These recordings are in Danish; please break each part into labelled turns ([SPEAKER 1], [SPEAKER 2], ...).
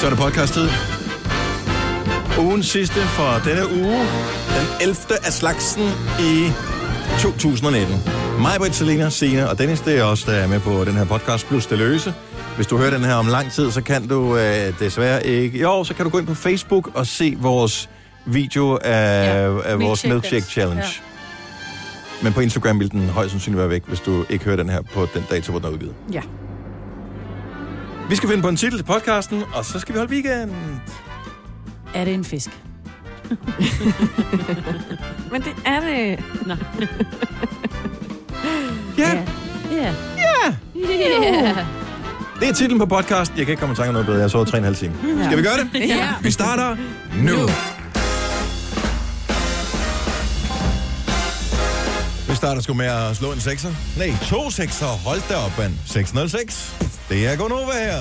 [SPEAKER 1] Så er det podcast-tid. Ugen sidste for denne uge, den 11. af slagsen i 2019. Mig, Britt, Selena, Sina og Dennis, det er os, der er med på den her podcast, plus det løse. Hvis du hører den her om lang tid, så kan du øh, desværre ikke... Jo, så kan du gå ind på Facebook og se vores video af, ja, af vores
[SPEAKER 2] milkshake
[SPEAKER 1] Milkshake Challenge. Ja.
[SPEAKER 2] dance.
[SPEAKER 1] Men på Instagram vil den højst sandsynligt være væk, hvis du ikke hører den her på den dato, hvor den er udgivet.
[SPEAKER 2] Ja.
[SPEAKER 1] Vi skal finde på en titel til podcasten, og så skal vi holde weekend.
[SPEAKER 2] Er det en fisk?
[SPEAKER 3] Men det er det.
[SPEAKER 1] Ja,
[SPEAKER 2] Ja. Ja.
[SPEAKER 1] det er titlen på podcasten. Jeg kan ikke komme i tanke om noget bedre. Jeg har sovet 3,5 timer. Skal vi gøre det?
[SPEAKER 3] Ja.
[SPEAKER 1] Vi starter nu. Vi starter sgu med at slå en sekser. Nej, to sekser. Hold da op, mand. 606. Det er Gonova her.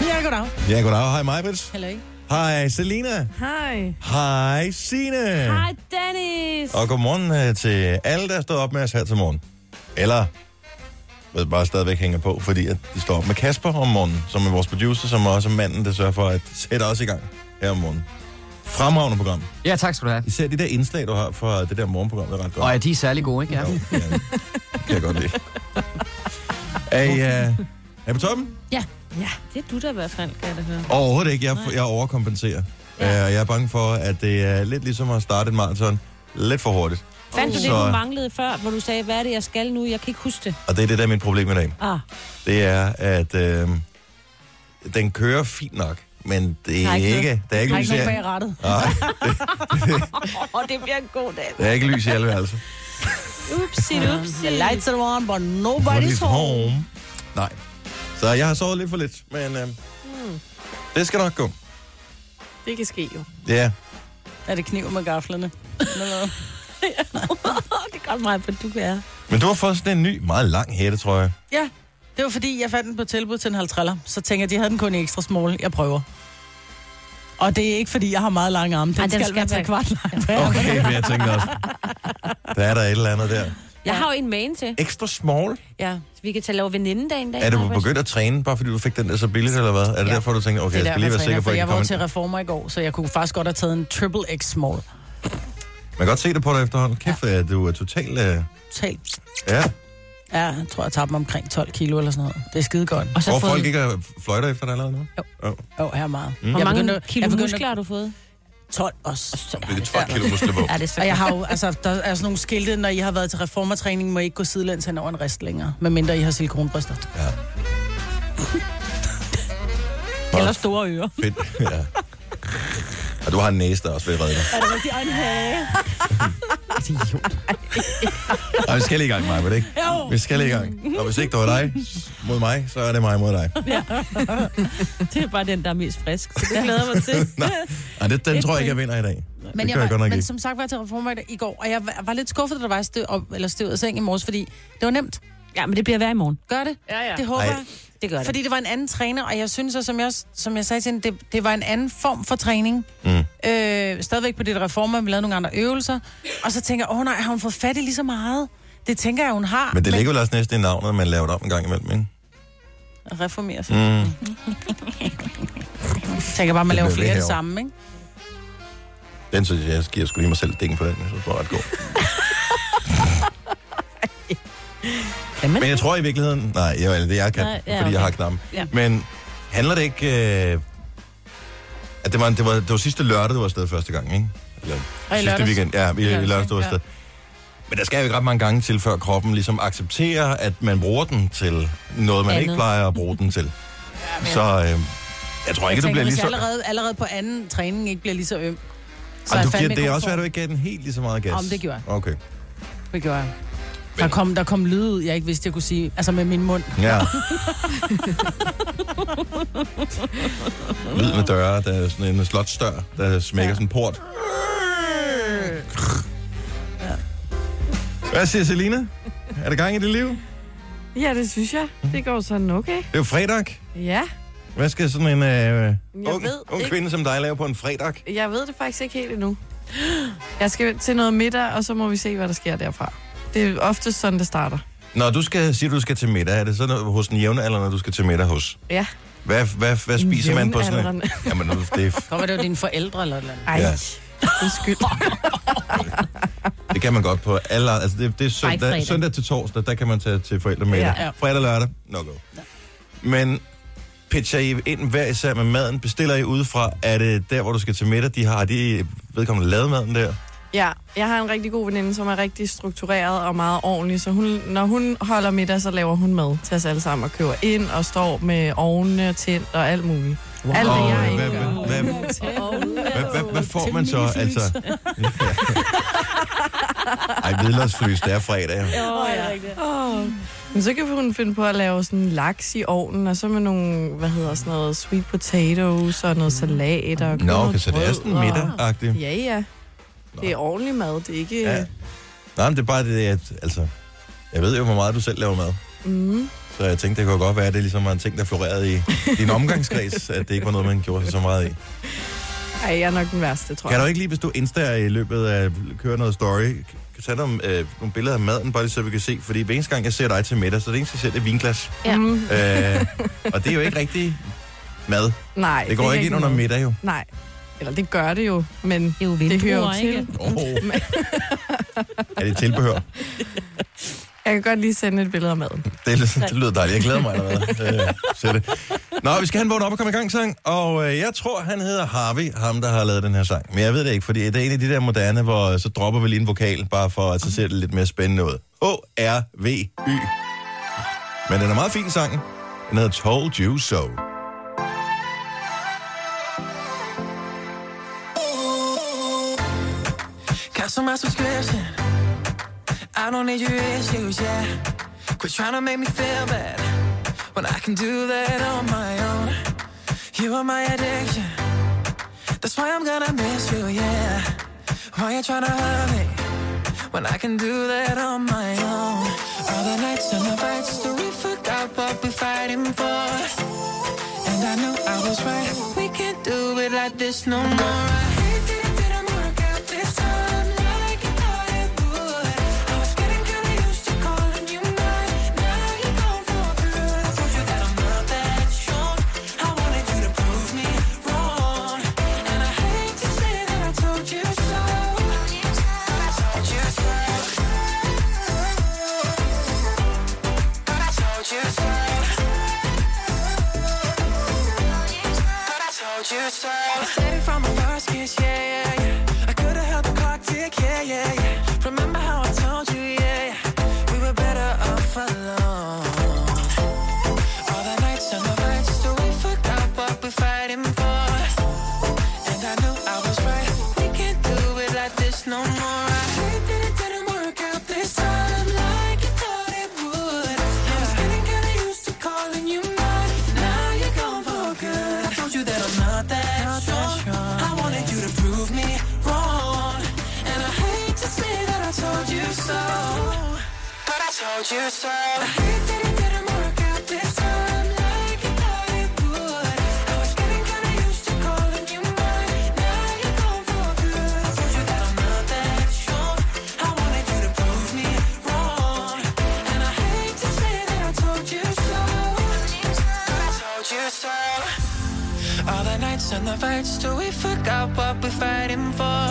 [SPEAKER 2] Ja, goddag.
[SPEAKER 1] Ja, goddag. Hej, Majbrits.
[SPEAKER 2] Heller ikke.
[SPEAKER 1] Hej, Selina.
[SPEAKER 3] Hej.
[SPEAKER 1] Hej, Signe.
[SPEAKER 3] Hej, Dennis.
[SPEAKER 1] Og godmorgen øh, til alle, der står op med os her til morgen. Eller ved bare stadigvæk hænger på, fordi at de står op med Kasper om morgenen, som er vores producer, som også er manden, der sørger for at sætte os i gang her om morgenen. Fremragende program.
[SPEAKER 4] Ja, tak skal du have.
[SPEAKER 1] Især de der indslag, du har fra det der morgenprogram, det er ret godt.
[SPEAKER 4] Og er de særlig gode, ikke? Ja.
[SPEAKER 1] Jo, ja, det kan jeg godt lide. Er I, uh, er I på toppen?
[SPEAKER 3] Ja, det er du der i hvert fald, kan jeg da høre.
[SPEAKER 1] Overhovedet ikke. Jeg, jeg overkompenserer. Ja. Uh, jeg er bange for, at det er lidt ligesom at starte en maraton. Lidt for hurtigt.
[SPEAKER 3] Fandt du det,
[SPEAKER 1] Så-
[SPEAKER 3] du manglede før, hvor du sagde, hvad er det, jeg skal nu? Jeg kan ikke huske det.
[SPEAKER 1] Og det er det, der er mit problem i dag.
[SPEAKER 3] Ah,
[SPEAKER 1] det er, at øh, den kører fint nok, men det
[SPEAKER 3] Der
[SPEAKER 1] er
[SPEAKER 3] er
[SPEAKER 1] ikke,
[SPEAKER 3] ikke
[SPEAKER 1] ikke, der er ikke
[SPEAKER 2] Der er
[SPEAKER 1] lys
[SPEAKER 2] ikke
[SPEAKER 1] i,
[SPEAKER 2] nogen bag rattet.
[SPEAKER 3] og det bliver en god dag.
[SPEAKER 1] der er ikke lys i alle værelser.
[SPEAKER 3] Upsi, upsi.
[SPEAKER 2] The lights are on, but
[SPEAKER 1] Nobody's
[SPEAKER 2] nobody's home.
[SPEAKER 1] home. Nej. Så jeg har sovet lidt for lidt, men øh,
[SPEAKER 2] Hmm.
[SPEAKER 1] det skal nok gå.
[SPEAKER 5] Det kan ske jo.
[SPEAKER 1] Ja,
[SPEAKER 2] Er det kniv med gaflerne? Eller hvad?
[SPEAKER 3] Det er godt meget, hvad du er.
[SPEAKER 1] men du har fået sådan en ny, meget lang hætte, tror jeg.
[SPEAKER 2] ja. Det var fordi, jeg fandt den på tilbud til en halv triller. Så tænker jeg, de havde den kun i ekstra small. Jeg prøver. Og det er ikke, fordi jeg har meget lange arme. Den,
[SPEAKER 3] Ej,
[SPEAKER 2] den skal, være tre kvart lang. Ja.
[SPEAKER 1] Okay, men jeg tænkte også, der er der et eller andet der.
[SPEAKER 3] Jeg har jo en mane til.
[SPEAKER 1] Ekstra small?
[SPEAKER 3] Ja, så vi kan tage lave venindedag en dag.
[SPEAKER 1] Er du
[SPEAKER 3] Maja.
[SPEAKER 1] begyndt at træne, bare fordi du fik den der så billigt, eller hvad? Er det
[SPEAKER 2] Ja.
[SPEAKER 1] derfor, du tænker, okay, jeg
[SPEAKER 2] Det er derfor,
[SPEAKER 1] skal lige
[SPEAKER 2] jeg
[SPEAKER 1] være sikker
[SPEAKER 2] træner,
[SPEAKER 1] på,
[SPEAKER 2] for
[SPEAKER 1] at jeg
[SPEAKER 2] jeg var
[SPEAKER 1] kan
[SPEAKER 2] til
[SPEAKER 1] komme...
[SPEAKER 2] reformer i går, så jeg kunne faktisk godt have taget en triple X small.
[SPEAKER 1] Man kan godt se det på dig efterhånden. Kæft, ja. du er totalt... Øh,
[SPEAKER 2] Totalt.
[SPEAKER 1] ja.
[SPEAKER 2] Ja, jeg tror, jeg tabte mig omkring 12 kilo eller sådan noget. Det er skide godt.
[SPEAKER 3] Og så
[SPEAKER 1] Hvor
[SPEAKER 3] fået-
[SPEAKER 1] folk ikke øh, fløjter efter dig allerede nu?
[SPEAKER 2] Jo.
[SPEAKER 1] Oh.
[SPEAKER 2] Jo, her er meget. Mm.
[SPEAKER 3] Hvor mange kilo muskler har du fået?
[SPEAKER 2] 12 også.
[SPEAKER 1] Det er 12 kilo muskler på.
[SPEAKER 3] Er det så
[SPEAKER 2] Og jeg har jo, altså, der er sådan nogle skilte, når I har været til reformertræning, må I ikke gå sidelæns hen over en rist længere, medmindre I har silikonbryster.
[SPEAKER 1] Ja.
[SPEAKER 2] Eller store ører.
[SPEAKER 1] Fedt. Ja. Og du har en næse, der også vil redde dig.
[SPEAKER 2] Er det rigtig en hage?
[SPEAKER 1] Og vi skal lige i gang, Maja, var det ikke? Jo. Vi skal lige i gang. Og hvis ikke det var dig mod mig, så er det mig mod dig.
[SPEAKER 3] Det er bare den, der er mest frisk, så det glæder jeg mig til.
[SPEAKER 1] Og det, den tror jeg ikke, jeg vinder i dag.
[SPEAKER 2] Men,
[SPEAKER 1] det
[SPEAKER 2] jeg
[SPEAKER 1] gør jeg
[SPEAKER 2] var,
[SPEAKER 1] godt nok
[SPEAKER 2] men
[SPEAKER 1] ikke.
[SPEAKER 2] som sagt var jeg til reformer i dag- i går, og jeg var, var lidt skuffet, da der var støv, op, eller støv af seng i morges, fordi det var nemt.
[SPEAKER 3] Ja, men det bliver værd i morgen.
[SPEAKER 2] Gør det.
[SPEAKER 5] Ja, ja.
[SPEAKER 2] Det håber
[SPEAKER 1] Ej.
[SPEAKER 2] jeg.
[SPEAKER 3] Det gør det.
[SPEAKER 2] Fordi det var en anden træner, og jeg synes, at som jeg, også- som jeg sagde til hende, det, det var en anden form for træning. Mm. Øh, stadigvæk på det der reformer, vi lavede nogle andre øvelser. Og så tænker jeg, åh nej, har hun fået fat i lige så meget? Det tænker jeg, hun har.
[SPEAKER 1] Men det ligger vel også næsten i navnet, at man laver det om en gang imellem, ikke?
[SPEAKER 2] Reformere sig.
[SPEAKER 1] Mm.
[SPEAKER 2] Jeg tænker bare, man
[SPEAKER 1] Det
[SPEAKER 2] laver
[SPEAKER 1] blev
[SPEAKER 2] flere af det
[SPEAKER 1] det her
[SPEAKER 2] samme, ikke?
[SPEAKER 1] Den synes jeg, jeg giver sgu lige mig selv ding på den. Jeg synes, den var ret god.
[SPEAKER 3] Jamen.
[SPEAKER 1] Men jeg tror i virkeligheden... Nej, jeg, altså, det er jeg kan,
[SPEAKER 3] Nej, ja,
[SPEAKER 1] fordi jeg
[SPEAKER 3] okay.
[SPEAKER 1] har knappen.
[SPEAKER 3] Ja.
[SPEAKER 1] Men handler det ikke... Øh, at det var, en- det, var, det var sidste lørdag, du var afsted første gang, ikke? Eller
[SPEAKER 2] Og i
[SPEAKER 1] sidste
[SPEAKER 2] lørdags.
[SPEAKER 1] weekend. Ja, i, i
[SPEAKER 2] lørdags,
[SPEAKER 1] lørdags, du var
[SPEAKER 2] ja.
[SPEAKER 1] afsted. Men der skal jo ikke ret mange gange til, før kroppen ligesom accepterer, at man bruger den til noget, man
[SPEAKER 3] Andet.
[SPEAKER 1] ikke plejer at bruge den til. Så øh, jeg tror ikke, du
[SPEAKER 2] tænker,
[SPEAKER 1] bliver
[SPEAKER 2] hvis
[SPEAKER 1] lige så...
[SPEAKER 2] jeg allerede, allerede på anden træning ikke bliver lige så øm, så er
[SPEAKER 1] Og
[SPEAKER 2] jeg
[SPEAKER 1] du
[SPEAKER 2] fandme
[SPEAKER 1] giver, det
[SPEAKER 2] i
[SPEAKER 1] er
[SPEAKER 2] god
[SPEAKER 1] også,
[SPEAKER 2] form.
[SPEAKER 1] at du ikke gav den helt lige så meget gas.
[SPEAKER 2] Om det gjorde jeg.
[SPEAKER 1] Okay.
[SPEAKER 2] Det gjorde jeg. Der kom, der kom lyd ud, jeg ikke vidste, jeg kunne sige. Altså med min mund.
[SPEAKER 1] Ja. Lyd med døre, der er sådan en slotsdør, der smækker ja. sådan en port. Hvad siger Selina? Er der gang i dit liv? Det
[SPEAKER 5] Ja, det synes jeg. Det går sådan okay.
[SPEAKER 1] er jo fredag.
[SPEAKER 5] Ja,
[SPEAKER 1] Hvad skal sådan en øh, ung,
[SPEAKER 5] ved
[SPEAKER 1] ung
[SPEAKER 5] ikke.
[SPEAKER 1] kvinde som dig lave på en fredag?
[SPEAKER 5] jeg ved det faktisk ikke helt endnu. Jeg skal til noget middag, og så må vi se, hvad der sker derfra. Det er oftest sådan, det starter.
[SPEAKER 1] Når du skal sige, du skal til middag, er det sådan noget hos en jævnaldrende, du skal til middag hos?
[SPEAKER 5] Ja.
[SPEAKER 1] Hvad, hvad, hvad spiser man på sådan en...
[SPEAKER 5] Jævnaldrende.
[SPEAKER 1] Jamen, nu- det, er-
[SPEAKER 2] Kommer det jo dine forældre eller et eller andet?
[SPEAKER 5] Ej,
[SPEAKER 1] Ja.
[SPEAKER 5] ja. undskyld.
[SPEAKER 1] det kan man godt på alle... Altså, det, det er søndag,
[SPEAKER 3] fredag.
[SPEAKER 1] søndag til torsdag, der kan man tage til forældre med ja.
[SPEAKER 5] Ja.
[SPEAKER 1] Fredag og lørdag, no go. Men pitcher I ind hver især med maden? Bestiller I udefra? Er det der, hvor du skal til middag? De har har de vedkommende lavet maden der?
[SPEAKER 5] Ja, jeg har en rigtig god veninde, som er rigtig struktureret og meget ordentlig, så hun, når hun holder middag, så laver hun mad til os alle sammen og køber ind og står med ovnene og tændt og alt muligt. Wow. Alt det, jeg
[SPEAKER 1] Åh,
[SPEAKER 5] ikke
[SPEAKER 1] hvad-
[SPEAKER 5] gør.
[SPEAKER 1] hvad- hvad- Hvad, hvad, hvad får man så? Altså? Ej, hvidløgsflys, det er fredag. jo.
[SPEAKER 3] Åh, ja.
[SPEAKER 5] Åh. Men så kan hun finde på at lave sådan en laks i ovnen, og så med nogle, hvad hedder sådan noget, sweet potatoes og noget salat og
[SPEAKER 1] Nå,
[SPEAKER 5] noget
[SPEAKER 1] okay, så det er
[SPEAKER 5] brød
[SPEAKER 1] sådan
[SPEAKER 5] og-
[SPEAKER 1] middag-agtigt.
[SPEAKER 5] Ja, ja. Det er ordentlig mad, det er ikke...
[SPEAKER 1] Ja. Nej, men det er bare det, at altså, jeg ved jo, hvor meget du selv laver mad.
[SPEAKER 5] Mm.
[SPEAKER 1] Så jeg tænkte, det kunne godt være, at det ligesom var en ting, der florerede i din omgangskreds, at det ikke var noget, man gjorde sig så meget i.
[SPEAKER 5] Ej, jeg er nok den værste, tror jeg.
[SPEAKER 1] Kan du ikke lige, hvis du Insta i løbet af kører noget story, kan tage nogle, øh, nogle billeder af maden, bare lige så vi kan se, fordi hver eneste gang, jeg ser dig til middag, så det eneste, jeg ser, det er vinglas.
[SPEAKER 3] Ja.
[SPEAKER 5] Mm.
[SPEAKER 1] Øh, og det er jo ikke rigtig mad.
[SPEAKER 5] Nej,
[SPEAKER 1] Det går
[SPEAKER 5] er
[SPEAKER 1] ikke ind under
[SPEAKER 5] noget.
[SPEAKER 1] middag, jo.
[SPEAKER 5] Nej. Eller det gør det jo, men
[SPEAKER 3] Det er jo
[SPEAKER 5] det hører jo
[SPEAKER 3] vinduer,
[SPEAKER 5] til.
[SPEAKER 3] ikke?
[SPEAKER 1] Oh. Er det tilbehør?
[SPEAKER 5] Jeg kan godt lige sende et billede af maden.
[SPEAKER 1] Det, det lyder dejligt. Jeg glæder mig allerede. Øh, til det. Nå, vi skal have en vågen op og komme i gang sang, og øh, jeg tror, han hedder Harvey, ham der har lavet den her sang. Men jeg ved det ikke, fordi det er en af de der moderne, hvor øh, så dropper vi lige en vokal, bare for at så ser det lidt mere spændende ud. H-R-V-Y. Men den er meget fin sangen. Den hedder Told You So.
[SPEAKER 6] Customer subscription. I don't need your issues, yeah. Quit trying to make me feel bad when I can do that on my own. You are my addiction. That's why I'm gonna miss you, yeah. Why you trying to hurt me when I can do that on my own? All the nights and the fights that we forgot what we're fighting for. And I knew I was right. We can't do it like this no more. I hate that it didn't work out this time, not like you thought it would. I was getting kinda used to calling you mine. Now you're gone for good. I told you that I'm not that strong. I wanted you to prove me wrong. And I hate to say that I told you so. I told you so. I told you so. But I told you so. I said it from the first kiss, yeah, yeah, yeah. I could have held the clock tick, yeah, yeah, yeah. Remember how I told you, yeah, yeah. We were better off alone. All the nights and the nights till we forgot what we're fighting for. And I knew I was right. We can't do it like this no more. I hate that it didn't work out this time like you thought it would. I was getting kinda used to calling you mine. Now you're gone for good. I told you that I'm not that, strong. I wanted you to prove me wrong. And I hate to say that I told you so. But I told you so. I hate that it didn't work out this time like you thought it would. I was getting kinda used to calling you mine. Now you're gone for good. I told you that I'm not that strong. I wanted you to prove me wrong. And I hate to say that I told you so. But I told you so. All the nights and the fights till we forgot what we're fighting for.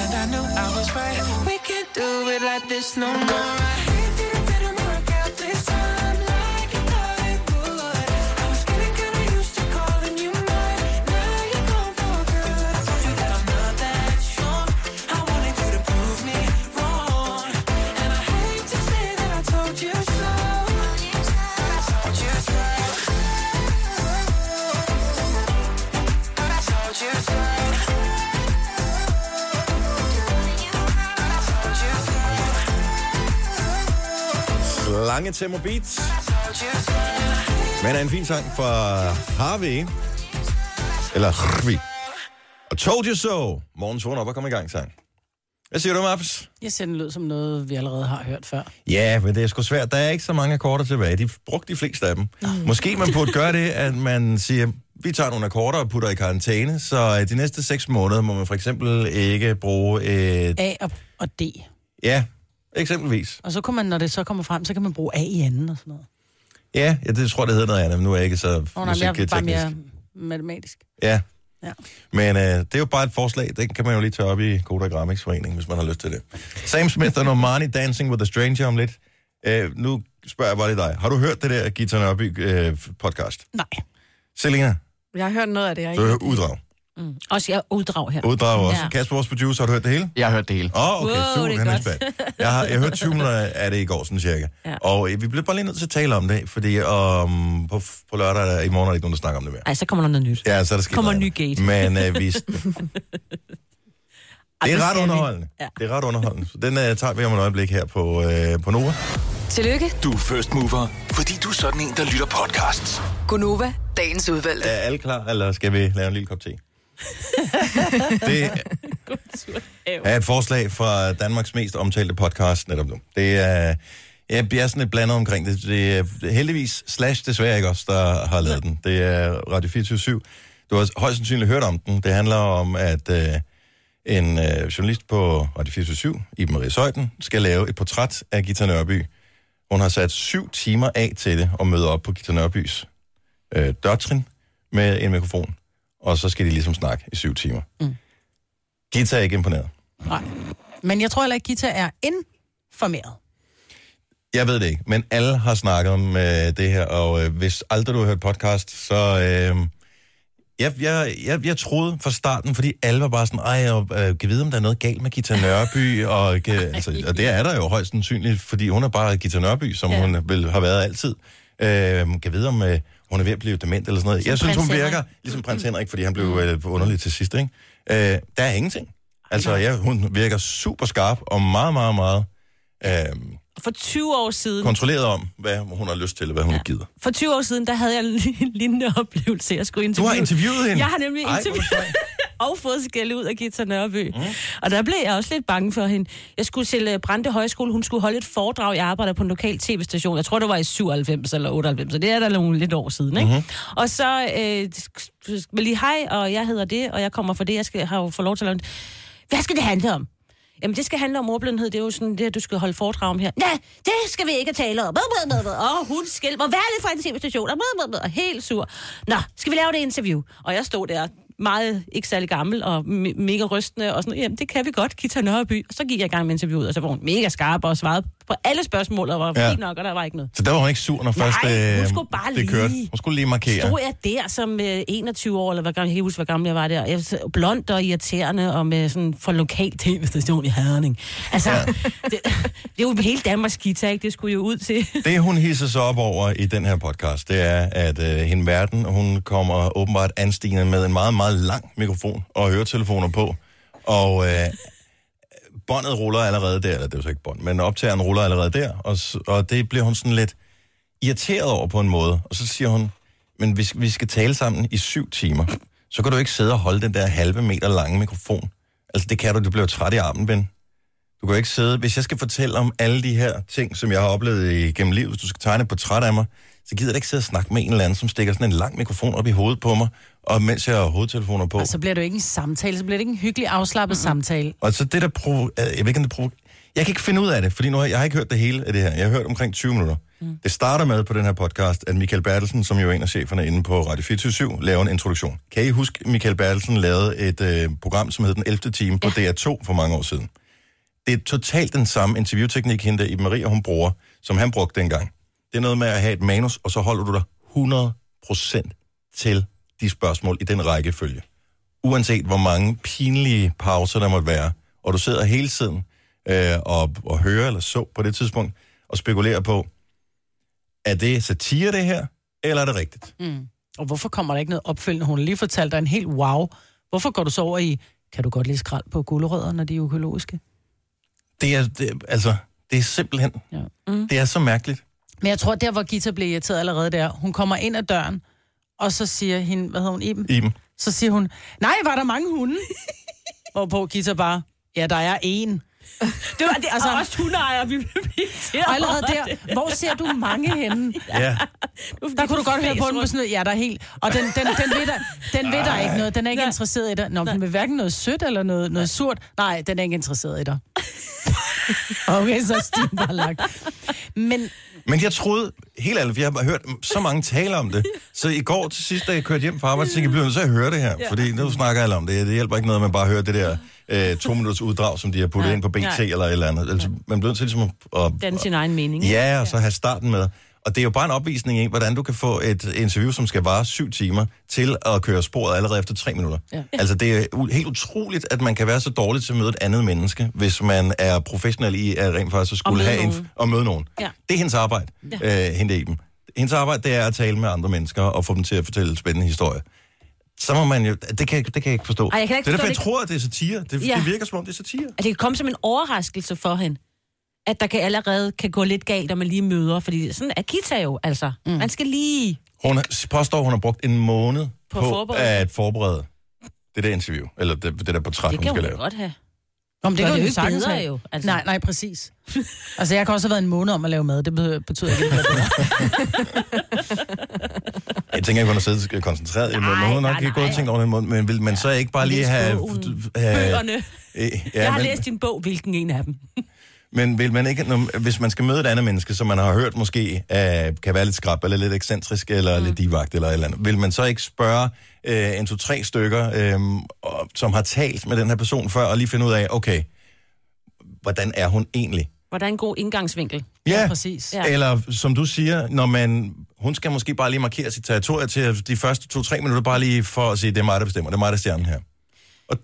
[SPEAKER 6] And I knew I was right. We can't do it like this no more. I hate that it didn't work out this time like you thought it would. I was getting kinda used to calling you mine. Now you're gone for good. I told you that I'm not that strong. I wanted you to prove me wrong. And I hate to say that I told you so. But I told you so. But I told you so. But I told you so.
[SPEAKER 1] Lange tempo beats.
[SPEAKER 6] Told you so.
[SPEAKER 1] Men er en fin sang fra Harvey. Eller Harvey. Og Told You So. Morgens vågen op og kom i gang sang. Hvad siger du, Maps?
[SPEAKER 2] Jeg ser den lød som noget, vi allerede har hørt før.
[SPEAKER 1] Ja, men det er sgu svært. Der er ikke så mange akkorder tilbage. De brugte de fleste af dem. Måske man burde gøre det, at man siger, vi tager nogle akkorder og putter i karantæne, så øh, de næste seks måneder må man for eksempel ikke bruge et...
[SPEAKER 2] A og, og D.
[SPEAKER 1] Ja, eksempelvis.
[SPEAKER 2] Og så kunne man, når det så kommer frem, så kan man bruge A i anden og sådan noget.
[SPEAKER 1] Ja, jeg det tror, det hedder noget andet, men nu er jeg ikke så
[SPEAKER 2] Åh, nej, men jeg er bare
[SPEAKER 1] musikteknisk.
[SPEAKER 2] mere matematisk.
[SPEAKER 1] Ja.
[SPEAKER 2] Ja.
[SPEAKER 1] Men øh, det er jo bare et forslag. Det kan man jo lige tage op i Koda Grammix Forening, hvis man har lyst til det. Sam Smith og Normani Dancing with a Stranger om lidt. Øh, nu spørger jeg bare lige dig. Har du hørt det der Gita Nørby øh, podcast?
[SPEAKER 2] Nej.
[SPEAKER 1] Selina,
[SPEAKER 5] Jeg har hørt noget af det, jeg
[SPEAKER 1] du
[SPEAKER 5] ikke...
[SPEAKER 1] hører uddrag.
[SPEAKER 3] Mm. Også jeg uddrag her.
[SPEAKER 1] Uddrag også.
[SPEAKER 3] Ja.
[SPEAKER 1] Kasper, vores producer, har du hørt det hele?
[SPEAKER 4] Jeg har hørt det hele.
[SPEAKER 1] Åh, oh, okay,
[SPEAKER 3] Wow,
[SPEAKER 1] super,
[SPEAKER 3] det er
[SPEAKER 1] han er
[SPEAKER 3] godt.
[SPEAKER 1] spændt. Jeg, har, jeg hørte 20 minutter af det i går, sådan cirka.
[SPEAKER 3] Ja.
[SPEAKER 1] Og øh, vi blev bare lige nødt til at tale om det, fordi um, på, på lørdag er der- i morgen er der ikke nogen, der snakker om det mere.
[SPEAKER 3] Ej, så kommer der noget nyt.
[SPEAKER 1] Ja, så er der sket
[SPEAKER 3] Kommer
[SPEAKER 1] noget
[SPEAKER 3] ny
[SPEAKER 1] andet.
[SPEAKER 3] gate.
[SPEAKER 1] Men øh, vi,
[SPEAKER 3] Ej,
[SPEAKER 1] Det
[SPEAKER 3] nu
[SPEAKER 1] er ret
[SPEAKER 3] skal vi.
[SPEAKER 1] underholdende. Ja.
[SPEAKER 3] Ja.
[SPEAKER 1] Det er ret underholdende. Så den uh, tager vi om et øjeblik her på, øh, på Nova.
[SPEAKER 7] Tillykke,
[SPEAKER 8] Du er first mover, fordi du er sådan en, der lytter podcasts.
[SPEAKER 7] Gunova, dagens udvalgte.
[SPEAKER 1] Er alle klar, eller skal vi lave en lille kop te? det er et forslag fra Danmarks mest omtalte podcast netop nu. Det er, jeg jeg er sådan lidt blandet omkring det. Det er heldigvis slash desværre ikke os, der har lavet den. Det er Radio 24 Du har højst sandsynligt hørt om den. Det handler om, at øh, en øh, journalist på Radio 24 Iben Marie Søjden, skal lave et portræt af Gita Nørby. Hun har sat syv timer af til det og møder op på Gita Nørbys øh, dørtrin med en mikrofon, og så skal de ligesom snakke i syv timer. Mm. Gita er ikke imponeret.
[SPEAKER 2] Nej. Men jeg tror heller ikke, Gita er informeret.
[SPEAKER 1] Jeg ved det ikke, men alle har snakket om øh, det her, og øh, hvis aldrig du har hørt podcast, så... Øh, jeg, jeg, jeg, jeg troede fra starten, fordi alle var bare sådan, ej, og, øh, kan vide, om der er noget galt med Gita Nørby, og, kan, altså, og det er der jo højst sandsynligt, fordi hun er bare Gita Nørby, som ja.
[SPEAKER 3] Ja.
[SPEAKER 1] hun vel har været altid. Øh, kan vide, om øh, hun er ved at blive dement eller sådan noget. Som jeg synes,
[SPEAKER 3] prins
[SPEAKER 1] hun virker
[SPEAKER 3] Henrik.
[SPEAKER 1] ligesom prins Henrik, fordi han blev øh, underlig til sidst, ikke? Øh, der er ingenting. Altså, ja, hun virker super skarp og meget, meget, meget... Øh,
[SPEAKER 3] For 20 år siden,
[SPEAKER 1] kontrolleret om, hvad hun har lyst til, og hvad hun ja. gider.
[SPEAKER 3] for 20 år siden, der havde jeg en lignende oplevelse. Jeg skulle
[SPEAKER 1] Du
[SPEAKER 3] interviewe.
[SPEAKER 1] har interviewet hende.
[SPEAKER 3] Jeg har nemlig
[SPEAKER 1] Ej,
[SPEAKER 3] interviewet.
[SPEAKER 1] hvor sejt.
[SPEAKER 3] og fået skæld ud af Gita Nørby. Mm. Og der blev jeg også lidt bange for hende. Jeg skulle til øh, Brande Højskole, hun skulle holde et foredrag, jeg arbejder på en lokal tv-station. Jeg tror, det var i 97 eller 98, så det er der nogle lidt år siden. Ikke? Mm-hmm. Og så øh, sk- vil lige hej, og jeg hedder det, og jeg kommer fra det, jeg skal, har jo fået lov til at lave en- Hvad skal det handle om? Jamen, det skal handle om ordblindhed. Det er jo sådan det, du skal holde foredrag om her. Nej, det skal vi ikke tale om. Blah, blah, blah, blah. Og hun skælder mig lidt fra en tv-station. Og, blah, blah, blah, og helt sur. Nå, skal vi lave det interview? Og jeg stod der meget ikke særlig gammel og me- mega rystende og sådan, jamen det kan vi godt, Kita Nørreby. Og så gik jeg i gang med interviewet, og så var hun mega skarp og svarede på alle spørgsmål, og var
[SPEAKER 1] Ja.
[SPEAKER 3] ja. fint nok, og der var ikke noget.
[SPEAKER 1] Så der var hun ikke sur, når først
[SPEAKER 3] Nej, hun
[SPEAKER 1] øh,
[SPEAKER 3] skulle bare
[SPEAKER 1] det kørte.
[SPEAKER 3] lige-
[SPEAKER 1] Hun skulle lige markere.
[SPEAKER 3] Stod jeg der som øh, 21 år, eller hvad gammel, jeg kan ikke huske, hvor gammel jeg var der. Jeg var blond og irriterende, og med sådan for lokal tv-station i Herning. Altså, ja. det, det, er jo hele Danmarks guitar, ikke? Det skulle jo ud til.
[SPEAKER 1] Det, hun hisser sig op over i den her podcast, det er, at øh, hende verden, hun kommer åbenbart anstigende med en meget, meget lang mikrofon og høretelefoner på. Og øh, båndet ruller allerede der, eller det er jo så ikke bånd, men optageren ruller allerede der, og, s- og det bliver hun sådan lidt irriteret over på en måde. Og så siger hun, men hvis vi skal tale sammen i syv timer, så kan du ikke sidde og holde den der halve meter lange mikrofon. Altså det kan du, du bliver jo træt i armen, ven. Du kan jo ikke sidde... Hvis jeg skal fortælle om alle de her ting, som jeg har oplevet igennem livet, hvis du skal tegne et portræt af mig, så gider jeg da ikke sidde og snakke med en eller anden, som stikker sådan en lang mikrofon op i hovedet på mig, og mens jeg har hovedtelefoner på.
[SPEAKER 2] Og så Altså, bliver det jo ikke en samtale, så bliver det ikke en hyggelig afslappet mm-hmm. samtale.
[SPEAKER 1] Og så det der provo... øh, Jeg ved ikke, om det provo... Jeg kan ikke finde ud af det, fordi nu har jeg, jeg har ikke hørt det hele af det her. Jeg har hørt omkring 20 minutter. Mm. Det starter med på den her podcast, at Michael Bertelsen, som jo er en af cheferne inde på Radio 24 laver en introduktion. Kan I huske, Michael Bertelsen lavede et øh, program, som hed Den 11. time på ja. DR2 for mange år siden? Det er totalt den samme interviewteknik, hende der Iben Maria, hun bruger, som han brugte dengang. Det er noget med at have et manus, og så holder du dig 100% til de spørgsmål i den rækkefølge uanset hvor mange pinlige pauser der måtte være, og du sidder hele tiden øh, og, og hører eller så på det tidspunkt, og spekulerer på, er det satire det her, eller er det rigtigt? Mm.
[SPEAKER 2] Og hvorfor kommer der ikke noget opfølgende? Hun har lige fortalt dig en helt wow. Hvorfor går du så over i, kan du godt lide skrald på gulerødder, når de er økologiske?
[SPEAKER 1] Det, er, det, altså, det er simpelthen, ja.
[SPEAKER 2] Ja.
[SPEAKER 1] mm. det er så mærkeligt.
[SPEAKER 2] Men jeg tror, der hvor Gita blev irriteret allerede der, hun kommer ind ad døren, og så siger hende, hvad hedder hun, Iben?
[SPEAKER 1] Iben.
[SPEAKER 2] Så siger hun, nej, var der mange hunde? Hvorpå Gita bare, ja, der er en.
[SPEAKER 3] Det var det, altså,
[SPEAKER 2] Altså-
[SPEAKER 3] og også hundeejere, vi blev irriteret
[SPEAKER 2] Og allerede
[SPEAKER 3] over det.
[SPEAKER 2] der, hvor ser du mange henne?
[SPEAKER 1] Ja.
[SPEAKER 2] Der kunne du godt høre på den med sådan noget, ja, der er helt... Og den, den, den, ved der, den ved der ikke noget. Den er ikke
[SPEAKER 3] Nej.
[SPEAKER 2] interesseret i dig. Nå, men den vil hverken noget sødt eller noget, noget surt. Nej, den er ikke interesseret i dig. Okay, så er stien bare lagt. Men
[SPEAKER 1] Men jeg troede, helt ærligt, for jeg har hørt så mange tale om det. Så i går til sidst, da jeg kørte hjem fra arbejde, så tænkte jeg, jeg, bliver nødt til at høre det her. Fordi nu snakker alle om det. Det hjælper ikke noget, at man bare hører det der øh, to minutters uddrag, som de har puttet
[SPEAKER 3] Nej,
[SPEAKER 1] ind på BT
[SPEAKER 3] nej.
[SPEAKER 1] eller et eller andet. Altså, man bliver nødt til ligesom at, at,
[SPEAKER 3] Danne sin egen mening. ikke?
[SPEAKER 1] Ja, og så have starten med. Og det er jo bare en opvisning i, hvordan du kan få et interview, som skal vare syv timer, til at køre sporet allerede efter tre minutter. Ja. Altså, det er u- helt utroligt, at man kan være så dårlig til at møde et andet menneske, hvis man er professionel i at rent faktisk at
[SPEAKER 3] Og
[SPEAKER 1] skulle
[SPEAKER 3] møde
[SPEAKER 1] have en,
[SPEAKER 3] nogen.
[SPEAKER 1] f- og møde nogen.
[SPEAKER 3] Ja.
[SPEAKER 1] Det er hendes arbejde, ja. øh, hende Eben. Hendes arbejde, det er at tale med andre mennesker og få dem til at fortælle spændende historier. Så må man jo... Det kan, jeg- det kan jeg ikke forstå.
[SPEAKER 3] Ej, jeg kan ikke
[SPEAKER 1] det
[SPEAKER 3] forstå
[SPEAKER 1] er derfor, jeg
[SPEAKER 3] det.
[SPEAKER 1] tror, at det er satire. Det, ja.
[SPEAKER 3] Ja.
[SPEAKER 1] det virker, som om det er satire.
[SPEAKER 3] At Altså, det kan komme som en overraskelse for hende, at der kan allerede kan gå lidt galt, når man lige møder. Fordi sådan er Kita jo, altså. Mm. Man skal lige...
[SPEAKER 1] Hun påstår, hun har brugt en måned
[SPEAKER 3] På
[SPEAKER 1] på, på
[SPEAKER 3] forberedelse.
[SPEAKER 1] at forberede det der interview, eller det, det der portræt,
[SPEAKER 3] Det
[SPEAKER 1] hun
[SPEAKER 3] kan
[SPEAKER 1] skal
[SPEAKER 3] hun jo
[SPEAKER 1] lave.
[SPEAKER 3] godt have.
[SPEAKER 2] Nå, men det
[SPEAKER 3] Gør det
[SPEAKER 2] kan jo
[SPEAKER 3] jo
[SPEAKER 2] ikke
[SPEAKER 3] ikke
[SPEAKER 2] sagtens
[SPEAKER 3] bedre
[SPEAKER 2] have.
[SPEAKER 3] jo, altså.
[SPEAKER 2] Nej, nej, præcis. Altså, jeg kan også have været en måned om at lave mad. Det betyder, betyder ikke, at det bliver bedre.
[SPEAKER 1] Jeg tænker ikke, hun har siddet koncentreret i en måned.
[SPEAKER 3] Nej,
[SPEAKER 1] Hun har nok
[SPEAKER 3] nej,
[SPEAKER 1] ikke gået og
[SPEAKER 3] nej.
[SPEAKER 1] tænkt over den måned, men vil man så ikke bare lige
[SPEAKER 3] Læs
[SPEAKER 1] have...
[SPEAKER 3] bogen.
[SPEAKER 1] have
[SPEAKER 3] Bøgerne.
[SPEAKER 1] Øh,
[SPEAKER 3] jeg
[SPEAKER 1] ja,
[SPEAKER 3] har
[SPEAKER 1] men,
[SPEAKER 3] læst din bog, hvilken en af dem.
[SPEAKER 1] men vil man ikke, når, hvis man skal møde et andet menneske, som man har hørt måske, øh, kan være lidt skrab, eller lidt ekscentrisk, eller mm. lidt divagt, eller et eller andet, vil man så ikke spørge øh, en, to, tre stykker, øh, og- som har talt med den her person før, og lige finde ud af, okay, hvordan er hun egentlig?
[SPEAKER 3] Hvordan en god indgangsvinkel.
[SPEAKER 1] Ja,
[SPEAKER 2] præcis.
[SPEAKER 1] Ja. Eller som du siger, når man, hun skal måske bare lige markere sit territorie til at de første to-tre minutter, bare lige for at sige, det er mig, der bestemmer, det er mig, der er stjernen her. Og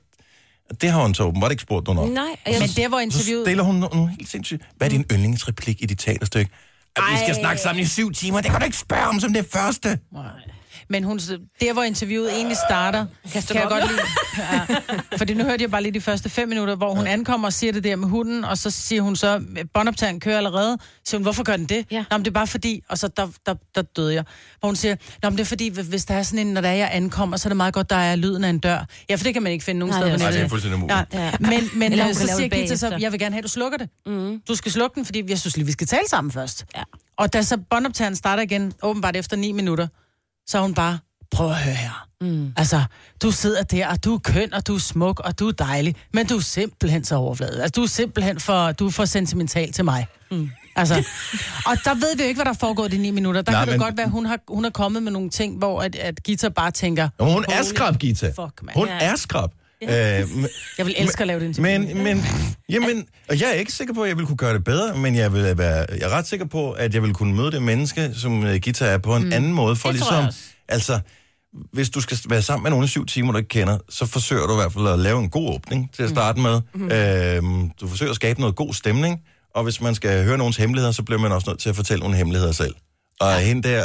[SPEAKER 1] og det har hun så åbenbart ikke spurgt nogen om.
[SPEAKER 3] Nej, og jeg,
[SPEAKER 2] Men der, hvor
[SPEAKER 1] Så
[SPEAKER 2] interviewet...
[SPEAKER 1] stiller hun nogle helt sindssygt. Hvad er din yndlingsreplik i dit teaterstykke? At vi skal
[SPEAKER 3] Ej.
[SPEAKER 1] snakke sammen i syv timer, det kan du ikke spørge om som det første.
[SPEAKER 2] Men hun, der, hvor interviewet egentlig starter, kan jeg godt lide. Ja. Fordi nu hørte jeg bare lige de første fem minutter, hvor hun ankommer og siger det der med hunden, og så siger hun så, båndoptageren kører allerede. Så siger hun, hvorfor gør den det?
[SPEAKER 3] Ja.
[SPEAKER 2] Nå, men det er bare fordi, og så der, der, der døde jeg. Hvor hun siger, Nå, men det er fordi, hvis der er sådan en, når der er, jeg ankommer, så er det meget godt, der er lyden af en dør. Ja, for det kan man ikke finde nogen
[SPEAKER 3] Nej,
[SPEAKER 2] steder.
[SPEAKER 3] det er
[SPEAKER 2] på
[SPEAKER 1] Nej, det er
[SPEAKER 2] nettet.
[SPEAKER 1] fuldstændig umuligt.
[SPEAKER 2] Nej.
[SPEAKER 3] Ja.
[SPEAKER 2] Men, men
[SPEAKER 3] Eller hun
[SPEAKER 2] øh,
[SPEAKER 3] kan
[SPEAKER 2] så
[SPEAKER 3] lave
[SPEAKER 2] siger
[SPEAKER 3] det
[SPEAKER 2] Gita så,
[SPEAKER 3] bagefter.
[SPEAKER 2] jeg vil gerne have, at du slukker det. Mm. Du skal slukke den, fordi jeg synes lige, vi skal tale sammen først.
[SPEAKER 3] Ja.
[SPEAKER 2] Og da så båndoptageren starter igen, åbenbart efter 9 minutter, så er hun bare, prøv at høre her. Mm. Altså, du sidder der, og du er køn, og du er smuk, og du er dejlig, men du er simpelthen så overfladet. Altså, du er simpelthen for, du er for sentimental til mig. Mm. Altså, og der ved vi jo ikke, hvad der foregår i de 9 minutter. Der
[SPEAKER 1] Nej,
[SPEAKER 2] Nej, kan det men...
[SPEAKER 1] men-
[SPEAKER 2] godt være, hun har, hun er kommet med nogle ting, hvor at, at Gita bare tænker,
[SPEAKER 1] Nå, men hun er skrab, Gita.
[SPEAKER 2] fuck, mand.
[SPEAKER 1] Hun
[SPEAKER 3] Ja.
[SPEAKER 1] er skrab. Øh, men-
[SPEAKER 2] jeg vil elske at lave det interview.
[SPEAKER 1] Men, men, jamen, og jeg er ikke sikker på, at jeg vil kunne gøre det bedre, men jeg, vil være, jeg er ret sikker på, at jeg vil kunne møde det menneske, som øh, Gita er, på en mm. anden måde. For
[SPEAKER 3] Det tror
[SPEAKER 1] ligesom,
[SPEAKER 3] jeg også.
[SPEAKER 1] altså, hvis du skal være sammen med nogen i syv timer, du ikke kender, så forsøger du i hvert fald at lave en god åbning til at starte med. Mm. Øhm, du forsøger at skabe noget god stemning, og hvis man skal høre nogens hemmeligheder, så bliver man også nødt til at fortælle nogle hemmeligheder selv. Og ja. hende der,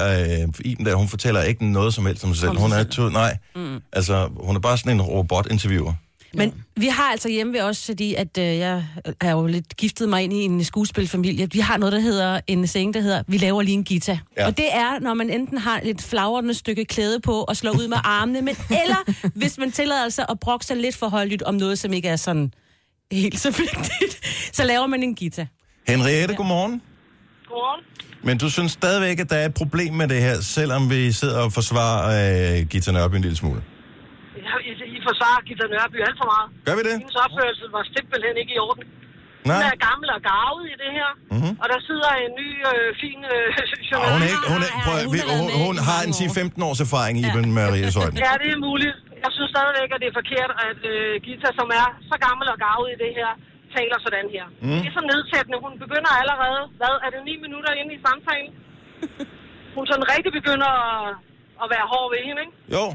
[SPEAKER 1] øh, Iben der, hun fortæller ikke noget som helst om sig selv. Hun er, to, nej, mm. altså, hun er bare sådan en robotinterviewer.
[SPEAKER 3] Men vi har altså hjemme ved os, fordi at, øh, jeg er jo lidt giftet mig ind i en skuespilfamilie. Vi har noget, der hedder en seng, der hedder, vi laver lige en guitar.
[SPEAKER 1] Ja.
[SPEAKER 3] Ja. Og det er, når man enten har et flagrende stykke klæde på og slår ud med armene, men eller hvis man tillader sig at brokke sig lidt for højlydt om noget, som ikke er sådan helt så vigtigt, så laver man en guitar.
[SPEAKER 1] Henriette, ja. godmorgen.
[SPEAKER 9] Godmorgen.
[SPEAKER 1] Men du synes stadigvæk, at der er et problem med det her, selvom vi sidder og forsvarer øh, Gita Nørby en lille smule.
[SPEAKER 9] Ja, I, I forsvarer Gita Nørby alt for meget.
[SPEAKER 1] Gør vi det?
[SPEAKER 9] Hendes opførsel var simpelthen ikke i orden. Hun
[SPEAKER 1] Nej.
[SPEAKER 9] er gammel og garvet i det her, mm-hmm. og der sidder en ny, øh, fin øh,
[SPEAKER 1] Og Ah, hun, er
[SPEAKER 9] journalist.
[SPEAKER 1] ikke, hun, er,
[SPEAKER 3] Ej, ej,
[SPEAKER 1] prøv,
[SPEAKER 3] Ah,
[SPEAKER 1] at-
[SPEAKER 3] hun
[SPEAKER 1] vi,
[SPEAKER 3] har været
[SPEAKER 1] hun,
[SPEAKER 3] med
[SPEAKER 1] hun
[SPEAKER 3] i
[SPEAKER 1] har
[SPEAKER 3] mange
[SPEAKER 1] en
[SPEAKER 3] år.
[SPEAKER 1] 10-15 års erfaring i Iben Marie Søjden.
[SPEAKER 9] Ja, det er muligt. Jeg synes stadigvæk, at det er forkert, at øh, Gita, som er så gammel og garvet i det her, taler sådan her.
[SPEAKER 1] Mhm.
[SPEAKER 9] Mm. Det er så nedsættende. Hun begynder allerede, hvad, er det ni minutter inde i samtalen? Hun sådan rigtig begynder at, at være hård ved hende, ikke?
[SPEAKER 1] Jo.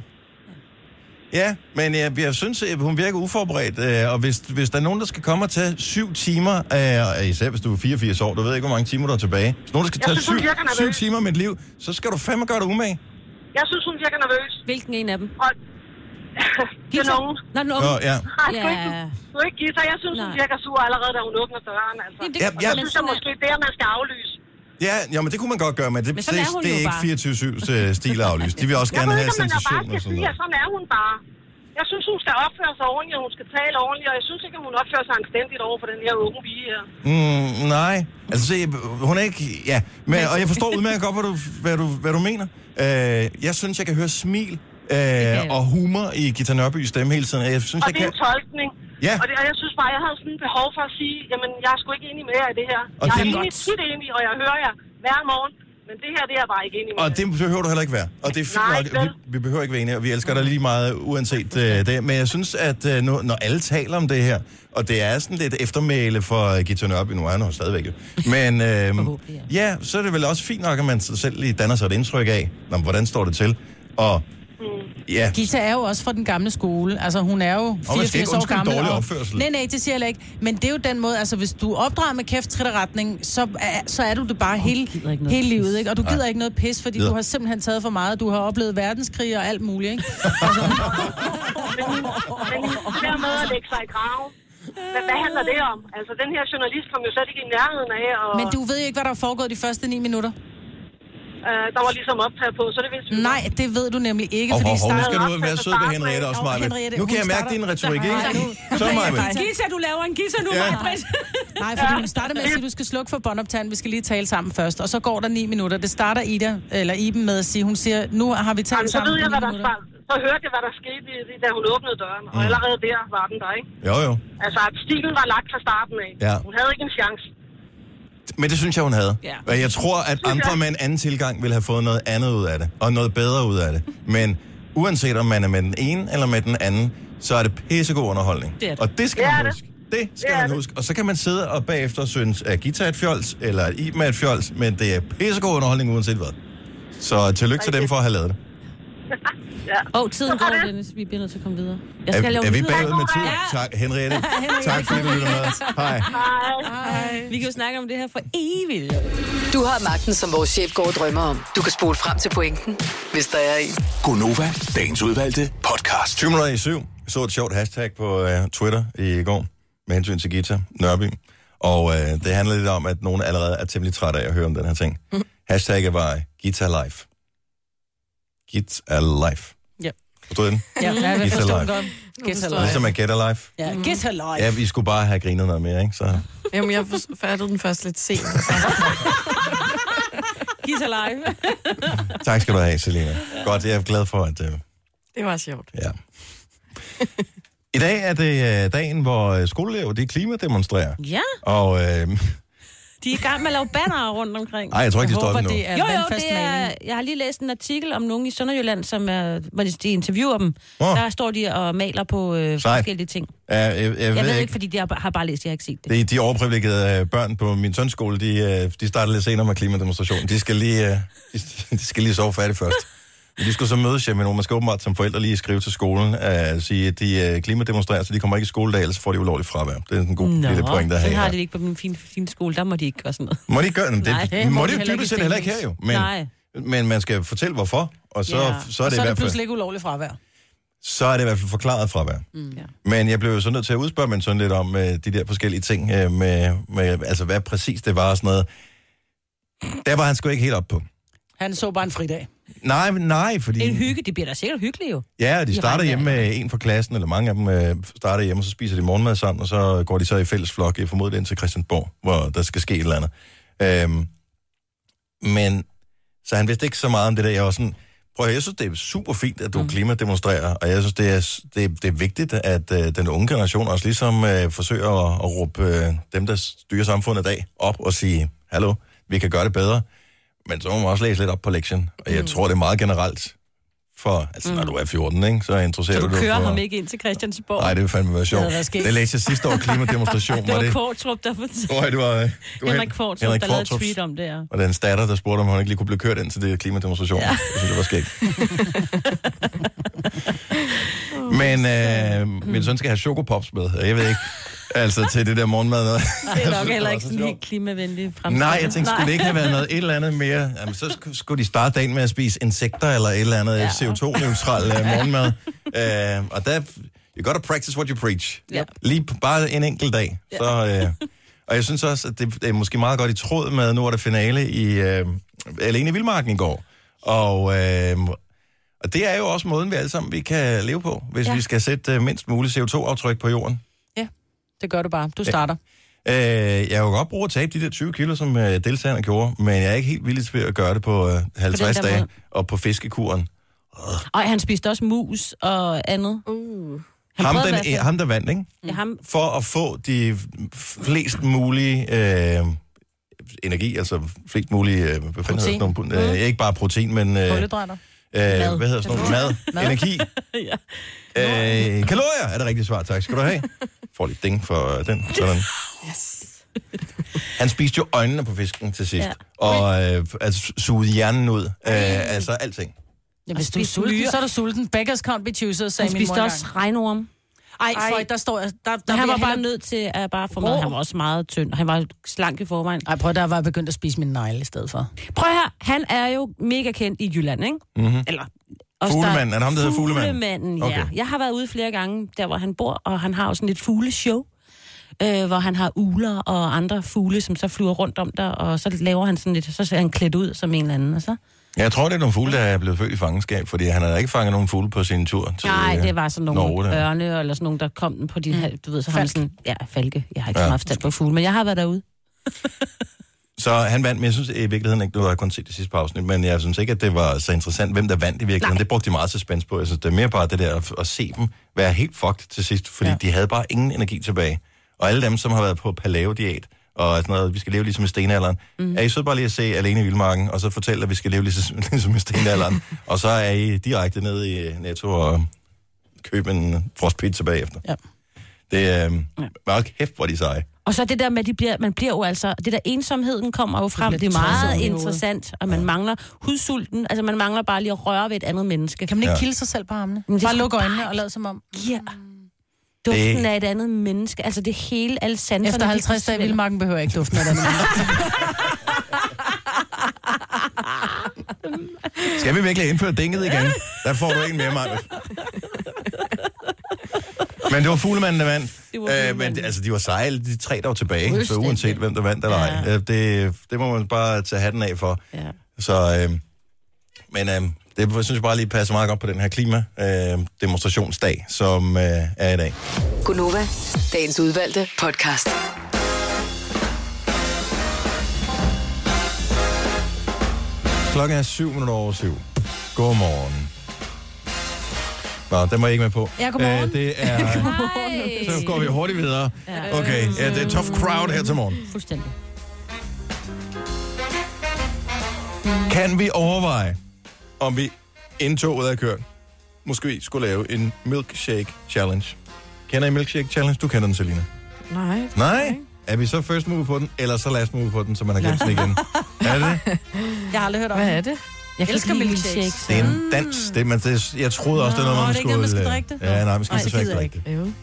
[SPEAKER 1] Ja, men jeg, jeg synes, at hun virker uforberedt, øh, og hvis, hvis der er nogen, der skal komme og tage syv timer, øh, og især hvis du er 84 år, du ved ikke, hvor mange timer der er tilbage. Hvis nogen, der skal
[SPEAKER 9] Jeg
[SPEAKER 1] tage
[SPEAKER 9] synes, hun
[SPEAKER 1] syv,
[SPEAKER 9] virker nervøs.
[SPEAKER 1] syv timer af mit liv, så skal du fandme gøre dig umage.
[SPEAKER 9] Jeg synes, hun virker nervøs.
[SPEAKER 3] Hvilken en af dem?
[SPEAKER 9] Og... Den unge.
[SPEAKER 3] Nå, den unge.
[SPEAKER 1] Nå, ja.
[SPEAKER 9] Nej, sgu ikke.
[SPEAKER 3] Ja.
[SPEAKER 9] Du er ikke Gita. Jeg synes, hun
[SPEAKER 3] Nej.
[SPEAKER 9] virker sur allerede, da hun åbner døren. Altså.
[SPEAKER 3] Jamen, det-
[SPEAKER 1] Ja,
[SPEAKER 9] Jeg
[SPEAKER 1] ja.
[SPEAKER 3] men
[SPEAKER 9] synes, det
[SPEAKER 3] sådan
[SPEAKER 9] er
[SPEAKER 3] er-
[SPEAKER 9] måske der, man skal aflyse.
[SPEAKER 1] Ja, ja, men det kunne man godt gøre, men det,
[SPEAKER 3] Men
[SPEAKER 1] det,
[SPEAKER 3] sådan er hun
[SPEAKER 1] det
[SPEAKER 3] jo
[SPEAKER 1] er
[SPEAKER 3] bare.
[SPEAKER 1] ikke 24-7 stil aflyst. De vil også
[SPEAKER 9] Jeg
[SPEAKER 1] gerne
[SPEAKER 9] ved
[SPEAKER 1] have
[SPEAKER 9] ikke, om man er bare
[SPEAKER 1] sensation og sådan
[SPEAKER 9] skal sige,
[SPEAKER 1] noget.
[SPEAKER 9] at sådan er hun bare. Jeg synes, hun skal opføre sig ordentligt, og hun skal tale ordentligt, og jeg synes ikke, at hun opfører sig anstændigt over for den her unge pige her.
[SPEAKER 1] Mm, nej, altså se, hun er ikke... Ja, men, og jeg forstår udmærket godt, hvad du, hvad du, hvad du mener. Øh, jeg synes, jeg kan høre smil øh, og humor i Gita Nørbys stemme hele tiden. Jeg synes,
[SPEAKER 9] Og
[SPEAKER 1] jeg
[SPEAKER 9] det er
[SPEAKER 1] kan...
[SPEAKER 9] en tolkning.
[SPEAKER 1] Ja.
[SPEAKER 9] Og, det, og jeg synes bare, jeg havde sådan et behov for at sige, jamen, jeg er sgu ikke enig med jer i det her.
[SPEAKER 1] Og
[SPEAKER 9] jeg
[SPEAKER 1] det
[SPEAKER 9] er
[SPEAKER 1] er
[SPEAKER 9] enig,
[SPEAKER 1] godt.
[SPEAKER 9] tit enig, og jeg hører jer. hver morgen. Men det her, det er jeg bare ikke enig med.
[SPEAKER 1] Og det behøver du heller ikke være. Og det er fint
[SPEAKER 9] Nej,
[SPEAKER 1] nok. Vi,
[SPEAKER 9] vel?
[SPEAKER 1] vi behøver ikke være enige, og vi elsker dig lige meget, uanset øh, det. Men jeg synes, at øh, nu, når alle taler om det her, og det er sådan lidt eftermæle for øh, Gita Nørby, nu er han jo stadigvæk jo. Men øh, ja, så er det vel også fint nok, at man selv lige danner sig et indtryk af, Nå, men, hvordan står det til? Og
[SPEAKER 9] Mm.
[SPEAKER 1] ja,
[SPEAKER 2] Gita er jo også fra den gamle skole. Altså, hun er jo
[SPEAKER 1] skal
[SPEAKER 2] 84
[SPEAKER 1] ikke
[SPEAKER 2] år
[SPEAKER 1] undskylde
[SPEAKER 2] gammel.
[SPEAKER 1] dårlig opførsel.
[SPEAKER 2] Nej, nej, det siger jeg heller ikke. Men det er jo den måde, altså hvis du opdrager med kæft, trit og retning, så er, så er du det bare oh, hele, hele livet, ikke? Og du gider
[SPEAKER 1] Nej.
[SPEAKER 2] ikke noget pis, fordi
[SPEAKER 1] Videre.
[SPEAKER 2] du har simpelthen taget for meget. Du har oplevet verdenskrig og alt muligt, ikke?
[SPEAKER 9] Men der med at lægge sig i graven. Men hvad handler det om? Altså, den her journalist kom jo slet ikke i nærheden af, og
[SPEAKER 2] Men du ved jo ikke, hvad der er foregået de første 9 minutter.
[SPEAKER 9] øh, der var ligesom optaget på, så det vidste vi.
[SPEAKER 2] Nej, det ved du nemlig ikke,
[SPEAKER 1] og
[SPEAKER 2] fordi i
[SPEAKER 1] hov, hov, nu
[SPEAKER 2] starten-
[SPEAKER 1] skal du være sød ved Henriette også,
[SPEAKER 2] Nå,
[SPEAKER 1] Maja.
[SPEAKER 2] Henriette,
[SPEAKER 1] Nu kan
[SPEAKER 2] hun
[SPEAKER 1] jeg mærke
[SPEAKER 2] starter-
[SPEAKER 1] din retorik,
[SPEAKER 2] Nej,
[SPEAKER 1] ikke?
[SPEAKER 2] nu- nu
[SPEAKER 1] Så,
[SPEAKER 2] bliver jeg
[SPEAKER 1] Maja.
[SPEAKER 2] faktisk-
[SPEAKER 3] Gita, du laver en gissa nu,
[SPEAKER 1] Ja.
[SPEAKER 3] ja. Majbrit.
[SPEAKER 2] Nej, for hun starter med at sige, at du skal slukke for båndoptageren, vi skal lige tale sammen først. Og så går der ni minutter. Det starter Ida, eller Iben med at sige, hun siger, nu har vi talt
[SPEAKER 9] Jamen, så
[SPEAKER 2] sammen
[SPEAKER 9] ved
[SPEAKER 2] i
[SPEAKER 9] jeg,
[SPEAKER 2] ni
[SPEAKER 9] hvad der
[SPEAKER 2] minutter.
[SPEAKER 9] så hørte jeg, hvad der skete, i- i- da hun åbnede døren.
[SPEAKER 1] Mm.
[SPEAKER 9] Og allerede der var den der, ikke?
[SPEAKER 1] Jo, jo.
[SPEAKER 9] Altså, at stilen var lagt fra starten af.
[SPEAKER 1] Ja.
[SPEAKER 9] Hun havde ikke en chance.
[SPEAKER 1] Men det synes jeg, hun havde.
[SPEAKER 3] Ja.
[SPEAKER 1] Og Jeg tror, at andre med en anden tilgang ville have fået noget andet ud af det, og noget bedre ud af det. Men uanset om man er med den ene eller med den anden, så er det pissegod underholdning.
[SPEAKER 3] Det er det.
[SPEAKER 1] Og det skal
[SPEAKER 9] Det er
[SPEAKER 1] man
[SPEAKER 9] det.
[SPEAKER 1] huske. Det skal
[SPEAKER 9] Det er
[SPEAKER 1] man
[SPEAKER 9] det.
[SPEAKER 1] huske. Og så kan man sidde og bagefter synes, at Gita er et fjols, eller at Iben er et fjols, men det er pissegod underholdning uanset hvad. Så tillykke til dem for at have lavet det.
[SPEAKER 9] Ja.
[SPEAKER 3] Åh, oh, tiden
[SPEAKER 9] Så var
[SPEAKER 3] går,
[SPEAKER 9] det.
[SPEAKER 3] Dennis. Vi bliver nødt til at komme videre. Jeg skal
[SPEAKER 1] Er,
[SPEAKER 3] lave
[SPEAKER 1] er vi
[SPEAKER 3] videre.
[SPEAKER 1] bagud med tid?
[SPEAKER 3] Ja,
[SPEAKER 1] Tak, Henriette. Tak fordi du lytter med. Hej.
[SPEAKER 3] vi kan jo snakke om det her for evigt.
[SPEAKER 7] Du har magten, som vores chef går og drømmer om. Du kan spole frem til pointen, hvis der er en.
[SPEAKER 8] Gonova, dagens udvalgte podcast.
[SPEAKER 1] 20 minutter i syv. Jeg så et sjovt hashtag på øh, Twitter i går med hensyn til Gita Nørby. Og øh, det handler lidt om, at nogen allerede er temmelig trætte af at høre om den her ting. Mm. Hashtagget var Gita Life. Gita Life.
[SPEAKER 2] Ja.
[SPEAKER 1] Forstod I den?
[SPEAKER 2] Ja, jeg
[SPEAKER 1] Gita
[SPEAKER 2] vil forstå den
[SPEAKER 1] Life.
[SPEAKER 2] godt. Get her life.
[SPEAKER 1] Ligesom at Get Alive.
[SPEAKER 2] Ja, get her life.
[SPEAKER 1] Ja, vi skulle bare have grinet noget mere, ikke? Så
[SPEAKER 5] Jamen, jeg for- fattede den først lidt sent.
[SPEAKER 3] Gissa live.
[SPEAKER 1] tak skal du have, Selina. Godt, jeg er glad for, at... Øh,
[SPEAKER 5] Det var sjovt.
[SPEAKER 1] Ja. I dag er det øh, dagen, hvor øh, skoleelever de klimademonstrerer.
[SPEAKER 3] Ja,
[SPEAKER 1] Og øh,
[SPEAKER 3] de er i gang med at lave bannere rundt omkring.
[SPEAKER 1] ej, jeg tror ikke,
[SPEAKER 2] Jeg
[SPEAKER 1] de står
[SPEAKER 2] håber,
[SPEAKER 1] op endnu.
[SPEAKER 2] det er
[SPEAKER 3] Jo, jo,
[SPEAKER 2] vandfast
[SPEAKER 3] det er,
[SPEAKER 2] maling.
[SPEAKER 3] jeg har lige læst en artikel om nogen i Sønderjylland, som er, hvor de, de interviewer dem.
[SPEAKER 1] Nå.
[SPEAKER 3] Der står de og maler på øh, forskellige ting.
[SPEAKER 1] Ja, jeg, jeg, jeg,
[SPEAKER 3] Jeg ved ikke, fordi de har, har bare læst, jeg har ikke set det.
[SPEAKER 1] De, de overprivilegerede øh, børn på min søns skole, de, øh, de startede lidt senere med klimademonstrationen. De skal lige, øh, de, de skal lige sove færdigt først. Men de skulle så mødes hjemme, og man skal åbenbart som forældre lige skrive til skolen, øh, sige, at de øh, klimademonstrerer, så de kommer ikke i skoledag, ellers får de ulovligt fravær. Det er en god Nå, lille point, der
[SPEAKER 3] sådan har
[SPEAKER 1] her.
[SPEAKER 3] de det ikke på min fine, fine skole. Der må de ikke gøre sådan noget.
[SPEAKER 1] Må de ikke gøre det?
[SPEAKER 3] Nej,
[SPEAKER 1] Det,
[SPEAKER 3] det
[SPEAKER 1] må
[SPEAKER 3] må
[SPEAKER 1] de
[SPEAKER 3] de
[SPEAKER 1] jo
[SPEAKER 3] heller
[SPEAKER 1] dybest
[SPEAKER 3] ikke
[SPEAKER 1] set
[SPEAKER 3] i
[SPEAKER 1] heller ikke her jo.
[SPEAKER 3] Stenløse. Nej.
[SPEAKER 1] Men, men man skal fortælle, hvorfor, og så,
[SPEAKER 3] Ja.
[SPEAKER 1] så, er,
[SPEAKER 2] Og
[SPEAKER 1] det
[SPEAKER 2] så
[SPEAKER 1] i
[SPEAKER 2] er
[SPEAKER 1] hvert
[SPEAKER 2] det
[SPEAKER 1] fald,
[SPEAKER 2] pludselig ikke ulovligt fravær.
[SPEAKER 1] så er det i hvert fald forklaret fravær.
[SPEAKER 3] Mm.
[SPEAKER 1] Men jeg blev jo så nødt til at udspørge mig sådan lidt om øh, de der forskellige ting, øh, med, med, altså hvad præcis det var og sådan noget. Der var han sgu ikke helt op på.
[SPEAKER 2] Han så bare en fridag.
[SPEAKER 1] Nej, men nej, fordi...
[SPEAKER 3] En hygge, det bliver da sikkert hyggeligt jo.
[SPEAKER 1] Ja, og de
[SPEAKER 3] i
[SPEAKER 1] starter
[SPEAKER 3] regnvejr.
[SPEAKER 1] hjemme med en fra klassen, eller mange af dem øh, starter hjemme, og så spiser de morgenmad sammen, og så går de så i fælles flok, jeg formoder det ind til Christiansborg, hvor der skal ske et eller andet. Øhm, men, så han vidste ikke så meget om det der. Jeg var sådan, prøv at høre, jeg synes, det er super fint, at du mm. klimademonstrerer, og jeg synes, det er, det, er- det er vigtigt, at øh, den unge generation også ligesom øh, forsøger at, at råbe øh, dem, der styrer samfundet i dag, op og sige, hallo, vi kan gøre det bedre. Men så må man også læse lidt op på lektien, og
[SPEAKER 3] Mm.
[SPEAKER 1] jeg tror, det er meget generelt for, altså mm. når du er 14, ikke, så interesserer
[SPEAKER 3] Så du
[SPEAKER 1] dig
[SPEAKER 3] kører
[SPEAKER 1] for...
[SPEAKER 3] ham ikke ind til Christiansborg.
[SPEAKER 1] Nej, det vil fandme være sjovt.
[SPEAKER 2] Det havde været
[SPEAKER 1] Det,
[SPEAKER 2] skægt.
[SPEAKER 1] læste jeg sidste år klimademonstration,
[SPEAKER 3] det
[SPEAKER 1] var
[SPEAKER 3] var
[SPEAKER 1] det...
[SPEAKER 3] Kvartrup, der fortalte.
[SPEAKER 1] Hvor det var, øh, det var
[SPEAKER 3] Henrik Kvartrup, der lavede et tweet om det, ja.
[SPEAKER 1] Og den statter, der spurgte, om hun ikke lige kunne blive kørt ind til det klimademonstration. Ja. Jeg synes, det var skægt. Men øh, min søn skal have chokopops med, og jeg ved ikke, altså til det der morgenmad. Noget.
[SPEAKER 3] Det er nok heller ikke sådan helt klimavenlig fremtid.
[SPEAKER 1] Nej, jeg tænkte, skulle det ikke have været noget et eller andet mere? Jamen, så sk- skulle de starte dagen med at spise insekter eller et eller andet ja. CO2-neutral uh, morgenmad. Uh, og der, you gotta practice what you preach.
[SPEAKER 3] Ja.
[SPEAKER 1] Lige på bare en enkelt dag. Så, uh, og jeg synes også, at det er måske meget godt i tråd med, nu er der finale i uh, Alene i Vildmarken i går. Og, uh, og det er jo også måden, vi alle sammen vi kan leve på, hvis ja.
[SPEAKER 2] Ja.
[SPEAKER 1] vi skal sætte uh, mindst muligt CO2-aftryk på jorden.
[SPEAKER 2] Ja, det gør du bare. Du starter.
[SPEAKER 1] Øh, jeg vil godt bruge at tabe de der 20 kilo, som øh, deltagerne gjorde, men jeg er ikke helt villig til at gøre det på øh, 50
[SPEAKER 3] der
[SPEAKER 1] dage
[SPEAKER 3] måde.
[SPEAKER 1] og på fiskekuren.
[SPEAKER 3] Og han spiste også mus og andet.
[SPEAKER 5] Uh.
[SPEAKER 3] Han
[SPEAKER 1] Ham,
[SPEAKER 3] prøvede i hvert
[SPEAKER 1] den,
[SPEAKER 3] fald-
[SPEAKER 1] ham, der vandt, ikke?
[SPEAKER 3] Ja, ham,
[SPEAKER 1] For at få de flest mulige øh, energi, altså flest mulige, øh, hvad fanden hedder sådan
[SPEAKER 3] Mm.
[SPEAKER 1] nogle, øh, ikke bare protein, men... Øh,
[SPEAKER 2] Kulhydrater.
[SPEAKER 1] Øh, hvad hedder sådan noget? Mad,
[SPEAKER 2] Mad.
[SPEAKER 1] energi. øh, kalorier er det rigtige svar, tak skal du have. Får lidt ding for øh, den. Sådan. Yes. Han spiste jo øjnene på fisken til sidst,
[SPEAKER 3] Ja.
[SPEAKER 1] ja. og øh, altså, sugede hjernen ud. Øh, altså alting.
[SPEAKER 2] Ja, Altså,
[SPEAKER 3] Og
[SPEAKER 2] hvis du er
[SPEAKER 3] spist
[SPEAKER 2] sulten,
[SPEAKER 3] myrer.
[SPEAKER 2] så er du sulten. Beggars can't be choosers, sagde
[SPEAKER 3] Han
[SPEAKER 2] min mor
[SPEAKER 3] spiste
[SPEAKER 2] engang.
[SPEAKER 3] også regnorm.
[SPEAKER 2] Ej, Føj, der står... Der, der
[SPEAKER 3] Men
[SPEAKER 2] vil
[SPEAKER 3] han var
[SPEAKER 2] jeg
[SPEAKER 3] bare
[SPEAKER 2] hellere-
[SPEAKER 3] nødt til at bare få mad. Han var også meget tynd, og han var slank i forvejen.
[SPEAKER 2] Ej, prøv, der var jeg begyndt at spise min negle i stedet for.
[SPEAKER 3] Prøv her, han er jo mega kendt i Jylland, ikke?
[SPEAKER 1] Mm-hmm.
[SPEAKER 3] Eller...
[SPEAKER 1] Fuglemanden, er det ham, der hedder Fuglemanden?
[SPEAKER 3] Fuglemanden, ja. Okay.
[SPEAKER 1] Okay.
[SPEAKER 3] Jeg har været ude flere gange, der hvor han bor, og han har jo sådan et fugleshow, øh, hvor han har uler og andre fugle, som så flyver rundt om der, og så laver han sådan lidt, så ser han klædt ud som en eller anden, og så...
[SPEAKER 1] Ja, jeg tror, det er nogle fugle, der er blevet født i fangenskab, fordi han havde ikke fanget nogen fugle på sin tur. Til,
[SPEAKER 3] Nej,
[SPEAKER 1] øh,
[SPEAKER 3] det var sådan nogle
[SPEAKER 1] Norge, der.
[SPEAKER 3] ørne, eller sådan nogle, der kom den på
[SPEAKER 2] Mm.
[SPEAKER 3] de her, du ved, så har han
[SPEAKER 2] Falk.
[SPEAKER 3] sådan, ja, falke, jeg har ikke
[SPEAKER 1] Ja.
[SPEAKER 3] ja. haft stand på fugle, men jeg har været derude.
[SPEAKER 1] Så han vandt, men jeg synes i virkeligheden ikke, du har kun set det sidste par afsnit, men jeg synes ikke, at det var så interessant, hvem der vandt i virkeligheden. Nej.
[SPEAKER 3] Nej.
[SPEAKER 1] Det brugte de meget suspense på. Jeg synes, det er mere bare det der at, at se dem være helt fucked til sidst, fordi ja. de havde bare ingen energi tilbage. Og alle dem, som har været på paleo-diæt, og sådan noget, vi skal leve ligesom i stenalderen. Mm. Er I så bare lige at se Alene i Vildmarken, og så fortælle, at vi skal leve ligesom, ligesom i stenalderen, og så er I direkte ned i øh, Netto og købe en frostpizza bagefter.
[SPEAKER 2] Ja.
[SPEAKER 1] Det er øh, meget kæft, hvor de seje.
[SPEAKER 3] Og så det der med, at de bliver, man bliver jo altså... Det der ensomheden kommer jo frem. Det,
[SPEAKER 2] bliver
[SPEAKER 3] er
[SPEAKER 2] tosset
[SPEAKER 3] meget
[SPEAKER 2] oven i
[SPEAKER 3] interessant, og man mangler hudsulten. Altså, man mangler bare lige at røre ved et andet menneske.
[SPEAKER 2] Kan man ikke
[SPEAKER 1] Ja.
[SPEAKER 2] ja. kilde sig selv på armene?
[SPEAKER 3] Men det
[SPEAKER 2] Bare
[SPEAKER 3] skal
[SPEAKER 2] luk
[SPEAKER 3] man
[SPEAKER 2] øjnene og lad som om.
[SPEAKER 3] Ja. Duften
[SPEAKER 1] Det-
[SPEAKER 3] af et andet menneske. Altså, det hele, alle sanserne...
[SPEAKER 2] Efter
[SPEAKER 3] de
[SPEAKER 2] 50 dage i
[SPEAKER 3] forsvinder.
[SPEAKER 2] vildmarken behøver jeg ikke duften af den.
[SPEAKER 1] Skal vi virkelig indføre dinget igen? Der får du en mere, Maja. Men det var fuglemanden, der vandt.
[SPEAKER 3] Det var
[SPEAKER 1] Øh, men
[SPEAKER 3] Fuglemanden.
[SPEAKER 1] det- altså, de var seje, alle de tre, der var tilbage. Så
[SPEAKER 3] Fuldstændig.
[SPEAKER 1] uanset hvem, der vandt eller ej.
[SPEAKER 3] Ja.
[SPEAKER 1] Øh, Det, det må man bare tage hatten af for.
[SPEAKER 3] Ja.
[SPEAKER 1] Så, øh, men øh, det synes jeg bare lige passer meget godt på den her klima-demonstrationsdag, som øh, er i dag.
[SPEAKER 7] Gunova, dagens udvalgte podcast.
[SPEAKER 1] Klokken er syv minutter over syv. Godmorgen. Nå, den var jeg ikke med på.
[SPEAKER 2] Ja, godmorgen.
[SPEAKER 1] Øh, det er,
[SPEAKER 3] Ej,
[SPEAKER 1] så går vi hurtigt videre. Okay, ja, det er tough crowd her til morgen.
[SPEAKER 3] fuldstændig.
[SPEAKER 1] Kan vi overveje, om vi inden toget er kørt, måske skulle lave en milkshake challenge? Kender I milkshake challenge? Du kender den, Selina.
[SPEAKER 5] Nej.
[SPEAKER 1] Nej. Er vi så first move på den, eller så last move på den, så man har glemt den igen? Er det det?
[SPEAKER 2] Jeg har aldrig hørt om
[SPEAKER 5] Hvad
[SPEAKER 2] det.
[SPEAKER 5] er det?
[SPEAKER 3] Jeg kan
[SPEAKER 2] Elsker
[SPEAKER 3] ikke lide
[SPEAKER 2] milkshakes.
[SPEAKER 3] milkshakes.
[SPEAKER 1] Det er en dans. Det, man, det, jeg troede også, det var noget, man
[SPEAKER 2] Ah. Nå, det er ikke noget, man skal
[SPEAKER 1] skulle... øh,
[SPEAKER 2] drikke det?
[SPEAKER 1] Ja, nej, man skal
[SPEAKER 2] Nej, det
[SPEAKER 1] desværre ikke
[SPEAKER 2] gider jeg
[SPEAKER 1] drikke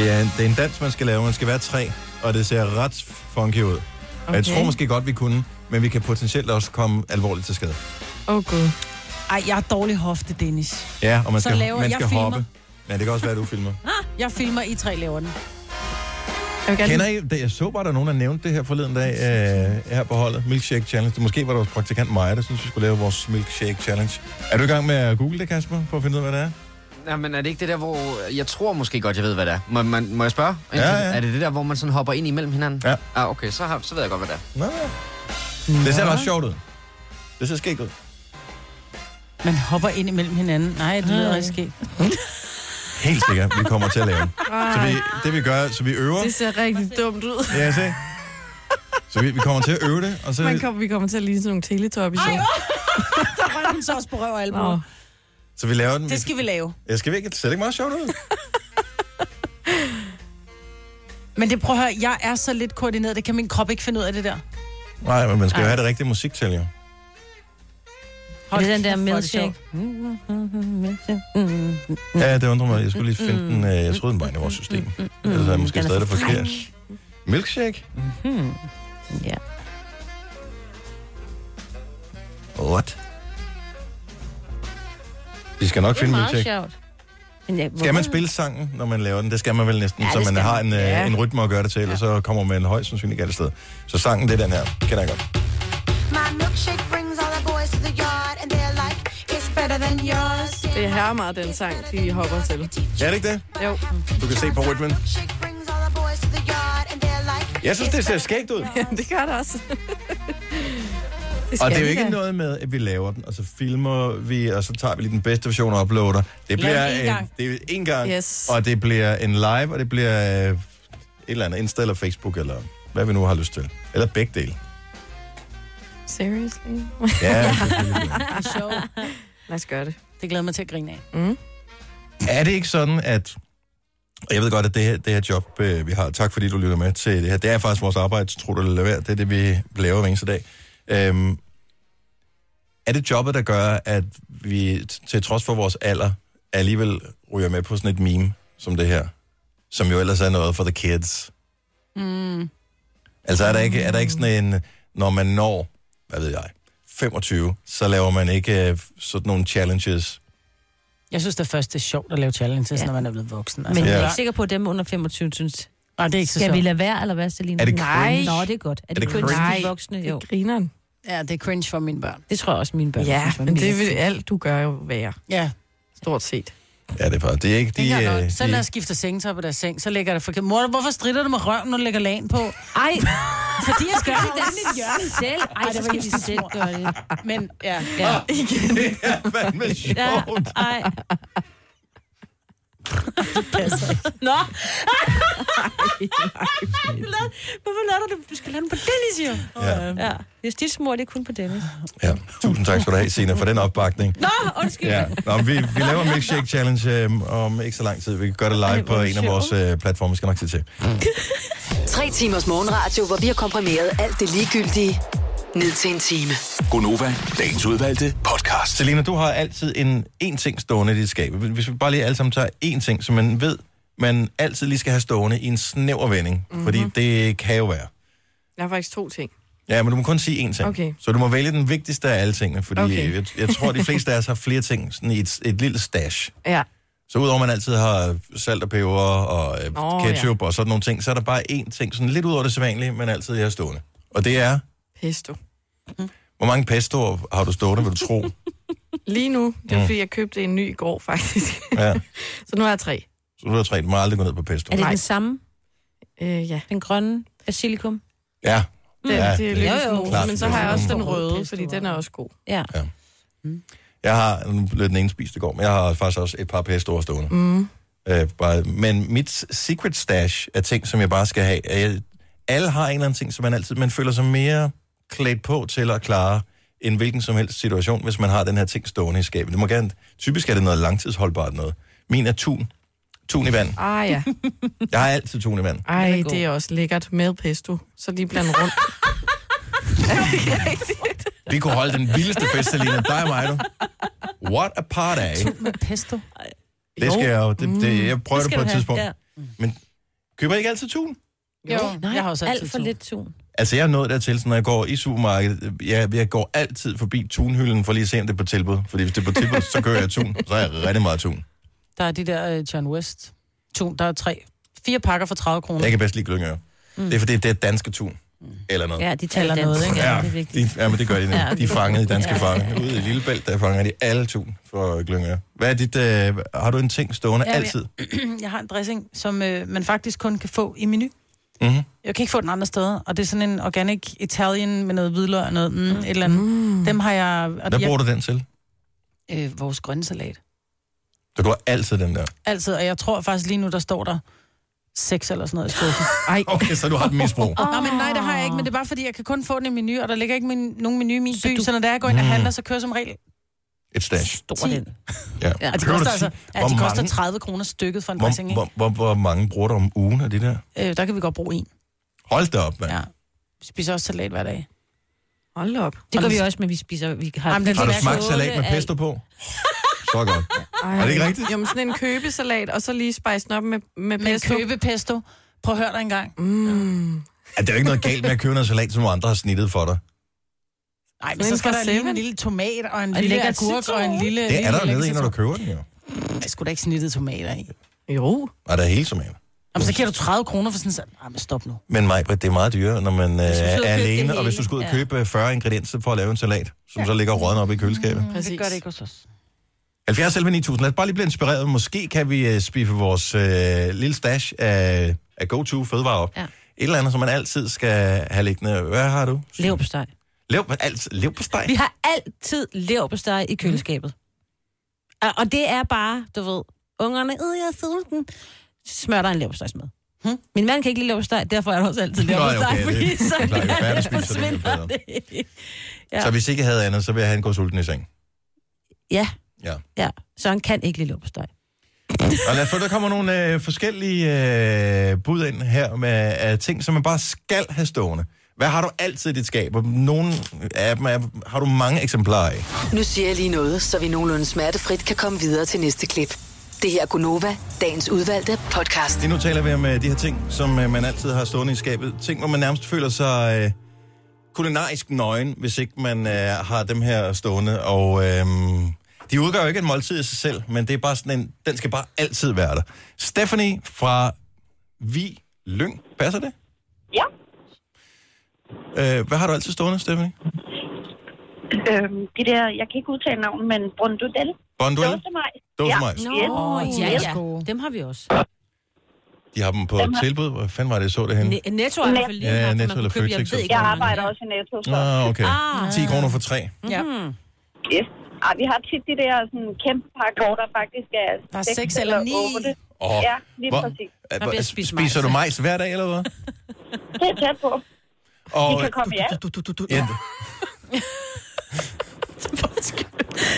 [SPEAKER 5] Jo.
[SPEAKER 1] Det er, en, det er en dans, man skal lave. Man skal være tre, og det ser ret funky ud. Okay. Jeg tror måske godt, vi kunne, men vi kan potentielt også komme alvorligt til skade.
[SPEAKER 5] Åh, oh, gud.
[SPEAKER 2] Ej, jeg har dårlig hofte, Dennis.
[SPEAKER 1] Ja, og man
[SPEAKER 2] Så
[SPEAKER 1] skal,
[SPEAKER 2] laver
[SPEAKER 1] man
[SPEAKER 2] jeg
[SPEAKER 1] skal
[SPEAKER 2] filmer.
[SPEAKER 1] hoppe. Ja, det kan også være, at du filmer.
[SPEAKER 2] Jeg filmer, I tre laver den.
[SPEAKER 5] Jeg vil gerne...
[SPEAKER 1] Kender I, det, jeg så bare, der er nogen, der nævnte det her forleden dag øh, her på holdet. Milkshake Challenge. Det måske var det vores praktikant Maja, der synes, vi skulle lave vores Milkshake Challenge. Er du i gang med at google det, Kasper, for at finde ud af, hvad det er?
[SPEAKER 4] Nej, men er det ikke det der, hvor... Jeg tror måske godt, jeg ved, hvad det er. Må, man, må jeg spørge?
[SPEAKER 1] Ja, ja.
[SPEAKER 4] Er det det der, hvor man sådan hopper ind imellem hinanden?
[SPEAKER 1] Ja.
[SPEAKER 4] Ah, okay, så, har, så ved jeg godt, hvad det er.
[SPEAKER 1] Nå, ja. Det ser ret sjovt ud. Det ser skægt ud.
[SPEAKER 2] Man hopper ind imellem hinanden. Nej, det lyder rigtig skægt.
[SPEAKER 1] Helt sikkert, vi kommer til at lave den. Så vi, Øh. det vi gør, så vi øver.
[SPEAKER 5] Det ser rigtig dumt ud.
[SPEAKER 1] Ja, se. Så vi, vi kommer til at øve det, og så...
[SPEAKER 5] Man kom, vi kommer til at ligne sådan nogle teletop i show.
[SPEAKER 2] Der røg den så også på røv og albu.
[SPEAKER 5] Nå.
[SPEAKER 1] Så vi laver den.
[SPEAKER 2] Det skal vi lave.
[SPEAKER 1] Ja, skal vi ikke? Det ser ikke meget sjovt ud.
[SPEAKER 2] Men det prøv at høre, jeg er så lidt koordineret, det kan min krop ikke finde ud af det der.
[SPEAKER 1] Nej, men man skal jo have det rigtige musik til, jo.
[SPEAKER 3] Hold det er den
[SPEAKER 2] kæft,
[SPEAKER 3] der
[SPEAKER 2] hvor er det
[SPEAKER 3] milkshake.
[SPEAKER 2] sjovt.
[SPEAKER 1] Ja, det undrer mig. Jeg skulle lige finde den. øh, Jeg troede, den var inde i vores system.
[SPEAKER 3] Mm,
[SPEAKER 1] Ellers er jeg måske
[SPEAKER 3] Den er
[SPEAKER 1] stadig det
[SPEAKER 3] for
[SPEAKER 1] forkert. Milkshake?
[SPEAKER 3] Ja.
[SPEAKER 1] What? Vi skal nok
[SPEAKER 3] Det er
[SPEAKER 1] finde
[SPEAKER 3] meget
[SPEAKER 1] milkshake.
[SPEAKER 3] sjovt. Men jeg,
[SPEAKER 1] Skal man spille sangen, når man laver den? Det skal man vel næsten,
[SPEAKER 3] Ja,
[SPEAKER 1] så
[SPEAKER 3] det
[SPEAKER 1] man
[SPEAKER 3] skal
[SPEAKER 1] har
[SPEAKER 3] man.
[SPEAKER 1] en, ja.
[SPEAKER 3] Ja.
[SPEAKER 1] en rytme at gøre det til, ellers så kommer man højst sandsynligt galt sted. Så sangen, det er den her. Kender jeg godt.
[SPEAKER 10] My milkshake brings all the boys to the yard, and they're like, it's better than yours.
[SPEAKER 5] Det er her meget den sang, de hopper til.
[SPEAKER 1] Ja, er det ikke det?
[SPEAKER 5] Jo.
[SPEAKER 1] Du kan se på rytmen.
[SPEAKER 10] Milkshake brings all the boys to the yard, and they're like,
[SPEAKER 1] Jeg synes, det ser skægt ud.
[SPEAKER 5] det gør det også.
[SPEAKER 1] Og det er
[SPEAKER 5] skal
[SPEAKER 1] jo
[SPEAKER 5] vi
[SPEAKER 1] ikke
[SPEAKER 5] da.
[SPEAKER 1] noget med, at vi laver den, og så filmer vi, og så tager vi lige den bedste version og uploader. Det bliver
[SPEAKER 2] det én
[SPEAKER 1] en,
[SPEAKER 2] gang.
[SPEAKER 1] det er en gang,
[SPEAKER 5] Yes.
[SPEAKER 1] og det bliver en live, og det bliver øh, et eller andet, Insta eller Facebook, eller hvad vi nu har lyst til. Eller begge dele.
[SPEAKER 5] Seriously?
[SPEAKER 1] Ja,
[SPEAKER 2] Det er sjovt.
[SPEAKER 5] Lad os gøre det.
[SPEAKER 2] Det glæder mig til at grine af.
[SPEAKER 5] Mm.
[SPEAKER 1] Er det ikke sådan, at... Og jeg ved godt, at det her, det her job, øh, vi har... Tak fordi du lytter med til det her. Det er faktisk vores arbejde, tror du, eller værd. Det er det, vi laver hver eneste dag. Øhm, er det jobbet, der gør, at vi t- til trods for vores alder alligevel ryger med på sådan et meme som det her? Som jo ellers er noget for the kids.
[SPEAKER 2] Mm.
[SPEAKER 1] Altså er der ikke, er der ikke sådan en... Når man når, hvad ved jeg, 25, så laver man ikke øh, sådan nogle challenges.
[SPEAKER 2] Jeg synes da først, det er sjovt at lave challenges, ja. når man er blevet voksen.
[SPEAKER 3] Men jeg er
[SPEAKER 1] Ja.
[SPEAKER 3] ikke sikker på, at dem under 25 synes...
[SPEAKER 2] Nej, det er ikke så
[SPEAKER 3] Skal vi
[SPEAKER 2] sjovt.
[SPEAKER 3] lade være, eller hvad, Selina?
[SPEAKER 1] Er det
[SPEAKER 3] Nej.
[SPEAKER 1] cringe?
[SPEAKER 3] Nå, det er godt. Er, det,
[SPEAKER 1] det
[SPEAKER 3] cringe, cringe?
[SPEAKER 5] cringe?
[SPEAKER 3] de voksne? Jo.
[SPEAKER 5] Grineren.
[SPEAKER 2] Ja, det er cringe for mine børn.
[SPEAKER 3] Det tror jeg også, mine børn
[SPEAKER 5] Ja,
[SPEAKER 3] synes var
[SPEAKER 5] men
[SPEAKER 3] mega
[SPEAKER 5] det vil
[SPEAKER 3] fedt.
[SPEAKER 5] alt, du gør jo være.
[SPEAKER 2] Ja,
[SPEAKER 5] Stort set.
[SPEAKER 1] Ja, det er faktisk... Det er ikke
[SPEAKER 2] det
[SPEAKER 1] de...
[SPEAKER 2] kan jeg
[SPEAKER 1] øh,
[SPEAKER 2] godt. Selv når
[SPEAKER 1] de-
[SPEAKER 2] jeg skifter sengetøj på deres seng, så ligger der for eksempel, mor, hvorfor strider du med røven, når du lægger lagen på?
[SPEAKER 3] Ej,
[SPEAKER 2] Fordi jeg skal
[SPEAKER 3] gør det
[SPEAKER 2] have
[SPEAKER 3] da mit hjørne selv. Ej, så skal de selv gøre det.
[SPEAKER 2] Men ja,
[SPEAKER 3] Ja.
[SPEAKER 1] Det er fandme
[SPEAKER 3] Ja,
[SPEAKER 1] sjovt.
[SPEAKER 3] ej. Nå. Hvorfor lader du det? Du skal lade den på Dennis, jo.
[SPEAKER 1] Ja.
[SPEAKER 3] Ja. Hvis dit smor, det er kun på Dennis.
[SPEAKER 1] ja. Tusind tak skal du have, Sina, for den opbakning.
[SPEAKER 3] Nå, undskyld.
[SPEAKER 1] Ja. Nå, vi, vi laver Milkshake Challenge øhm, om ikke så lang tid. Vi kan gøre det live på
[SPEAKER 3] hvor
[SPEAKER 1] en af vores øh, platforme, skal nok se til.
[SPEAKER 7] Tre timers morgenradio, hvor vi har komprimeret alt det ligegyldige ned til en time.
[SPEAKER 8] Gonova, dagens udvalgte podcast.
[SPEAKER 1] Selina, du har altid en, en ting stående i dit skab. Hvis vi bare lige alle sammen tager én ting, som man ved, man altid lige skal have stående i en snæver vending. Mm-hmm. Fordi det kan jo være.
[SPEAKER 5] Jeg har faktisk to ting.
[SPEAKER 1] Ja, men du må kun sige én ting.
[SPEAKER 5] Okay.
[SPEAKER 1] Så du må vælge den vigtigste af alle tingene, fordi okay.
[SPEAKER 5] Okay.
[SPEAKER 1] jeg, jeg tror, de fleste af os har flere ting sådan i et, et lille stash.
[SPEAKER 5] Ja.
[SPEAKER 1] Så udover at man altid har salt og peber og øh,
[SPEAKER 5] Åh,
[SPEAKER 1] ketchup og sådan nogle ting, så er der bare én ting, sådan lidt ud over det sædvanlige, men altid jeg har stående. Og det er,
[SPEAKER 5] Pesto.
[SPEAKER 1] hvor mange pestoer har du stående, vil du tro?
[SPEAKER 5] Lige nu, det er
[SPEAKER 1] Mm.
[SPEAKER 5] fordi, jeg købte en ny i går, faktisk.
[SPEAKER 1] Ja.
[SPEAKER 5] Så nu har jeg tre.
[SPEAKER 1] Så du har tre, du må aldrig gå ned på pesto.
[SPEAKER 3] Er det
[SPEAKER 5] Nej.
[SPEAKER 3] den samme?
[SPEAKER 5] Øh, ja.
[SPEAKER 3] Den grønne basilikum?
[SPEAKER 1] Ja,
[SPEAKER 5] Den,
[SPEAKER 1] Mm. Ja,
[SPEAKER 5] ja, det er
[SPEAKER 1] det-
[SPEAKER 5] lykkes
[SPEAKER 3] Jo, jo.
[SPEAKER 5] nu, men
[SPEAKER 1] Klart,
[SPEAKER 5] så
[SPEAKER 1] det er ligesom
[SPEAKER 5] har jeg også
[SPEAKER 3] sådan.
[SPEAKER 5] den røde,
[SPEAKER 3] Pesto
[SPEAKER 5] fordi den er også god.
[SPEAKER 3] Ja.
[SPEAKER 1] jeg har, nu blev den ene spist i går, men jeg har faktisk også et par pestoer stående.
[SPEAKER 5] Mm.
[SPEAKER 1] Øh, bare, men mit secret stash er ting, som jeg bare skal have. Øh, Jeg, alle har en eller anden ting, som man altid man føler sig mere klædt på til at klare en hvilken som helst situation, hvis man har den her ting stående i skabet. Det må gerne, typisk er det noget langtidsholdbart noget. Min er tun. Tun i vand.
[SPEAKER 5] Ah ja.
[SPEAKER 1] Jeg har altid tun i vand.
[SPEAKER 5] Ej,
[SPEAKER 3] Den er god.
[SPEAKER 5] det er også lækkert med pesto. Så lige blandt rundt.
[SPEAKER 1] Vi kunne holde den vildeste fest, Selina. Dig og mig, du. What a party.
[SPEAKER 2] med pesto.
[SPEAKER 1] Det skal jeg jo. Det, det, jeg prøver det,
[SPEAKER 3] skal
[SPEAKER 1] på
[SPEAKER 3] du
[SPEAKER 1] et
[SPEAKER 3] have,
[SPEAKER 1] tidspunkt.
[SPEAKER 3] ja.
[SPEAKER 1] Men køber I ikke altid tun?
[SPEAKER 2] Jo, Nej, jeg har også altid
[SPEAKER 3] alt for
[SPEAKER 2] to.
[SPEAKER 3] lidt tun.
[SPEAKER 1] Altså, jeg er nået dertil, så når jeg går i supermarkedet, jeg, jeg går altid forbi tunhylden for lige at se, om det er på tilbud. Fordi hvis det er på tilbud, så kører jeg tun. Så er jeg rigtig meget tun.
[SPEAKER 2] Der er de der øh, John West. Tun, der er tre. Fire pakker for 30 kroner.
[SPEAKER 1] Jeg kan bedst lide glyngøre. Mm. Det er fordi, det er danske tun. Eller noget.
[SPEAKER 3] Ja, de taler
[SPEAKER 2] Eller
[SPEAKER 3] dansk.
[SPEAKER 2] noget, ikke?
[SPEAKER 3] Ja, det er vigtigt.
[SPEAKER 1] de, ja, men det gør de nemlig.
[SPEAKER 3] Ja.
[SPEAKER 1] De er fanget, de danske fange. Ude i Lillebælt, der fanger de alle tun for glyngøre. Hvad er dit, øh, har du en ting stående
[SPEAKER 2] Ja, men-
[SPEAKER 1] altid?
[SPEAKER 2] Jeg har en dressing, som øh, man faktisk kun kan få i menu.
[SPEAKER 1] Mhm.
[SPEAKER 2] Jeg kan ikke få den andre steder, og det er sådan en organic Italian med noget hvidløg og noget, mm, et eller andet. Mm. Dem har jeg... Og
[SPEAKER 1] Hvad
[SPEAKER 2] jeg
[SPEAKER 1] bruger du den til?
[SPEAKER 2] øh, vores grønne salat.
[SPEAKER 1] Du går altid den der.
[SPEAKER 2] Altid, og jeg tror faktisk lige nu, der står der seks eller sådan noget i skuffen.
[SPEAKER 5] Ej,
[SPEAKER 1] Okay, så du har et misbrug.
[SPEAKER 2] Oh. Nå, men nej, det har jeg ikke, men det er bare fordi, jeg kan kun få den i menu, og der ligger ikke min, nogen menu i min
[SPEAKER 3] Så
[SPEAKER 2] by,
[SPEAKER 3] du-
[SPEAKER 2] så når der jeg går ind og
[SPEAKER 1] Mm.
[SPEAKER 2] handler, så kører jeg som regel.
[SPEAKER 1] Et stash.
[SPEAKER 3] Stor
[SPEAKER 2] Ti.
[SPEAKER 3] den.
[SPEAKER 1] Ja.
[SPEAKER 3] Ja.
[SPEAKER 2] Og de
[SPEAKER 1] Kører du
[SPEAKER 2] koster
[SPEAKER 1] ti?
[SPEAKER 2] altså ja,
[SPEAKER 1] Hvor
[SPEAKER 2] de koster
[SPEAKER 1] mange?
[SPEAKER 2] 30 kroner stykket for en dressing,
[SPEAKER 1] Hvor,
[SPEAKER 2] ikke?
[SPEAKER 1] hvor, hvor, hvor mange bruger du om ugen af det der?
[SPEAKER 2] Øh, der kan vi godt bruge en.
[SPEAKER 1] Hold da op, mand.
[SPEAKER 2] Ja. Vi spiser også salat hver dag.
[SPEAKER 5] hold da op.
[SPEAKER 3] Det gør vi også, men vi spiser... Vi har,
[SPEAKER 2] Jamen, den
[SPEAKER 1] Har du
[SPEAKER 2] Smager
[SPEAKER 1] smagt
[SPEAKER 3] kåle
[SPEAKER 1] salat med
[SPEAKER 3] af-
[SPEAKER 1] pesto på? Så godt.
[SPEAKER 5] Ej.
[SPEAKER 1] Er det ikke rigtigt?
[SPEAKER 5] Jamen sådan en købesalat, og så lige spice den op med, med
[SPEAKER 2] Men
[SPEAKER 5] pesto.
[SPEAKER 2] købe pesto. Prøv at høre dig engang.
[SPEAKER 5] Mm.
[SPEAKER 1] Er der jo ikke noget galt med at købe noget salat, som nogle andre har snittet for dig?
[SPEAKER 2] Nej, men
[SPEAKER 5] Sådan
[SPEAKER 2] så
[SPEAKER 5] en
[SPEAKER 2] skal
[SPEAKER 5] fra
[SPEAKER 2] der lige en
[SPEAKER 5] Seven.
[SPEAKER 2] lille tomat og en
[SPEAKER 3] Og en
[SPEAKER 2] lille
[SPEAKER 3] lækker
[SPEAKER 2] agurk
[SPEAKER 3] citron.
[SPEAKER 2] og en lille...
[SPEAKER 1] Det er der jo
[SPEAKER 2] lille
[SPEAKER 1] nede i, når du
[SPEAKER 2] citron.
[SPEAKER 1] køber den jo.
[SPEAKER 2] Jeg skulle da ikke snittede tomater i.
[SPEAKER 5] Jo.
[SPEAKER 1] Og der er hele tomaten.
[SPEAKER 2] Jamen, så giver du 30 kroner for sådan en sal- Ej, men stop nu.
[SPEAKER 1] Men mig, det er meget dyrere, når man øh,
[SPEAKER 3] skal ud og
[SPEAKER 1] er
[SPEAKER 3] købe det
[SPEAKER 1] alene,
[SPEAKER 3] hele.
[SPEAKER 1] og hvis du skal ud og
[SPEAKER 3] Ja.
[SPEAKER 1] købe øh, 40 ingredienser for at lave en salat, som så ligger rådden op i køleskabet.
[SPEAKER 3] Mm.
[SPEAKER 5] Præcis. Det gør det ikke
[SPEAKER 2] hos os.
[SPEAKER 1] 70 11 9000. Lad os bare lige blive inspireret. Måske kan vi øh, spiffe vores øh, lille stash af, af go-to fødevarer op. Ja.
[SPEAKER 3] Ja.
[SPEAKER 1] Et eller andet, som man altid skal have liggende. Hvad har du?
[SPEAKER 3] Leverpostej.
[SPEAKER 1] Lev, alt, lev på steg.
[SPEAKER 3] Vi har altid leverpostej i køleskabet. Og- Og det er bare, du ved, ungerne, øh, jeg er sulten. Smør dig en leverpostejsmad. Hm? Min mand kan ikke lide leverpostej, derfor er der også altid
[SPEAKER 1] Nå,
[SPEAKER 3] leverpostej,
[SPEAKER 1] okay, det-
[SPEAKER 3] fordi
[SPEAKER 1] det er
[SPEAKER 3] så
[SPEAKER 1] klart, jo færre, der spiser det, jo
[SPEAKER 3] forsvinder det.
[SPEAKER 1] Ja.
[SPEAKER 3] Ja.
[SPEAKER 1] Så hvis ikke jeg havde andet, så ville han gå sulten i seng.
[SPEAKER 3] ja,
[SPEAKER 1] Ja.
[SPEAKER 3] ja. Søren kan ikke lide leverpostej.
[SPEAKER 1] Og lad os få, der kommer nogle øh, forskellige øh, bud ind her med øh, ting, som man bare skal have stående. Hvad har du altid i dit skab? Og Nogle af dem er, har du mange eksemplarer af.
[SPEAKER 7] Nu siger jeg lige noget, så vi nogenlunde smertefrit kan komme videre til næste klip. Det her er Gunova, dagens udvalgte podcast.
[SPEAKER 1] Lige nu taler vi om øh, de her ting, som øh, man altid har stående i skabet. Ting, hvor man nærmest føler sig øh, kulinarisk nøgen, hvis ikke man øh, har dem her stående. Og øh, de udgør jo ikke en måltid i sig selv, men det er bare sådan en, den skal bare altid være der. Stephanie fra Vi Lyng, passer det?
[SPEAKER 11] Ja.
[SPEAKER 1] Øh, hvad har du altid stående, Stephanie?
[SPEAKER 11] Øhm, det der, jeg kan ikke udtale navnet, men Brundudel.
[SPEAKER 1] Bonduelle?
[SPEAKER 11] Dåsemajs.
[SPEAKER 1] Dåsemajs.
[SPEAKER 11] Ja.
[SPEAKER 3] Nå,
[SPEAKER 11] Yes.
[SPEAKER 3] ja,
[SPEAKER 11] Yes.
[SPEAKER 3] ja. Dem har vi også.
[SPEAKER 1] De har dem på
[SPEAKER 11] Dem har-
[SPEAKER 1] tilbud. Hvor fanden var det, jeg så det henne?
[SPEAKER 3] Ne- Netto er i hvert fald lige
[SPEAKER 1] Ja,
[SPEAKER 3] her, for man
[SPEAKER 1] Netto
[SPEAKER 3] kunne
[SPEAKER 1] eller
[SPEAKER 3] købe- jeg
[SPEAKER 1] Føtex
[SPEAKER 3] ved
[SPEAKER 1] eller
[SPEAKER 3] ikke,
[SPEAKER 11] Jeg
[SPEAKER 3] hvor mange
[SPEAKER 11] arbejder
[SPEAKER 3] er.
[SPEAKER 11] også i Netto, så...
[SPEAKER 1] Ah, okay.
[SPEAKER 3] Ah.
[SPEAKER 1] 10 kroner for tre.
[SPEAKER 11] Ja. Yes. Ej, vi har tit de der sådan, kæmpe pakker, hvor der faktisk er...
[SPEAKER 2] Der er seks eller ni.
[SPEAKER 11] otte.
[SPEAKER 1] Åh,
[SPEAKER 11] Ja, lige
[SPEAKER 1] hvor-
[SPEAKER 11] præcis.
[SPEAKER 1] Al-
[SPEAKER 2] bliver
[SPEAKER 1] al-
[SPEAKER 2] spist
[SPEAKER 1] Spiser
[SPEAKER 2] majs.
[SPEAKER 1] du majs hver dag, eller hvad?
[SPEAKER 11] Det er tæt på.
[SPEAKER 1] Og,
[SPEAKER 11] I kan komme i alt.
[SPEAKER 1] ja.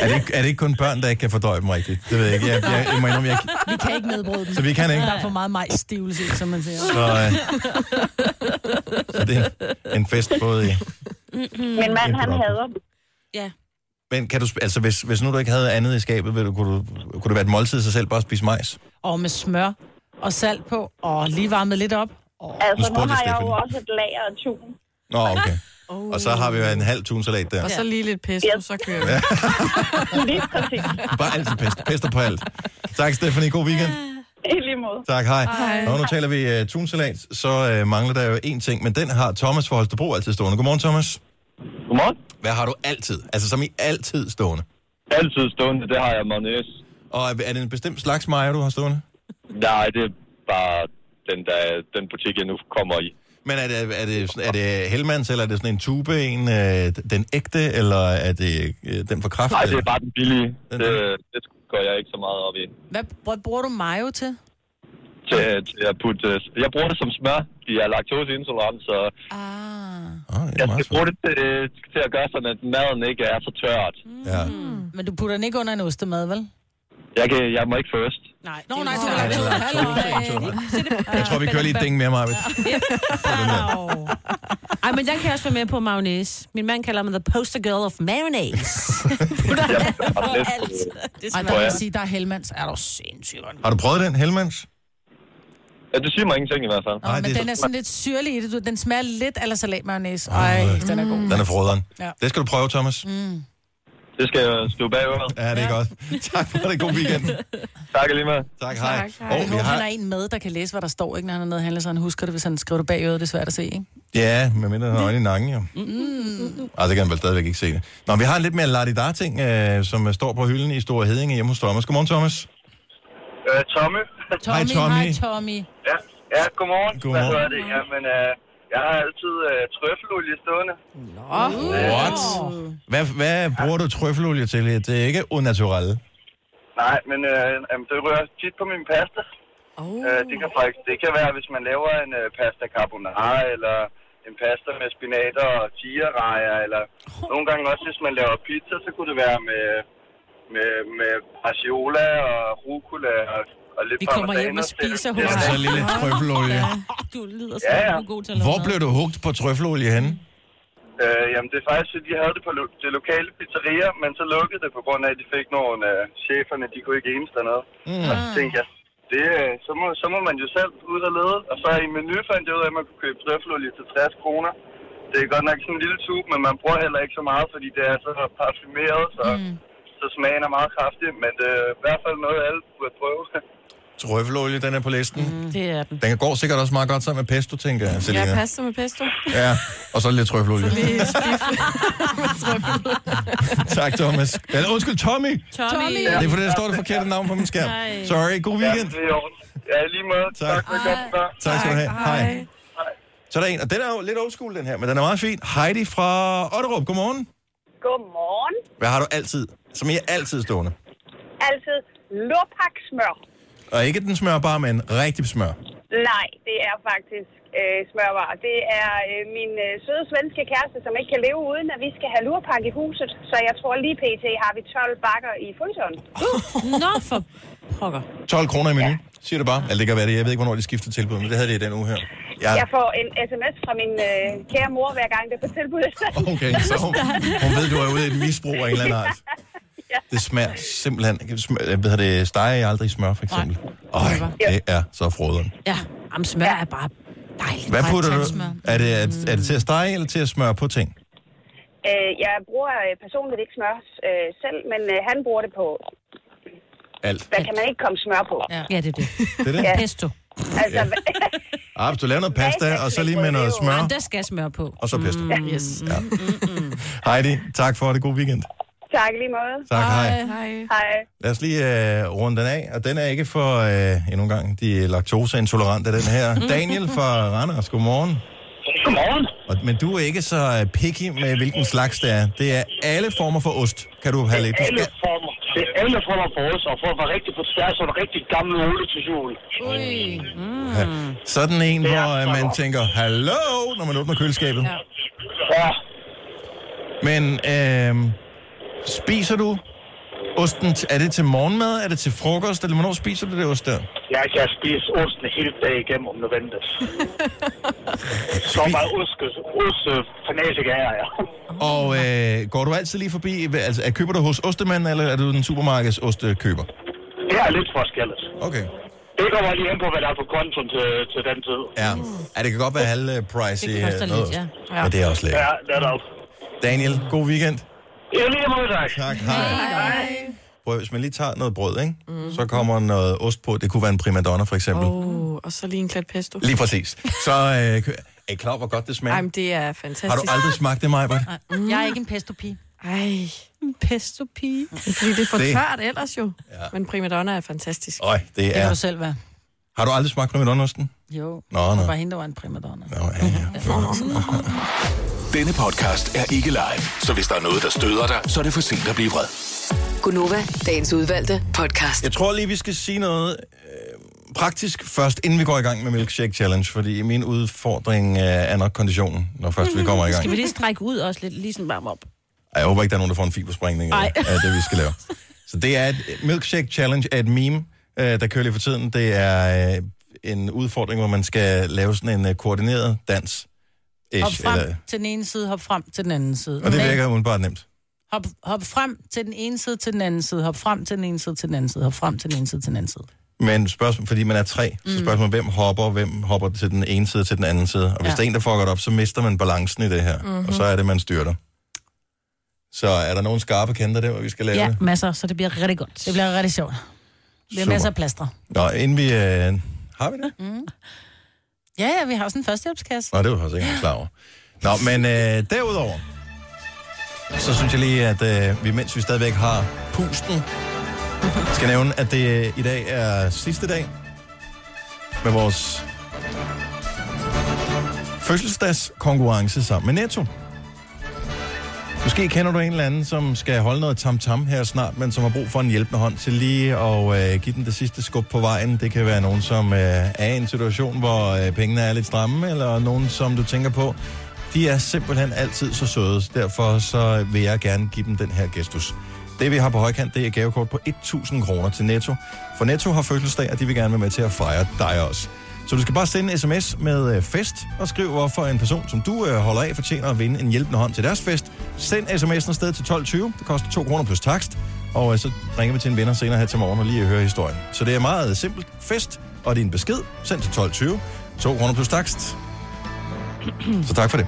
[SPEAKER 1] er, det ikke, er det ikke kun børn, der ikke kan fordøje dem rigtigt? Det ved jeg ikke. Jeg, jeg, jeg må indrømme, jeg ikke.
[SPEAKER 2] Vi kan ikke nedbryde dem.
[SPEAKER 1] Så vi kan ikke?
[SPEAKER 2] Der er for meget majsstivelse, i, som man siger.
[SPEAKER 1] Så, øh, så det er en fest både i...
[SPEAKER 11] Min mand,
[SPEAKER 1] Det er
[SPEAKER 11] han
[SPEAKER 1] godt.
[SPEAKER 11] hader dem.
[SPEAKER 1] Men kan du, sp- altså, hvis, hvis nu du ikke havde andet i skabet, ville du, kunne, du, kunne det være et måltid i sig selv bare at spise majs?
[SPEAKER 2] Og med smør og salt på, og lige varmet lidt op.
[SPEAKER 11] Altså,
[SPEAKER 1] Nu
[SPEAKER 11] nu
[SPEAKER 1] spurgte
[SPEAKER 11] har
[SPEAKER 1] jeg
[SPEAKER 11] jeg jo
[SPEAKER 1] Stephanie.
[SPEAKER 11] også et lager af tun.
[SPEAKER 1] Nå, okay. Og så har vi jo en halv tun salat der.
[SPEAKER 5] Og så lige lidt pesto, så kører vi.
[SPEAKER 11] Lige præcis.
[SPEAKER 1] Bare altid pest. Pester på alt. Tak, Stephanie. God weekend.
[SPEAKER 11] I lige måde.
[SPEAKER 1] Tak, hej. hej. Og nu taler vi uh, tunsalat, så uh, mangler der jo én ting, men den har Thomas for Holstebro altid stående. Godmorgen, Thomas.
[SPEAKER 12] Godmorgen.
[SPEAKER 1] Hvad har du altid? Altså som i altid stående.
[SPEAKER 12] Altid stående, det har jeg mayonnaise.
[SPEAKER 1] Og er, er det en bestemt slags mayo, du har stående?
[SPEAKER 12] Nej, det er bare den, der, den butik, jeg nu kommer i.
[SPEAKER 1] Men er det, er det, sådan- er det Hellmans, eller er det sådan en tube, en, øh, den ægte, eller er det øh, den for kraft?
[SPEAKER 12] Nej, det
[SPEAKER 1] eller?
[SPEAKER 12] er bare den billige. Det, det går jeg ikke så meget op i.
[SPEAKER 2] Hvad, hvad bruger du mayo til?
[SPEAKER 12] Til, til at putte, øh, jeg bruger det som smør. De er laktoseintolerant, så
[SPEAKER 1] ah,
[SPEAKER 12] jeg skal bruge det til, til at gøre sådan, at maden ikke er så tørt.
[SPEAKER 1] Ja.
[SPEAKER 2] Men du putter den ikke under en ostemad, vel?
[SPEAKER 12] Jeg, kan, jeg må ikke først.
[SPEAKER 2] Nej. Nå, nej, du
[SPEAKER 1] Nej, det er laktose. Jeg tror, vi kører lige et ding mere, Marvitt.
[SPEAKER 3] Ej, men den kan jeg også være med på mayonnaise. Min mand kalder mig the poster girl of mayonnaise.
[SPEAKER 12] Altså,
[SPEAKER 2] Det Ej, der vil jeg sige, der er Helmans. Er du sindssygt godt.
[SPEAKER 1] Har du prøvet den, Hellmans?
[SPEAKER 12] Ja, det siger mig ingenting i hvert fald.
[SPEAKER 2] Nå, men den er sådan lidt syrlig i det. du- Den smager lidt af salatmayonnaise. Ej, den er god.
[SPEAKER 1] Den er froderen.
[SPEAKER 2] Ja.
[SPEAKER 1] Det skal du prøve, Thomas.
[SPEAKER 2] Mm.
[SPEAKER 12] Det skal jeg stå bagøret.
[SPEAKER 1] Ja, det er godt. Tak for det. God weekend.
[SPEAKER 12] Tak lige med.
[SPEAKER 1] Tak, hej.
[SPEAKER 2] Jeg
[SPEAKER 1] Og vi
[SPEAKER 2] håber, han
[SPEAKER 1] har
[SPEAKER 2] har en med, der kan læse, hvad der står, ikke, når han er nede og handler, så han husker det, hvis han skriver det bag øret. Det er svært at se, ikke?
[SPEAKER 1] Ja, med mindre han har øjne i nakken, jo.
[SPEAKER 2] Mm.
[SPEAKER 1] Ej, det kan han vel stadigvæk ikke se det. Nå, vi har en lidt mere ladidar-ting, øh, som øh, står på hylden i Store Hedinge hjemme hos Thomas. Godmorgen, Thomas.
[SPEAKER 13] Øh, Tomme.
[SPEAKER 1] Hej, Tommy.
[SPEAKER 2] Hej, Tommy.
[SPEAKER 13] Ja, ja godmorgen.
[SPEAKER 1] Godmorgen.
[SPEAKER 13] Hvad hedder det? Jamen, øh, jeg har altid øh, trøffelolie stående. Nå.
[SPEAKER 1] What? Hvad, hvad bruger du trøffelolie til? Det er ikke unnatural.
[SPEAKER 13] Nej, men øh, jamen, det rører tit på min pasta. Oh. Øh, det, kan faktisk, det kan være, hvis man laver en øh, pasta carbonara, eller en pasta med spinater og tigerrejer, eller nogle gange også, hvis man laver pizza, så kunne det være med, med, med arciola og rucola og, og lidt
[SPEAKER 3] Vi kommer hjem og
[SPEAKER 13] parmesan til.
[SPEAKER 3] spiser
[SPEAKER 13] Det
[SPEAKER 3] hos
[SPEAKER 13] er
[SPEAKER 1] Så
[SPEAKER 13] rigtig
[SPEAKER 1] lige lidt Altså, trøffelolie.
[SPEAKER 3] Du lyder
[SPEAKER 13] Ja,
[SPEAKER 3] sådan,
[SPEAKER 13] ja.
[SPEAKER 3] du er god til at lave
[SPEAKER 1] Hvor
[SPEAKER 3] mad.
[SPEAKER 1] blev du hugt på trøffelolie henne?
[SPEAKER 13] Øh, jamen, det er faktisk, fordi de havde det på lo- det lokale pizzeria, men så lukkede det på grund af, at de fik nogle øh, cheferne, de kunne ikke enes dernede.
[SPEAKER 1] Mm.
[SPEAKER 13] Og så tænkte jeg, det, øh, så, må, så må man jo selv ud og lede. Og så i menu fandt jeg ud af, at man kunne købe trøffelolie til 60 kroner. Det er godt nok sådan en lille tube, men man bruger heller ikke så meget, fordi det er så parfumeret, så, mm. så smagen er meget kraftig. Men det er i hvert fald noget, alle burde prøve.
[SPEAKER 1] Trøffelolie, den er på listen. Mm.
[SPEAKER 3] Det er den.
[SPEAKER 1] Den går sikkert også meget godt sammen med pesto, tænker jeg, Selina.
[SPEAKER 5] Ja, pasta med pesto.
[SPEAKER 1] Ja, og så lidt trøffelolie.
[SPEAKER 5] Så lige spif med trøffel.
[SPEAKER 1] Tak, Thomas. Eller undskyld, Tommy.
[SPEAKER 5] Tommy.
[SPEAKER 1] Det er fordi, der står det forkerte navn på min skærm.
[SPEAKER 5] Nej.
[SPEAKER 1] Sorry, god
[SPEAKER 13] Ja,
[SPEAKER 1] weekend.
[SPEAKER 13] det er i orden. Ja, i lige måde. Tak. tak for et godt program.
[SPEAKER 1] Tak skal du have. Hej. Så er der en, og den er jo lidt old school, den her, men den er meget fin. Heidi fra Otterup, godmorgen.
[SPEAKER 14] Godmorgen.
[SPEAKER 1] Hvad har du altid, som I er altid stående?
[SPEAKER 11] Altså,
[SPEAKER 14] Altid lurpaksmør.
[SPEAKER 1] Og ikke den smør bare, men rigtig smør.
[SPEAKER 11] Nej, det er faktisk øh, smørvarer. Det er øh, min øh, søde svenske kæreste, som ikke kan leve uden, at vi skal have lurpakke i huset. Så jeg tror lige pt. har vi 12 bakker i fryseren.
[SPEAKER 3] Nå, for pokker.
[SPEAKER 1] 12 kroner i menu, siger du bare. Eller det kan være det. Jeg ved ikke, hvornår de skifter tilbud, men det havde de i den uge her.
[SPEAKER 11] Ja.
[SPEAKER 1] Jeg,
[SPEAKER 11] Jeg får en sms fra min øh, kære mor, hver gang det er på tilbud.
[SPEAKER 1] okay, så hun, hun ved, du er ude i et misbrug af en eller anden art. Det smager simpelthen... Smør, jeg ved, det steger jeg aldrig i smør, for eksempel. Øj, det er så froderen.
[SPEAKER 3] Ja, jamen, smør er bare dejligt.
[SPEAKER 1] Hvad
[SPEAKER 3] Bare
[SPEAKER 1] putter du?
[SPEAKER 3] tandsmør.
[SPEAKER 1] Er det, er, er det til at stege, eller til at smøre på ting?
[SPEAKER 11] Øh, jeg bruger øh, personligt ikke smør øh, selv, men øh, han bruger det på,
[SPEAKER 1] Alt.
[SPEAKER 11] hvad kan man ikke komme smør på?
[SPEAKER 3] Ja, ja det er det.
[SPEAKER 1] Det er det?
[SPEAKER 11] Ja.
[SPEAKER 3] Pesto.
[SPEAKER 11] Altså,
[SPEAKER 1] Ah, hvis du laver noget pasta, og så lige med noget smør,
[SPEAKER 3] Jamen, der skal smør på.
[SPEAKER 1] og så pesto.
[SPEAKER 3] Mm, yes. ja.
[SPEAKER 1] Heidi, tak for det. God weekend.
[SPEAKER 11] tak i lige måde.
[SPEAKER 1] Tak, hej.
[SPEAKER 11] Hej. Hej.
[SPEAKER 1] Lad os lige øh, runde den af, og den er ikke for, øh, endnu en gang, de laktoseintolerante, den her. Daniel fra Randers, godmorgen.
[SPEAKER 14] Godmorgen.
[SPEAKER 1] Og, men du er ikke så øh, picky med, hvilken slags det er. Det er alle former for ost, kan du have lidt. Du
[SPEAKER 14] Alle
[SPEAKER 1] skal,
[SPEAKER 14] former. Det er alle former for os, og for at være rigtig på tværs, og en rigtig gammel ole til jul.
[SPEAKER 1] ja. Sådan en, hvor øh, man tænker, hallo, når man åbner køleskabet.
[SPEAKER 14] Ja.
[SPEAKER 1] Men øh, spiser du osten, t- er det til morgenmad, er det til frokost, eller hvornår spiser du det ost der?
[SPEAKER 14] Jeg kan spise osten hele dagen igennem, om nødvendigt. Så meget ostfanatiker øh, er jeg.
[SPEAKER 1] Og øh, går du altid lige forbi, altså er- køber du hos ostemanden, eller er du den supermarkeds ostekøber?
[SPEAKER 14] Det er lidt forskelligt.
[SPEAKER 1] Okay.
[SPEAKER 14] Det kommer lige an på, hvad der er på kontoen til, til den tid.
[SPEAKER 1] Ja. ja, det kan godt være halv øh, price i
[SPEAKER 14] Det koster
[SPEAKER 1] øh,
[SPEAKER 14] lidt,
[SPEAKER 1] ost.
[SPEAKER 14] ja.
[SPEAKER 1] Ja. Men det er også lækkert.
[SPEAKER 14] Ja, netop.
[SPEAKER 1] Daniel, god weekend.
[SPEAKER 14] I lige måde, tak.
[SPEAKER 1] Tak, hej. Prøv, hvis man lige tager noget brød, ikke? Mm. så kommer noget ost på. Det kunne være en primadonna, for eksempel. Oh.
[SPEAKER 5] Uh, og så lige en klat pesto.
[SPEAKER 1] Lige præcis. Så øh, kø- er I klar, over, hvor godt det smager?
[SPEAKER 5] Ej, men det er fantastisk.
[SPEAKER 1] Har du aldrig smagt det, Majbert?
[SPEAKER 5] Mm.
[SPEAKER 2] Jeg er ikke en pesto-pige.
[SPEAKER 5] Ej.
[SPEAKER 2] En pesto-pige.
[SPEAKER 5] Fordi det er for
[SPEAKER 1] Det-
[SPEAKER 5] tørt ellers jo. Ja. Men primadonna er fantastisk.
[SPEAKER 1] Øj, det
[SPEAKER 2] kan
[SPEAKER 1] er...
[SPEAKER 2] du selv være.
[SPEAKER 1] Har du aldrig smagt primadonnaosten?
[SPEAKER 2] Jo.
[SPEAKER 1] Nå,
[SPEAKER 2] Det
[SPEAKER 1] nå.
[SPEAKER 2] var hende, der var en primadonna.
[SPEAKER 1] Nå, ja, ja.
[SPEAKER 8] Denne podcast er ikke live, så hvis der er noget, der støder dig, så er det for sent at blive vred.
[SPEAKER 7] Gunova, dagens udvalgte podcast.
[SPEAKER 1] Jeg tror lige, vi skal sige noget øh, praktisk først, inden vi går i gang med Milkshake Challenge, fordi min udfordring øh, er nok konditionen, når først vi kommer i gang.
[SPEAKER 3] Skal vi lige strække ud også lidt, lige sådan varme op?
[SPEAKER 1] Ej, Jeg håber ikke, der er nogen, der får en fibersprængning af
[SPEAKER 3] Ej.
[SPEAKER 1] af det, vi skal lave. Så det er et milkshake challenge af et meme, øh, der kører lige for tiden. Det er øh, en udfordring, hvor man skal lave sådan en øh, koordineret dans.
[SPEAKER 2] Hop
[SPEAKER 1] Ish,
[SPEAKER 2] frem
[SPEAKER 1] eller,
[SPEAKER 2] til den ene side, hop frem til den anden side.
[SPEAKER 1] og det
[SPEAKER 2] Nej,
[SPEAKER 1] virker umiddelbart nemt.
[SPEAKER 2] Hop, hop frem til den ene side, til den anden side, hop frem til den ene side, til den anden side, hop frem til den ene side, til den anden side.
[SPEAKER 1] Men spørgsmål, fordi man er tre, så
[SPEAKER 2] Mm.
[SPEAKER 1] spørgsmålet, hvem hopper, hvem hopper til den ene side og til den anden side. Og hvis
[SPEAKER 2] Ja.
[SPEAKER 1] ja. der er en, der fucker det op, så mister man balancen i det her.
[SPEAKER 2] Mhm.
[SPEAKER 1] Mm-hmm. Og så er det, man styrter. Så er der nogle skarpe kanter der, hvor vi skal lave
[SPEAKER 2] Ja,
[SPEAKER 1] det?
[SPEAKER 2] masser, så det bliver rigtig godt. Det bliver rigtig sjovt. Det bliver
[SPEAKER 1] Super.
[SPEAKER 2] masser af plaster.
[SPEAKER 1] Nå, inden vi... Øh, har vi det?
[SPEAKER 2] Mm. Ja, ja, vi har også en førstehjælpskasse.
[SPEAKER 1] Nå, det var jeg faktisk ikke engang klar over. Nå, men øh, derudover, så synes jeg lige, at øh, vi, mens vi stadigvæk har pusten, skal nævne, at det øh, i dag er sidste dag med vores fødselsdagskonkurrence sammen med Netto. Måske kender du en eller anden, som skal holde noget tam-tam her snart, men som har brug for en hjælpende hånd til lige at øh, give den det sidste skub på vejen. Det kan være nogen, som øh, er i en situation, hvor øh, pengene er lidt stramme, eller nogen, som du tænker på. De er simpelthen altid så søde, derfor så vil jeg gerne give dem den her gestus. Det vi har på højkant, det er et gavekort på 1.000 kroner til Netto. For Netto har fødselsdag, og de vil gerne være med til at fejre dig også. Så du skal bare sende en sms med øh, fest og skriv, hvorfor en person, som du øh, holder af, fortjener at vinde en hjælpende hånd til deres fest. Send sms'en afsted til 12.20. Det koster 2 kroner plus takst. Og øh, så ringer vi til en vinder senere her til morgen og lige hører historien. Så det er meget øh, simpelt. Fest og din besked. Send til 12.20. 2 kroner plus takst. Så tak for det.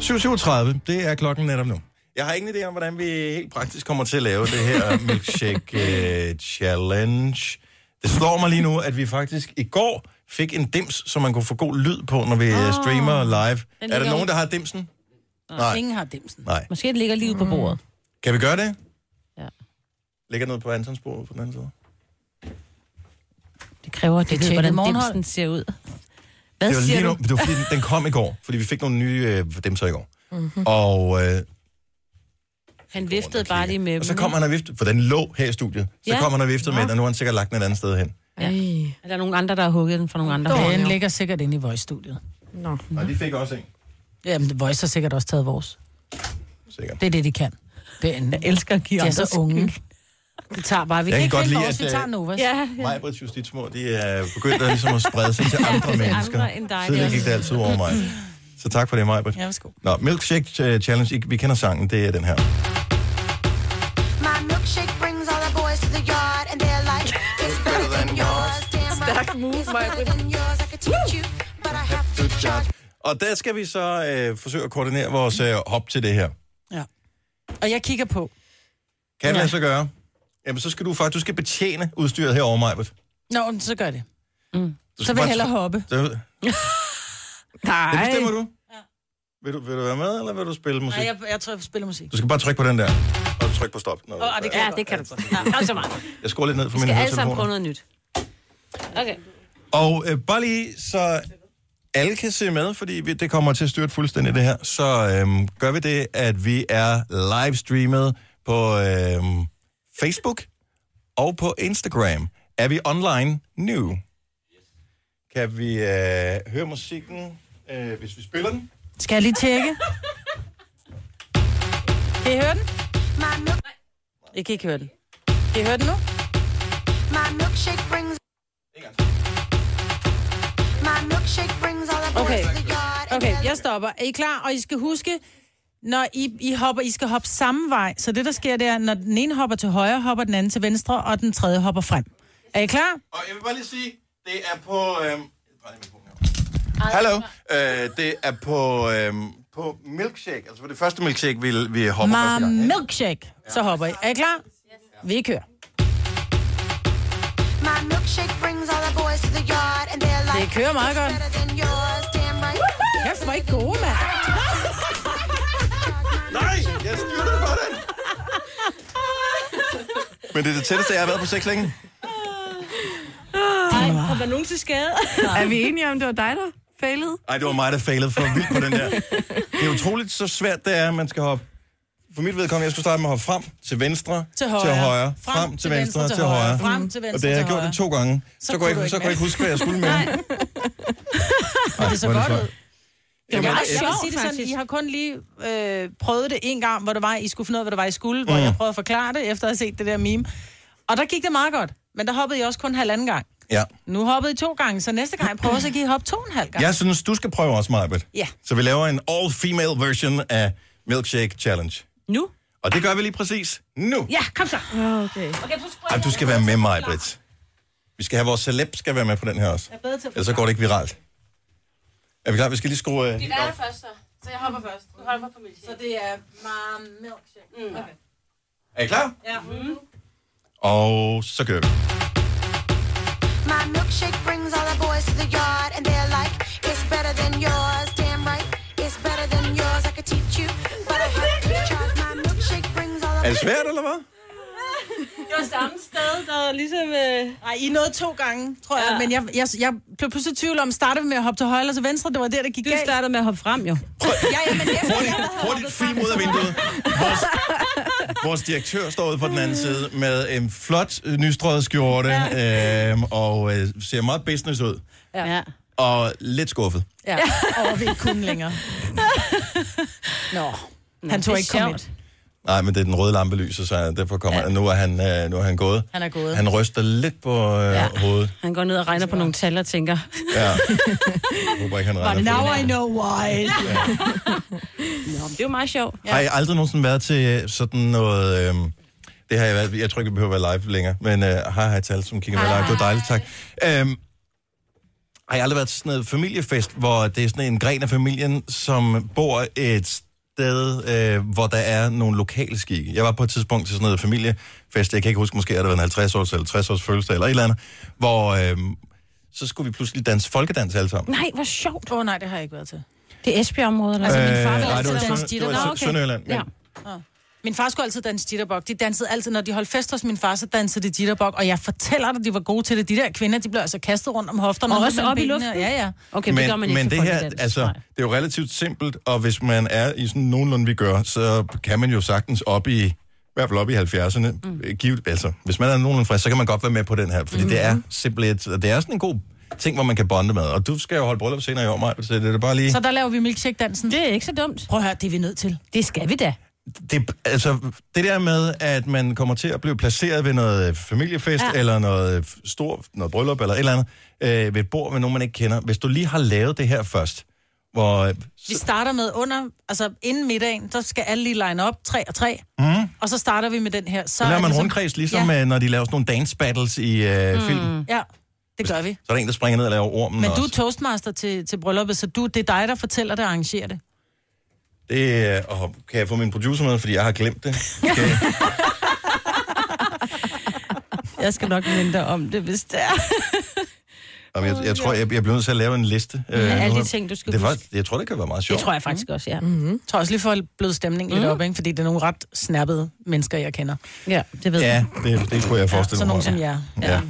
[SPEAKER 1] 7.37, det er klokken netop nu. Jeg har ingen idé om, hvordan vi helt praktisk kommer til at lave det her milkshake øh, challenge. Det slår mig lige nu, at vi faktisk i går fik en dims, som man kunne få god lyd på, når vi
[SPEAKER 3] Ah.
[SPEAKER 1] oh, streamer live. Er der
[SPEAKER 2] ligger-
[SPEAKER 1] nogen, der har dimsen? Nej.
[SPEAKER 2] Ingen har dimsen.
[SPEAKER 1] Nej.
[SPEAKER 3] Måske det ligger lige ude på bordet.
[SPEAKER 1] Kan vi gøre det?
[SPEAKER 3] Ja.
[SPEAKER 1] Ligger noget på Antons bord på den anden side?
[SPEAKER 3] Det kræver, at
[SPEAKER 2] Det
[SPEAKER 3] det ved,
[SPEAKER 2] tjekkede
[SPEAKER 3] hvordan
[SPEAKER 2] morgenhold.
[SPEAKER 3] dimsen ser ud. Hvad
[SPEAKER 1] det var
[SPEAKER 3] siger
[SPEAKER 1] lige
[SPEAKER 3] du?
[SPEAKER 1] nu, det var fordi, den- den kom i går, fordi vi fik nogle nye øh, dimser i går.
[SPEAKER 3] Mhm.
[SPEAKER 1] Mm-hmm. Og øh,
[SPEAKER 3] Han viftede bare lige med
[SPEAKER 1] Og så
[SPEAKER 3] dem.
[SPEAKER 1] kom han og viftede, for den lå her i studiet. Så
[SPEAKER 3] Ja.
[SPEAKER 1] ja. kom han og viftede med
[SPEAKER 3] Nå.
[SPEAKER 1] den, og nu har han sikkert lagt den et andet sted hen.
[SPEAKER 3] Ja. Er der nogen andre, der har hugget den for nogle andre?
[SPEAKER 2] Den ligger sikkert inde i Voice-studiet.
[SPEAKER 5] Nå.
[SPEAKER 1] Og de fik også en.
[SPEAKER 2] Jamen, Voice har sikkert også taget vores.
[SPEAKER 1] Sikkert.
[SPEAKER 2] Det er det, de kan. Det er en, jeg elsker at give De er
[SPEAKER 3] andre
[SPEAKER 2] så unge. De tager bare. Vi
[SPEAKER 1] Jeg
[SPEAKER 2] kan ikke
[SPEAKER 1] kan godt
[SPEAKER 2] finde
[SPEAKER 1] lide,
[SPEAKER 2] vores,
[SPEAKER 1] at,
[SPEAKER 2] vi tager
[SPEAKER 1] øh,
[SPEAKER 2] Novas.
[SPEAKER 3] Ja,
[SPEAKER 1] Ja. Mig, Brits Justitsmor, de er begyndt at, ligesom at sprede sig til andre mennesker.
[SPEAKER 3] andre end dig, det er
[SPEAKER 1] Tidligere gik
[SPEAKER 3] også-
[SPEAKER 1] det altid over mig. Så tak for det, Maj. Ja,
[SPEAKER 2] værsgo.
[SPEAKER 1] Nå, Milkshake øh, Challenge, I- vi kender sangen, det er den her.
[SPEAKER 10] My milkshake brings all the boys to the yard, and they're like, it's better than yours. Damn right, it's better than yours. I could teach you, but I have to charge.
[SPEAKER 1] Og der skal vi så øh, forsøge at koordinere vores øh, hop til det her.
[SPEAKER 2] Og jeg kigger på.
[SPEAKER 1] Kan det lade sig gøre? Jamen, så skal du faktisk du skal betjene udstyret herovre, Majbert.
[SPEAKER 2] Nå, men så gør det. Mm.
[SPEAKER 1] Du
[SPEAKER 2] Så
[SPEAKER 1] skal
[SPEAKER 2] vil jeg
[SPEAKER 1] bare-
[SPEAKER 2] hellere hoppe.
[SPEAKER 1] Det,
[SPEAKER 2] Nej.
[SPEAKER 1] det bestemmer du. Vil, du. vil du være med, eller vil du spille musik?
[SPEAKER 2] Nej, jeg, jeg tror, jeg spiller musik.
[SPEAKER 1] Du skal bare trykke på den der, og trykke på stop. Nå, øh,
[SPEAKER 2] Åh, det kan jeg
[SPEAKER 3] Ja,
[SPEAKER 2] godt.
[SPEAKER 3] det kan du. Ja, altså meget.
[SPEAKER 1] jeg skruer lidt ned for
[SPEAKER 3] Vi
[SPEAKER 1] mine
[SPEAKER 3] skal alle sammen
[SPEAKER 1] høretelefoner.
[SPEAKER 3] prøve noget nyt. Okay.
[SPEAKER 1] Og øh, bare lige så alle kan se med, fordi vi, det kommer til at styrte fuldstændig det her, så øhm, gør vi det, at vi er livestreamet på øhm, Facebook og på Instagram. Er vi online nu? Kan vi øh, høre musikken, øh, hvis vi spiller den?
[SPEAKER 2] Skal jeg lige tjekke? Kan I høre den? Jeg kan ikke høre den. Kan I høre den nu?
[SPEAKER 10] My milkshake brings. My milkshake brings all the boys
[SPEAKER 2] Okay.
[SPEAKER 10] to the yard. and
[SPEAKER 2] Okay, jeg stopper. Er I klar? Og I skal huske, når I, I hopper, I skal hoppe samme vej. Så det, der sker, det er, når den ene hopper til højre, hopper den anden til venstre, og den tredje hopper frem. Er I klar?
[SPEAKER 1] Og jeg vil bare lige sige, det er på... Øhm, Hallo. Øh, det er på, øhm, på Milkshake. Altså på det første Milkshake, vi, vi hopper
[SPEAKER 2] My
[SPEAKER 1] første gang.
[SPEAKER 2] Ah, milkshake. Så hopper I. Er I klar? Vi kører.
[SPEAKER 10] My milkshake brings all the boys to the yard, and they're like,
[SPEAKER 2] Det kører meget
[SPEAKER 10] it's
[SPEAKER 2] godt.
[SPEAKER 10] better than yours. Damn right.
[SPEAKER 2] Kæft, hvor I gode, mand.
[SPEAKER 1] Nej, jeg styrtede på den. Men det er det tætteste, jeg har været på sex længe.
[SPEAKER 3] Ej, kom der nogen til skade?
[SPEAKER 5] Er vi enige om, det var dig, der failede?
[SPEAKER 1] Ej, det var mig, der failede for vildt på den der. Det er utroligt, så svært det er, at man skal hoppe. For mit vedkommende, jeg skulle starte med at hoppe frem til venstre,
[SPEAKER 2] Til højre.
[SPEAKER 1] til, højre, frem, til venstre, til højre.
[SPEAKER 2] Frem til venstre,
[SPEAKER 1] Og da jeg
[SPEAKER 2] til
[SPEAKER 1] gjorde
[SPEAKER 2] højre.
[SPEAKER 1] det to gange,
[SPEAKER 2] Så
[SPEAKER 1] så, så, kunne,
[SPEAKER 2] kunne
[SPEAKER 1] jeg,
[SPEAKER 2] du
[SPEAKER 1] ikke,
[SPEAKER 2] ikke
[SPEAKER 1] så kunne jeg ikke
[SPEAKER 2] mere.
[SPEAKER 1] huske, hvad jeg skulle med. Nej,
[SPEAKER 2] Og det så godt ud. Det var
[SPEAKER 1] Jamen,
[SPEAKER 2] meget
[SPEAKER 1] jeg-
[SPEAKER 2] sjovt, sige det sådan, I har kun lige øh, prøvet det en gang, hvor det var, I skulle finde ud af, hvad det var, I skulle, hvor
[SPEAKER 1] Mm.
[SPEAKER 2] jeg prøvede at forklare det, efter at have set det der meme. Og der gik det meget godt, men der hoppede I også kun halvanden gang.
[SPEAKER 1] Ja.
[SPEAKER 2] Nu hoppede I to gange, så næste gang I prøver, så kan I hoppe to og en halv gang.
[SPEAKER 1] Jeg synes, du skal prøve også, Marbet.
[SPEAKER 2] Ja.
[SPEAKER 1] Så vi laver en all-female version af Milkshake Challenge.
[SPEAKER 3] Nu?
[SPEAKER 1] Og det gør vi lige præcis nu.
[SPEAKER 3] Ja, kom så.
[SPEAKER 5] Okay.
[SPEAKER 3] Okay, så
[SPEAKER 1] Ej, du skal være med mig, Britt. Vi skal have vores celeb skal være med på den her også.
[SPEAKER 15] er bedre til at
[SPEAKER 1] Ellers så går det ikke viralt. Er vi klar? Vi skal lige skrue... Øh,
[SPEAKER 15] Det er først, så. Så jeg hopper først. Du hopper på milkshake. Så det er meget milkshake. Mm. Okay.
[SPEAKER 1] er I klar? Mm-hmm.
[SPEAKER 15] Ja. Mm.
[SPEAKER 1] Og så kører vi.
[SPEAKER 10] My milkshake brings all the boys to the yard, and they're like, it's better than yours. Damn right, it's better than yours. I could teach you, but I have to charge. My milkshake brings all the
[SPEAKER 1] Er det svært, eller hvad?
[SPEAKER 3] Det var samme sted, der ligesom... Øh...
[SPEAKER 2] Nej, I nåede to gange, tror jeg, men jeg, jeg, jeg blev pludselig i tvivl om, startede vi med at hoppe til højre eller til venstre, det var der, det gik
[SPEAKER 3] Du
[SPEAKER 2] galt.
[SPEAKER 3] startede med at hoppe frem, jo.
[SPEAKER 2] Ja, ja, men efter jeg havde
[SPEAKER 1] Hurtigt film ud af vinduet. Vores, vores direktør står ude på den anden side med en flot øh, nystrøget skjorte øh, og øh, ser meget business ud.
[SPEAKER 3] Ja.
[SPEAKER 1] Og lidt skuffet.
[SPEAKER 2] Ja, og vi ikke kunne længere. Nå, han tog
[SPEAKER 3] det er
[SPEAKER 2] ikke komme
[SPEAKER 3] sjovt.
[SPEAKER 2] ind.
[SPEAKER 1] Nej, men det er den røde lampe lyser, så derfor kommer ja. nu, er han, øh, nu er han gået.
[SPEAKER 3] Han er gået.
[SPEAKER 1] Han ryster lidt på øh, ja. hovedet.
[SPEAKER 3] Han går ned og regner på nogle tal og tænker...
[SPEAKER 1] Ja. Jeg håber ikke, han regner på det.
[SPEAKER 2] I know why.
[SPEAKER 3] Nå, men det er jo meget sjovt.
[SPEAKER 1] Ja. Har I aldrig nogensinde været til øh, sådan noget... Øh, det har jeg været... Jeg tror ikke, vi behøver være live længere, men øh, hej, hej til alle, som kigger med live. Det var dejligt, tak. Øhm, har I aldrig været til sådan noget familiefest, hvor det er sådan en gren af familien, som bor et sted, øh, hvor der er nogle lokale skikke? Jeg var på et tidspunkt til sådan noget familiefest, jeg kan ikke huske, måske har det været en 50-års eller 60-års fødselsdag eller et eller andet, hvor øh, så skulle vi pludselig danse folkedans alle sammen.
[SPEAKER 3] Nej, hvor sjovt.
[SPEAKER 2] Åh oh, nej, det har jeg ikke været til.
[SPEAKER 3] Det er Esbjerg-området, eller?
[SPEAKER 1] Øh,
[SPEAKER 3] Altså, min far
[SPEAKER 1] nej,
[SPEAKER 3] var
[SPEAKER 1] det var
[SPEAKER 3] altid
[SPEAKER 1] Sønder- det var Sø- Sønderjylland, men-
[SPEAKER 3] Ja.
[SPEAKER 2] Min far skulle altid danse jitterbug. De dansede altid, når de holdt fest hos min far, så dansede de jitterbug. Og jeg fortæller dig, de var gode til det. De der kvinder, de blev altså kastet rundt om hofterne.
[SPEAKER 3] Og
[SPEAKER 2] rundt
[SPEAKER 3] også
[SPEAKER 2] mellem
[SPEAKER 3] op i
[SPEAKER 2] benene.
[SPEAKER 3] luften?
[SPEAKER 2] Ja, ja.
[SPEAKER 3] Okay, men, det gør man ikke
[SPEAKER 1] men
[SPEAKER 3] til
[SPEAKER 1] det her,
[SPEAKER 3] folkedans.
[SPEAKER 1] altså, det er jo relativt simpelt, og hvis man er i sådan nogenlunde, vi gør, så kan man jo sagtens op i, hvert fald op i 70'erne. Mm. Givet, altså, hvis man er nogenlunde frisk, så kan man godt være med på den her, fordi mm. det er simpelthen, det er sådan en god ting, hvor man kan bonde med. Og du skal jo holde bryllup senere i år, Maja, så det er bare lige...
[SPEAKER 2] Så der laver vi milkshake-dansen.
[SPEAKER 3] Det er ikke så dumt.
[SPEAKER 2] Prøv at høre, det er vi nødt til.
[SPEAKER 3] Det skal vi da.
[SPEAKER 1] det, altså, det der med, at man kommer til at blive placeret ved noget øh, familiefest, ja.
[SPEAKER 3] Ja.
[SPEAKER 1] eller noget øh, stor, noget bryllup, eller et eller andet, øh, ved et bord med nogen, man ikke kender. Hvis du lige har lavet det her først, hvor... øh,
[SPEAKER 2] Vi starter med under, altså inden middagen, så skal alle lige line op, tre og tre.
[SPEAKER 1] Mm,
[SPEAKER 2] Og så starter vi med den her.
[SPEAKER 1] så
[SPEAKER 2] Så
[SPEAKER 1] laver
[SPEAKER 2] er
[SPEAKER 1] man
[SPEAKER 2] det som-
[SPEAKER 1] rundkreds, ligesom ja. når de laver sådan nogle dance battles i øh, mm. filmen.
[SPEAKER 2] Ja, det gør vi.
[SPEAKER 1] Så er der en, der springer ned og laver ormen
[SPEAKER 2] Men du er
[SPEAKER 1] også.
[SPEAKER 2] toastmaster til, til brylluppet, så du, det er dig, der fortæller det og arrangerer det.
[SPEAKER 1] Det, øh, og kan jeg få min producer med, fordi jeg har glemt det.
[SPEAKER 3] Jeg skal nok minde dig om det, hvis det er.
[SPEAKER 1] Jamen, jeg, jeg tror, jeg, jeg bliver nødt til at lave en liste. øh,
[SPEAKER 3] Med
[SPEAKER 1] nu
[SPEAKER 3] alle de
[SPEAKER 1] har-
[SPEAKER 3] ting, du skal
[SPEAKER 1] det er
[SPEAKER 3] huske.
[SPEAKER 1] faktisk, Jeg tror, det kan være meget sjovt.
[SPEAKER 3] Det tror jeg faktisk også, ja.
[SPEAKER 1] Mm.
[SPEAKER 2] Mm-hmm. Tror også lige for at bløde stemningen mm. lidt op, ikke? fordi det er nogle ret snappede mennesker, jeg kender.
[SPEAKER 3] Ja, det ved
[SPEAKER 1] Ja, det, det kunne jeg forestille
[SPEAKER 2] Sådan
[SPEAKER 1] mig.
[SPEAKER 2] nogle som jer.
[SPEAKER 1] Ja. ja.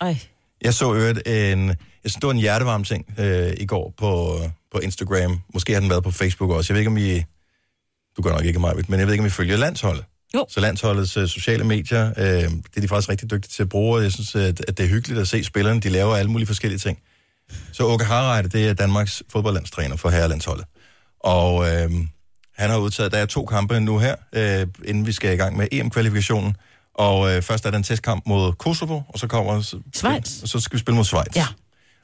[SPEAKER 3] Ej.
[SPEAKER 1] Jeg så i øvrigt en, jeg synes, det var en hjertevarm ting øh, i går på, på Instagram. Måske har den været på Facebook også. Jeg ved ikke, om I... Du gør nok ikke mig, men jeg ved ikke, om I følger landsholdet.
[SPEAKER 3] Jo.
[SPEAKER 1] Så landsholdets øh, sociale medier, øh, det er de faktisk rigtig dygtige til at bruge, og jeg synes, at, at det er hyggeligt at se spillerne. De laver alle mulige forskellige ting. Så Åke Harreide, det er Danmarks fodboldlandstræner for herrelandsholdet. Og øh, han har udtaget, der er to kampe nu her, øh, inden vi skal i gang med EM-kvalifikationen. Og øh, først er der en testkamp mod Kosovo, og så kommer... Så,
[SPEAKER 3] Schweiz.
[SPEAKER 1] Og så skal vi spille mod Schweiz.
[SPEAKER 3] Ja.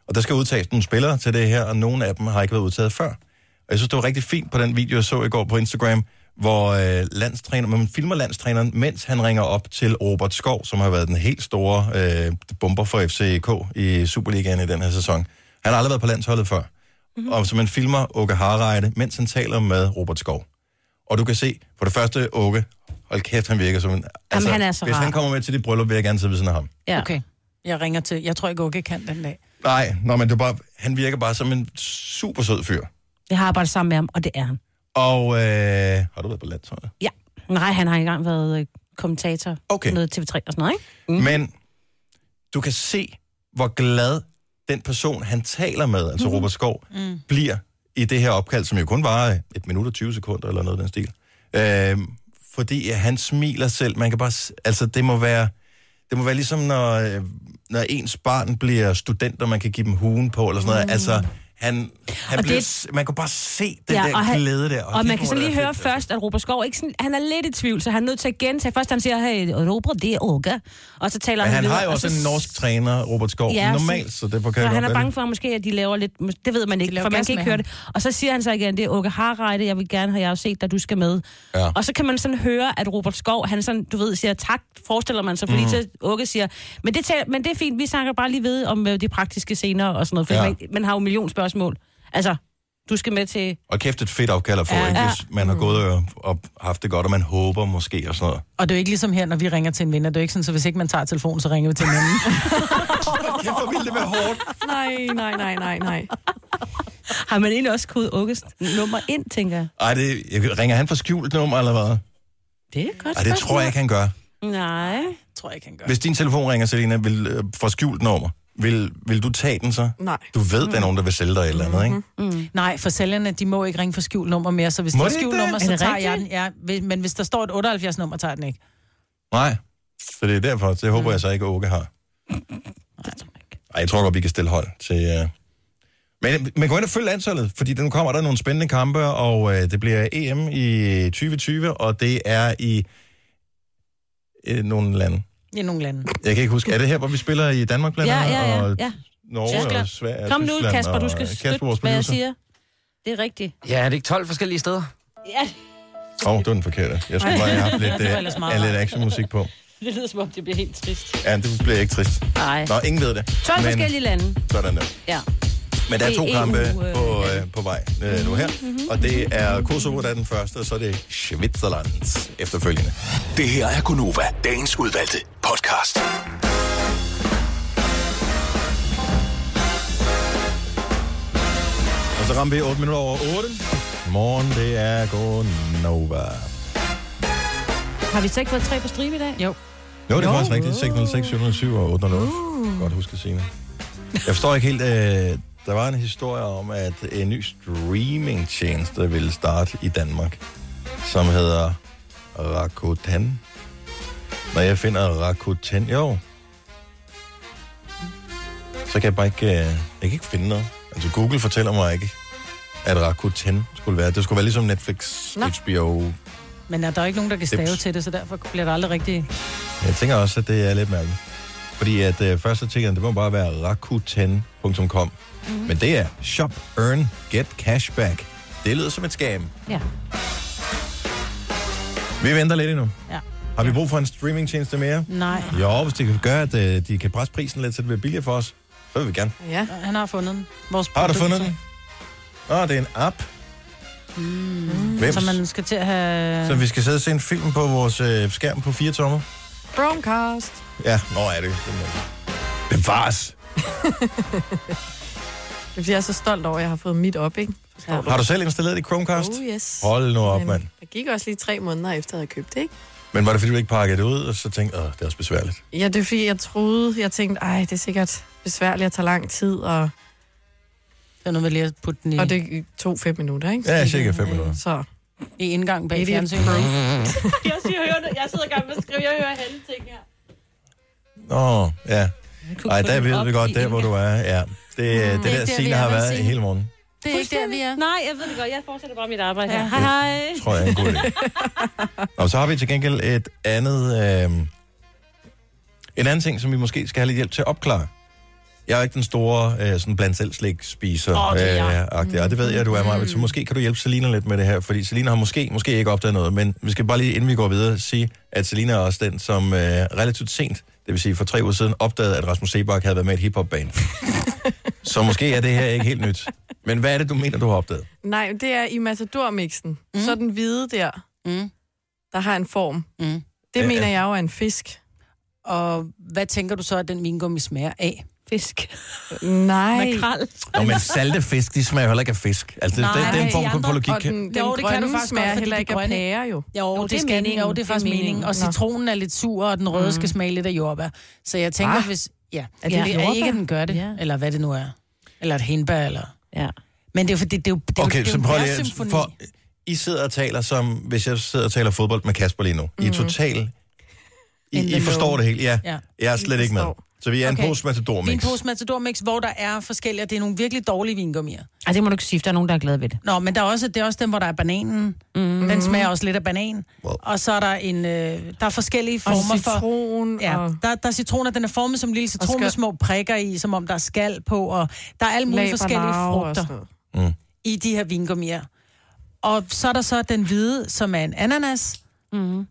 [SPEAKER 1] Og der skal udtages nogle spillere til det her, og nogle af dem har ikke været udtaget før. Og jeg synes, det var rigtig fint på den video, jeg så i går på Instagram, hvor øh, landstræner, man filmer landstræneren, mens han ringer op til Robert Skov, som har været den helt store øh, bomber for FCK i Superligaen i den her sæson. Han har aldrig været på landsholdet før.
[SPEAKER 2] Mhm.
[SPEAKER 1] Mm-hmm. Og så man filmer Åke Harreide, mens han taler med Robert Skov. Og du kan se, for det første, Åke, hold kæft, han virker som en... altså,
[SPEAKER 2] han er så
[SPEAKER 1] hvis
[SPEAKER 2] rar.
[SPEAKER 1] han kommer med til dit bryllup, vil jeg gerne sidde ved siden af ham.
[SPEAKER 2] Ja. Okay, jeg ringer til. Jeg tror ikke, Åke kan den dag.
[SPEAKER 1] Nej, nå, men det er bare, han virker bare som en super sød fyr.
[SPEAKER 3] Jeg har arbejdet sammen med ham, og det er han.
[SPEAKER 1] Og øh, har du været på landsholdet?
[SPEAKER 3] Ja. Nej, han har ikke engang været øh, kommentator okay. på noget TV3 og sådan noget, ikke?
[SPEAKER 1] Mm. Men du kan se, hvor glad den person, han taler med, altså mm. Robert Skov,
[SPEAKER 3] Mm.
[SPEAKER 1] bliver i det her opkald, som jo kun varer et minut og 20 sekunder eller noget af den stil. Øh, fordi at han smiler selv. Man kan bare... s- Altså, det må være... Det må være ligesom, når, øh, når ens barn bliver student, og man kan give dem huen på, eller sådan noget. Mm. Altså, han, han
[SPEAKER 3] Og
[SPEAKER 1] bliver,
[SPEAKER 3] det-
[SPEAKER 1] det... Man kan bare se den ja, der
[SPEAKER 3] og
[SPEAKER 1] og
[SPEAKER 3] han-
[SPEAKER 1] glæde der.
[SPEAKER 3] Og, og
[SPEAKER 1] kæft,
[SPEAKER 3] man
[SPEAKER 1] hvor
[SPEAKER 3] kan så
[SPEAKER 1] det er
[SPEAKER 3] lige
[SPEAKER 1] fedt,
[SPEAKER 3] høre
[SPEAKER 1] altså.
[SPEAKER 3] først, at Robert Skov, ikke sådan, han er lidt i tvivl, så han er nødt til at gentage. Først han siger, hey, Robert, det er Åke. Og så taler
[SPEAKER 1] Men han
[SPEAKER 3] videre,
[SPEAKER 1] har jo
[SPEAKER 3] og
[SPEAKER 1] også
[SPEAKER 3] så
[SPEAKER 1] en norsk træner, Robert Skov,
[SPEAKER 3] Ja,
[SPEAKER 1] ja,
[SPEAKER 3] så-
[SPEAKER 1] normalt, så derfor kan
[SPEAKER 3] Så
[SPEAKER 1] jeg
[SPEAKER 3] han
[SPEAKER 1] godt
[SPEAKER 3] er
[SPEAKER 1] være
[SPEAKER 3] bange
[SPEAKER 1] lidt-
[SPEAKER 3] for, at måske, at de laver lidt... Det ved man ikke,
[SPEAKER 2] laver
[SPEAKER 3] for man
[SPEAKER 2] gas
[SPEAKER 3] kan ikke
[SPEAKER 2] med
[SPEAKER 3] høre
[SPEAKER 2] ham.
[SPEAKER 3] det. Og så siger han så igen, det er Åke Harreide, jeg vil gerne have, jeg har jo set dig, du skal med.
[SPEAKER 1] Ja.
[SPEAKER 3] Og så kan man sådan høre, at Robert Skov, han sådan, du ved, siger tak, forestiller man sig, fordi
[SPEAKER 1] Mhm.
[SPEAKER 3] mm. til Åke siger, men det, tager, men det er fint, vi snakker bare lige ved om øh, de praktiske scener og sådan noget, for
[SPEAKER 1] Ja.
[SPEAKER 3] ja. man, man, har jo en million spørgsmål. Altså, du skal med til...
[SPEAKER 1] Og kæft et fedt opkald at få,
[SPEAKER 3] Ja.
[SPEAKER 1] ja, ikke,
[SPEAKER 3] Ja.
[SPEAKER 1] hvis man har gået og, og haft det godt, og man håber måske og sådan noget.
[SPEAKER 2] Og det er jo ikke ligesom her, når vi ringer til en vinder. Det er jo ikke sådan, så hvis ikke man tager telefonen, så ringer vi til en anden.
[SPEAKER 1] Kæft, hvor ville det være hårdt.
[SPEAKER 5] Nej, nej, nej, nej, nej.
[SPEAKER 3] Har man egentlig også kodet Åkes nummer ind, tænker jeg?
[SPEAKER 1] Ej, det, jeg- ringer han for skjult nummer, eller hvad?
[SPEAKER 3] Det er et godt
[SPEAKER 1] Ej, det tror jeg ikke, han gør.
[SPEAKER 3] Nej.
[SPEAKER 2] tror jeg ikke, han gør.
[SPEAKER 1] Hvis din telefon ringer, Selina, vil, øh, for skjult nummer, vil, vil du tage den så?
[SPEAKER 5] Nej.
[SPEAKER 1] Du ved, der er nogen, der vil sælge dig et eller andet, ikke?
[SPEAKER 2] Mm. Nej, for sælgerne, de må ikke ringe for skjult nummer mere, så hvis
[SPEAKER 1] Må
[SPEAKER 2] der er
[SPEAKER 1] de ikke
[SPEAKER 2] skjult
[SPEAKER 1] det?
[SPEAKER 2] nummer,
[SPEAKER 1] Er
[SPEAKER 2] så
[SPEAKER 1] det
[SPEAKER 2] tager
[SPEAKER 1] rigtigt?
[SPEAKER 2] jeg den. Ja, hvis- men hvis der står et 78 nummer, tager jeg den ikke.
[SPEAKER 1] Nej. Så det er derfor, det
[SPEAKER 3] Mm.
[SPEAKER 1] håber jeg så ikke, at Åke har. Ej, jeg tror godt, vi kan stille hold til... Uh... Men, men gå ind og følg landsholdet, fordi nu kommer der nogle spændende kampe, og uh, det bliver EM i 2020, og det er i uh, nogle lande.
[SPEAKER 2] I nogle lande.
[SPEAKER 1] Jeg kan ikke huske, er det her, hvor vi spiller i Danmark blandt andet? Og Norge
[SPEAKER 3] Tyskland.
[SPEAKER 1] og Sverige og
[SPEAKER 3] Kom nu,
[SPEAKER 1] Tyskland,
[SPEAKER 3] Kasper, du
[SPEAKER 1] og
[SPEAKER 3] skal
[SPEAKER 1] Kasper,
[SPEAKER 3] støtte,
[SPEAKER 1] vores
[SPEAKER 3] hvad jeg
[SPEAKER 1] producer.
[SPEAKER 3] siger. Det er rigtigt.
[SPEAKER 4] Ja, er det ikke 12 forskellige steder?
[SPEAKER 3] Ja,
[SPEAKER 1] Åh, oh, det var den forkerte. Jeg skulle
[SPEAKER 3] Ej.
[SPEAKER 1] bare have haft lidt,
[SPEAKER 3] Det var ellers
[SPEAKER 1] uh,
[SPEAKER 3] meget
[SPEAKER 1] lidt
[SPEAKER 3] rart.
[SPEAKER 1] actionmusik på.
[SPEAKER 3] det lyder som om, det bliver helt trist.
[SPEAKER 1] Ja, det bliver ikke trist.
[SPEAKER 3] Nej.
[SPEAKER 1] Nå, ingen ved det.
[SPEAKER 3] 12
[SPEAKER 1] Men-
[SPEAKER 3] forskellige lande.
[SPEAKER 1] Sådan der.
[SPEAKER 3] Ja.
[SPEAKER 1] Men der er
[SPEAKER 3] Det
[SPEAKER 1] to
[SPEAKER 3] er
[SPEAKER 1] kampe
[SPEAKER 3] EU, øh, Mhm,
[SPEAKER 1] på, øh, på vej øh, nu her. Og det er Kosovo, der er den første, og så er det Schwitzerland efterfølgende.
[SPEAKER 8] Det her er Gunova, dagens udvalgte podcast.
[SPEAKER 1] Og så rammer vi 8 minutter over 8. Morgen, det er Gonova.
[SPEAKER 3] Har vi så ikke fået tre på stribe i dag?
[SPEAKER 2] Jo.
[SPEAKER 1] Jo, det er faktisk rigtigt. 606, 707 og 808. Godt huske Signe. Jeg forstår ikke helt... Øh, der var en historie om, at en ny streamingtjeneste ville starte i Danmark, som hedder Rakuten. Når jeg finder Rakuten, jo. Så kan jeg bare ikke, øh, jeg kan ikke finde noget. Altså Google fortæller mig ikke, at Rakuten skulle være. Det skulle være ligesom Netflix,
[SPEAKER 2] Nå.
[SPEAKER 1] HBO.
[SPEAKER 2] Men er der ikke nogen, der kan
[SPEAKER 1] Dips.
[SPEAKER 2] stave til det, så derfor bliver det aldrig rigtigt.
[SPEAKER 1] Jeg tænker også, at det er lidt mærkeligt. Fordi at øh, først så tænker jeg, at det må bare være rakuten.com.
[SPEAKER 2] Mhm.
[SPEAKER 1] Mm. Men det er shop, earn, get cashback. Det lyder som et scam.
[SPEAKER 2] Ja.
[SPEAKER 1] Vi venter lidt endnu.
[SPEAKER 2] Ja. Mm.
[SPEAKER 1] Har vi brug for en streamingtjeneste mere?
[SPEAKER 2] Nej.
[SPEAKER 1] Jo, hvis det kan gøre, at øh, de kan presse prisen lidt, så det bliver billigere for os, så vil vi gerne.
[SPEAKER 2] Ja. Han har fundet den. Vores
[SPEAKER 1] Har du
[SPEAKER 2] producer.
[SPEAKER 1] fundet den? Åh, det er en app,
[SPEAKER 2] Mm.
[SPEAKER 1] Hvems?
[SPEAKER 2] Så man skal til at have...
[SPEAKER 1] så vi skal sidde og se en film på vores øh, skærm på fire tommer.
[SPEAKER 5] Bromcast.
[SPEAKER 1] Ja, nå er det. Bevares.
[SPEAKER 5] Det er fordi, jeg er så stolt over, at jeg har fået mit op, ikke? Forstår
[SPEAKER 1] Har du selv installeret det Chromecast?
[SPEAKER 5] Oh, yes.
[SPEAKER 1] Hold nu op,
[SPEAKER 5] Men
[SPEAKER 1] mand.
[SPEAKER 5] Der gik også lige tre måneder efter, at jeg havde købt det, ikke?
[SPEAKER 1] Men var det, fordi du ikke pakkede det ud, og så tænkte, åh, det er også besværligt?
[SPEAKER 5] Ja, det er fordi, jeg troede, jeg tænkte, ej, det er sikkert besværligt at tage lang tid, og...
[SPEAKER 2] Det er noget med lige at putte den i...
[SPEAKER 5] Og det tog fem minutter, ikke?
[SPEAKER 1] Mm. Ja, cirka fem minutter.
[SPEAKER 5] Så...
[SPEAKER 2] I indgangen bag
[SPEAKER 5] Idiot.
[SPEAKER 2] fjernsynet, ikke?
[SPEAKER 15] Jeg, siger, jeg, hører, jeg sidder i gang med at skrive, jeg hører alle ting her.
[SPEAKER 1] Nå, ja.
[SPEAKER 2] kunne
[SPEAKER 1] Ej,
[SPEAKER 2] få
[SPEAKER 1] der
[SPEAKER 2] den
[SPEAKER 1] ved
[SPEAKER 2] op
[SPEAKER 1] vi
[SPEAKER 2] i
[SPEAKER 1] godt, der hvor du er. Ja. Det, mm,
[SPEAKER 2] Det
[SPEAKER 1] det
[SPEAKER 2] er
[SPEAKER 1] der
[SPEAKER 2] ikke der,
[SPEAKER 1] Signe
[SPEAKER 2] vi er,
[SPEAKER 1] har
[SPEAKER 2] men
[SPEAKER 1] været
[SPEAKER 2] Signe-
[SPEAKER 1] hele morgenen,
[SPEAKER 2] Det er ikke der, vi er.
[SPEAKER 3] Nej, jeg ved det godt. Jeg fortsætter bare mit arbejde her.
[SPEAKER 2] Ja.
[SPEAKER 3] Hej, hej.
[SPEAKER 1] tror jeg er en god idé. Og så har vi til gengæld et andet... Øh, en anden ting, som vi måske skal have lidt hjælp til at opklare. Jeg er ikke den store øh, sådan blandt selv slik spiser øh,
[SPEAKER 16] Åh, det er jeg.
[SPEAKER 1] agtig, og det ved jeg, at du er, Maja, så måske kan du hjælpe Selina lidt med det her, fordi Selina har måske, måske ikke opdaget noget, men vi skal bare lige, inden vi går videre, sige, at Selina er også den, som øh, relativt sent, det vil sige for tre uger siden, opdagede, at Rasmus Sebak havde været med i et hiphop-band. så måske er det her ikke helt nyt. Men hvad er det, du mener, du har opdaget?
[SPEAKER 5] Nej, men det er i Matador-mixen. Mm. Så den hvide der,
[SPEAKER 2] mm.
[SPEAKER 5] der har en form.
[SPEAKER 2] Mm. Det
[SPEAKER 5] ja, mener jeg jo er en fisk.
[SPEAKER 2] Og hvad tænker du så, at den vingummi smager af?
[SPEAKER 3] Fisk.
[SPEAKER 5] Nej.
[SPEAKER 3] Makrel.
[SPEAKER 1] Nå, men salte fisk, de smager heller ikke af fisk. Altså, Nej, det, det er en form for logik.
[SPEAKER 5] Og den, den
[SPEAKER 2] Jo,
[SPEAKER 5] jo, det kan du faktisk
[SPEAKER 2] godt,
[SPEAKER 5] smager
[SPEAKER 2] fordi
[SPEAKER 5] heller
[SPEAKER 2] de
[SPEAKER 5] ikke af
[SPEAKER 2] grønne-
[SPEAKER 5] pære, jo.
[SPEAKER 2] Jo, jo det, det, skal meningen. Jo, det er faktisk meningen. meningen. Og
[SPEAKER 5] Nå.
[SPEAKER 2] citronen er lidt sur, og den røde mm. skal smage lidt af jordbær. Så jeg tænker,
[SPEAKER 5] Ah.
[SPEAKER 2] ah. hvis... Ja,
[SPEAKER 5] Er det
[SPEAKER 2] ja.
[SPEAKER 5] jordbær?
[SPEAKER 2] ikke, at den gør det.
[SPEAKER 5] Ja.
[SPEAKER 2] Ja. Eller hvad det nu er. Eller et hindbær, eller...
[SPEAKER 3] Ja.
[SPEAKER 2] Men det er jo fordi, det er jo, det er jo-
[SPEAKER 1] Okay,
[SPEAKER 2] det er
[SPEAKER 1] så
[SPEAKER 2] jo
[SPEAKER 1] prøv
[SPEAKER 2] en
[SPEAKER 1] lige at...
[SPEAKER 2] symfoni.
[SPEAKER 1] For, I sidder og taler som... Hvis jeg sidder og taler fodbold med Kasper lige nu. I er
[SPEAKER 2] Mhm.
[SPEAKER 1] total... I,
[SPEAKER 2] In the
[SPEAKER 1] I forstår
[SPEAKER 2] know.
[SPEAKER 1] det helt, ja.
[SPEAKER 2] Ja.
[SPEAKER 1] Jeg er slet ikke med. Så vi er en
[SPEAKER 2] Okay.
[SPEAKER 1] pose
[SPEAKER 2] Det er en
[SPEAKER 1] matador-mix.
[SPEAKER 2] pose Matador Mix, hvor der er forskellige, og det er nogle virkelig dårlige vingummier.
[SPEAKER 3] Ej, det må du ikke sige, for der er nogen, der er glade ved det.
[SPEAKER 2] Nå, men der er også, det er også dem, hvor der er bananen. Mm. Den smager også lidt af banan. Wow. Og så er der en... Øh, der er forskellige
[SPEAKER 5] Og
[SPEAKER 2] former for...
[SPEAKER 5] citron,
[SPEAKER 2] Ja,
[SPEAKER 5] og...
[SPEAKER 2] der, der er citroner, den er formet som en lille citron
[SPEAKER 5] skal-
[SPEAKER 2] med små prikker i, som om der er skal på, og der er alle mulige
[SPEAKER 5] Laberlag
[SPEAKER 2] forskellige
[SPEAKER 5] og
[SPEAKER 2] frugter
[SPEAKER 5] sådan noget.
[SPEAKER 2] i de her vingummier. Og så er der så den hvide, som er en ananas, mm.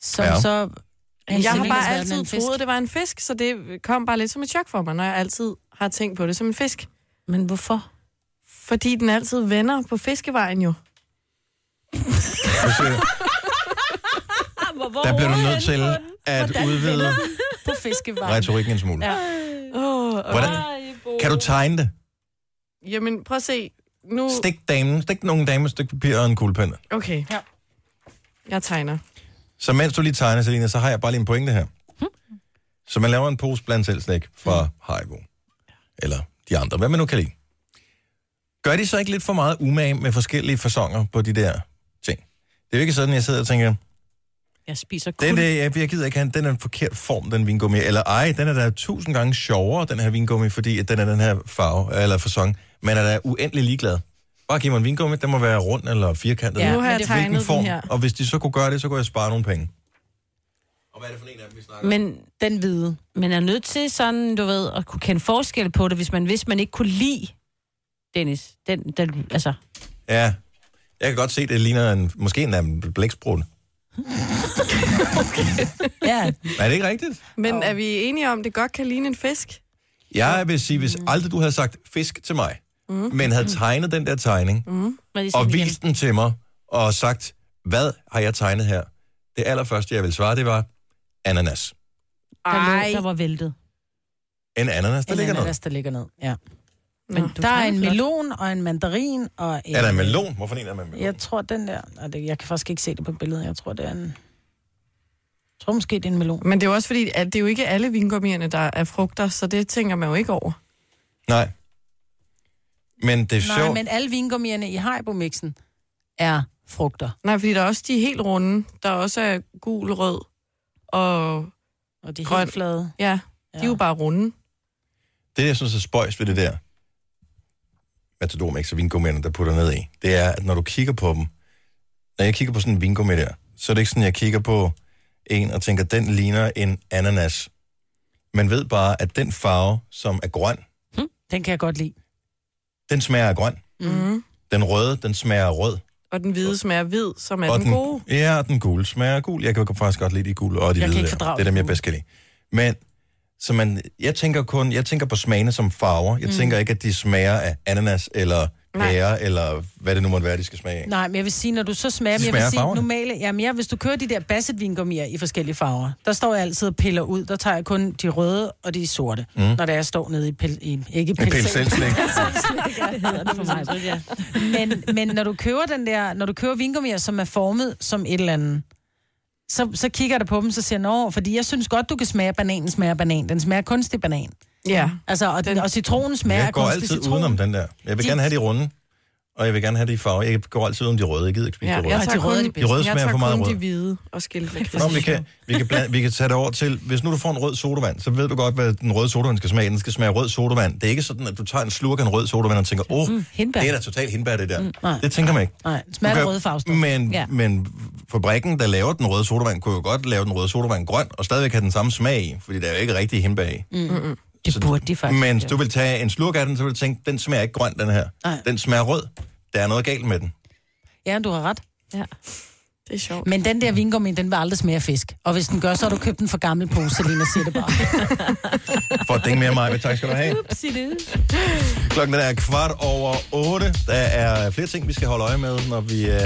[SPEAKER 2] som
[SPEAKER 5] Ja.
[SPEAKER 2] ja. så...
[SPEAKER 5] Mm-hmm. Jeg har bare
[SPEAKER 2] Selenas verden er
[SPEAKER 5] altid
[SPEAKER 2] en fisk.
[SPEAKER 5] troet, det var en fisk, så det kom bare lidt som et chok for mig, når jeg altid har tænkt på det som en fisk.
[SPEAKER 3] Men hvorfor?
[SPEAKER 5] Fordi den altid vender på fiskevejen jo.
[SPEAKER 3] Hvor, hvor
[SPEAKER 1] Der bliver du nødt til at udvide
[SPEAKER 2] på fiskevejen.
[SPEAKER 1] retorikken en smule.
[SPEAKER 5] Ja. Oh,
[SPEAKER 1] Hvordan- Kan du tegne det?
[SPEAKER 5] Jamen, prøv at se. Nu...
[SPEAKER 1] Stik damen, stik nogle damer, stik papir og en kuglepen.
[SPEAKER 5] Okay.
[SPEAKER 2] Ja.
[SPEAKER 5] Jeg tegner.
[SPEAKER 1] Så mens du lige tegner, Selina, så har jeg bare lige en pointe her. Så man laver en pose blandt selv slik fra Haribo. Eller de andre, hvad man nu kan lide. Gør de så ikke lidt for meget umage med forskellige fasonger på de der ting? Det er jo ikke sådan, jeg sidder og tænker,
[SPEAKER 3] Jeg spiser kun...
[SPEAKER 1] den der, jeg, jeg gider ikke have, den, den er en forkert form, den vingummi. Eller ej, den er da tusind gange sjovere, den her vingummi, fordi at den er den her farve, eller fasong. Man er da uendelig ligeglad. Bare giv mig en vingummi, den må være rund eller firkantet.
[SPEAKER 5] Ja, Nu har jeg
[SPEAKER 1] Hvilken
[SPEAKER 5] tegnet den
[SPEAKER 1] form,
[SPEAKER 5] her.
[SPEAKER 1] Og hvis de så kunne gøre det, så kunne jeg spare nogle penge.
[SPEAKER 3] Men
[SPEAKER 2] den hvide.
[SPEAKER 3] Man er nødt til sådan, du ved, at kunne kende forskel på det, hvis man hvis man ikke kunne lide Dennis. Den, den, altså,
[SPEAKER 1] Ja. Jeg kan godt se, det ligner en, måske en af en blæksprut.
[SPEAKER 2] Ja.
[SPEAKER 1] Er det ikke rigtigt?
[SPEAKER 5] Men er vi enige om, at det godt kan ligne en fisk?
[SPEAKER 1] Jeg vil sige, hvis aldrig du havde sagt fisk til mig, mm. men havde tegnet den der tegning,
[SPEAKER 5] Mm.
[SPEAKER 1] og vist den til mig, og sagt, hvad har jeg tegnet her? Det allerførste, jeg ville svare, det var ananas.
[SPEAKER 3] der, lå, der var væltet.
[SPEAKER 1] En ananas, der
[SPEAKER 2] En
[SPEAKER 1] ligger
[SPEAKER 2] ananas,
[SPEAKER 1] noget.
[SPEAKER 2] der ligger ned. Ja.
[SPEAKER 3] Men
[SPEAKER 2] Men der er en melon og en mandarin og en...
[SPEAKER 1] Er der en melon? Hvorfor en er man melon?
[SPEAKER 2] Jeg tror, den der... Nej, det- Jeg kan faktisk ikke se det på billedet. Jeg tror, det er en... Jeg tror måske, det er en melon.
[SPEAKER 5] Men det er jo også fordi, at det er jo ikke alle vingummierne, der er frugter, så det tænker man jo ikke over.
[SPEAKER 1] Nej. Men det er
[SPEAKER 2] Nej,
[SPEAKER 1] sjovt.
[SPEAKER 2] men alle vingummierne i Haribo-mixen er frugter.
[SPEAKER 5] Nej, fordi der er også de helt runde, der også er gul, rød og,
[SPEAKER 2] og de er
[SPEAKER 5] grøn.
[SPEAKER 2] helt flade.
[SPEAKER 5] Ja, de er jo bare runde.
[SPEAKER 1] Det, jeg synes er spøjst ved det der, Matador Mix og vingummerne, der putter ned i, det er, at når du kigger på dem, når jeg kigger på sådan en vingummi der, så er det ikke sådan, at jeg kigger på en og tænker, den ligner en ananas. Man ved bare, at den farve, som er grøn,
[SPEAKER 2] Den kan jeg godt lide.
[SPEAKER 1] den smager af grøn.
[SPEAKER 5] Mm.
[SPEAKER 1] Den røde, den smager af rød.
[SPEAKER 5] Og den hvide smager hvid, som er
[SPEAKER 1] og
[SPEAKER 5] den, den gode.
[SPEAKER 1] Ja, og den gule smager af gul. Jeg kan faktisk godt lide de gule og de
[SPEAKER 5] Jeg kan
[SPEAKER 1] hvide.
[SPEAKER 5] ikke
[SPEAKER 1] der.
[SPEAKER 5] fordrage
[SPEAKER 1] det er dem,
[SPEAKER 5] de
[SPEAKER 1] jeg
[SPEAKER 5] gule.
[SPEAKER 1] bedst kan lide. Men så man, jeg tænker kun, jeg tænker på smagene som farver. Jeg
[SPEAKER 2] Mm.
[SPEAKER 1] mm. tænker ikke, at de smager af ananas eller
[SPEAKER 2] Nej.
[SPEAKER 1] pære, eller hvad det nu måtte være, de skal smage af.
[SPEAKER 2] Nej, men jeg vil sige, når du så smager,
[SPEAKER 1] De
[SPEAKER 2] dem, jeg vil
[SPEAKER 1] smager
[SPEAKER 2] sige
[SPEAKER 1] farverne.
[SPEAKER 2] normale, jamen jeg, hvis du kører de der basset vingummier i forskellige farver, der står jeg altid og piller ud, der tager jeg kun de røde og de sorte, mm.
[SPEAKER 1] Mm.
[SPEAKER 2] når det er, jeg står nede i, pel, i ikke i
[SPEAKER 1] En pelselslæg.
[SPEAKER 2] det hedder det for mig. Ja. Men, men når du køber den der, når du køber vingummier, som er formet som et eller andet, så, så kigger der på dem, så siger jeg, "Nå, fordi jeg synes godt, du kan smage, at bananen smager af banan. Den smager af kunstig banan.
[SPEAKER 5] Ja.
[SPEAKER 2] Altså, og, den, og citronen smager
[SPEAKER 1] jeg
[SPEAKER 2] af
[SPEAKER 1] går
[SPEAKER 2] kunstig
[SPEAKER 1] altid
[SPEAKER 2] citron.
[SPEAKER 1] udenom den der. Jeg vil
[SPEAKER 2] De-
[SPEAKER 1] gerne have de runde, og jeg vil gerne have de farver. Jeg går altid udenom de røde. Jeg gider ikke spise de
[SPEAKER 5] Ja,
[SPEAKER 1] røde.
[SPEAKER 5] jeg tager
[SPEAKER 1] de røde,
[SPEAKER 5] kun,
[SPEAKER 1] de røde
[SPEAKER 5] jeg
[SPEAKER 1] smager
[SPEAKER 5] tager
[SPEAKER 1] for meget
[SPEAKER 5] kun
[SPEAKER 1] rød.
[SPEAKER 5] de hvide og skilte væk.
[SPEAKER 1] Nå, men vi, kan, vi, kan bland, vi kan tage det over til, hvis nu du får en rød sodavand, så ved du godt, hvad den røde sodavand skal smage. Den skal smage rød sodavand. Det er ikke sådan, at du tager en slurk af en rød sodavand og tænker, åh, oh,
[SPEAKER 2] Mm, hindbær."
[SPEAKER 1] det er da totalt hindbær, det der.
[SPEAKER 2] nej.
[SPEAKER 1] Mm, det tænker man ikke.
[SPEAKER 2] Nej, den smager
[SPEAKER 1] Du
[SPEAKER 2] af
[SPEAKER 1] kan-
[SPEAKER 2] røde farvestof.
[SPEAKER 1] Men,
[SPEAKER 2] Ja.
[SPEAKER 1] ja. men fabrikken, der laver den røde sodavand, kunne jo godt lave den røde sodavand grøn, og stadigvæk have den samme smag i, fordi der er jo ikke rigtig hindbær i.
[SPEAKER 2] Mm. Det burde de faktisk.
[SPEAKER 1] Men
[SPEAKER 2] jo.
[SPEAKER 1] hvis du vil tage en slurk af den, så vil du tænke, den smager ikke grøn, den her.
[SPEAKER 2] Nej.
[SPEAKER 1] Den smager rød. Der er noget galt med den.
[SPEAKER 2] Ja, du har ret. Ja.
[SPEAKER 5] Det er sjovt.
[SPEAKER 2] Men den der vingummi, den vil aldrig smage af fisk. Og hvis den gør, så har du købt den for gammel pose, Selina siger det bare.
[SPEAKER 1] For at dænge mere mig, men tak skal du have.
[SPEAKER 2] Sig det.
[SPEAKER 1] Klokken den er kvart over 8. Der er flere ting, vi skal holde øje med, når vi øh,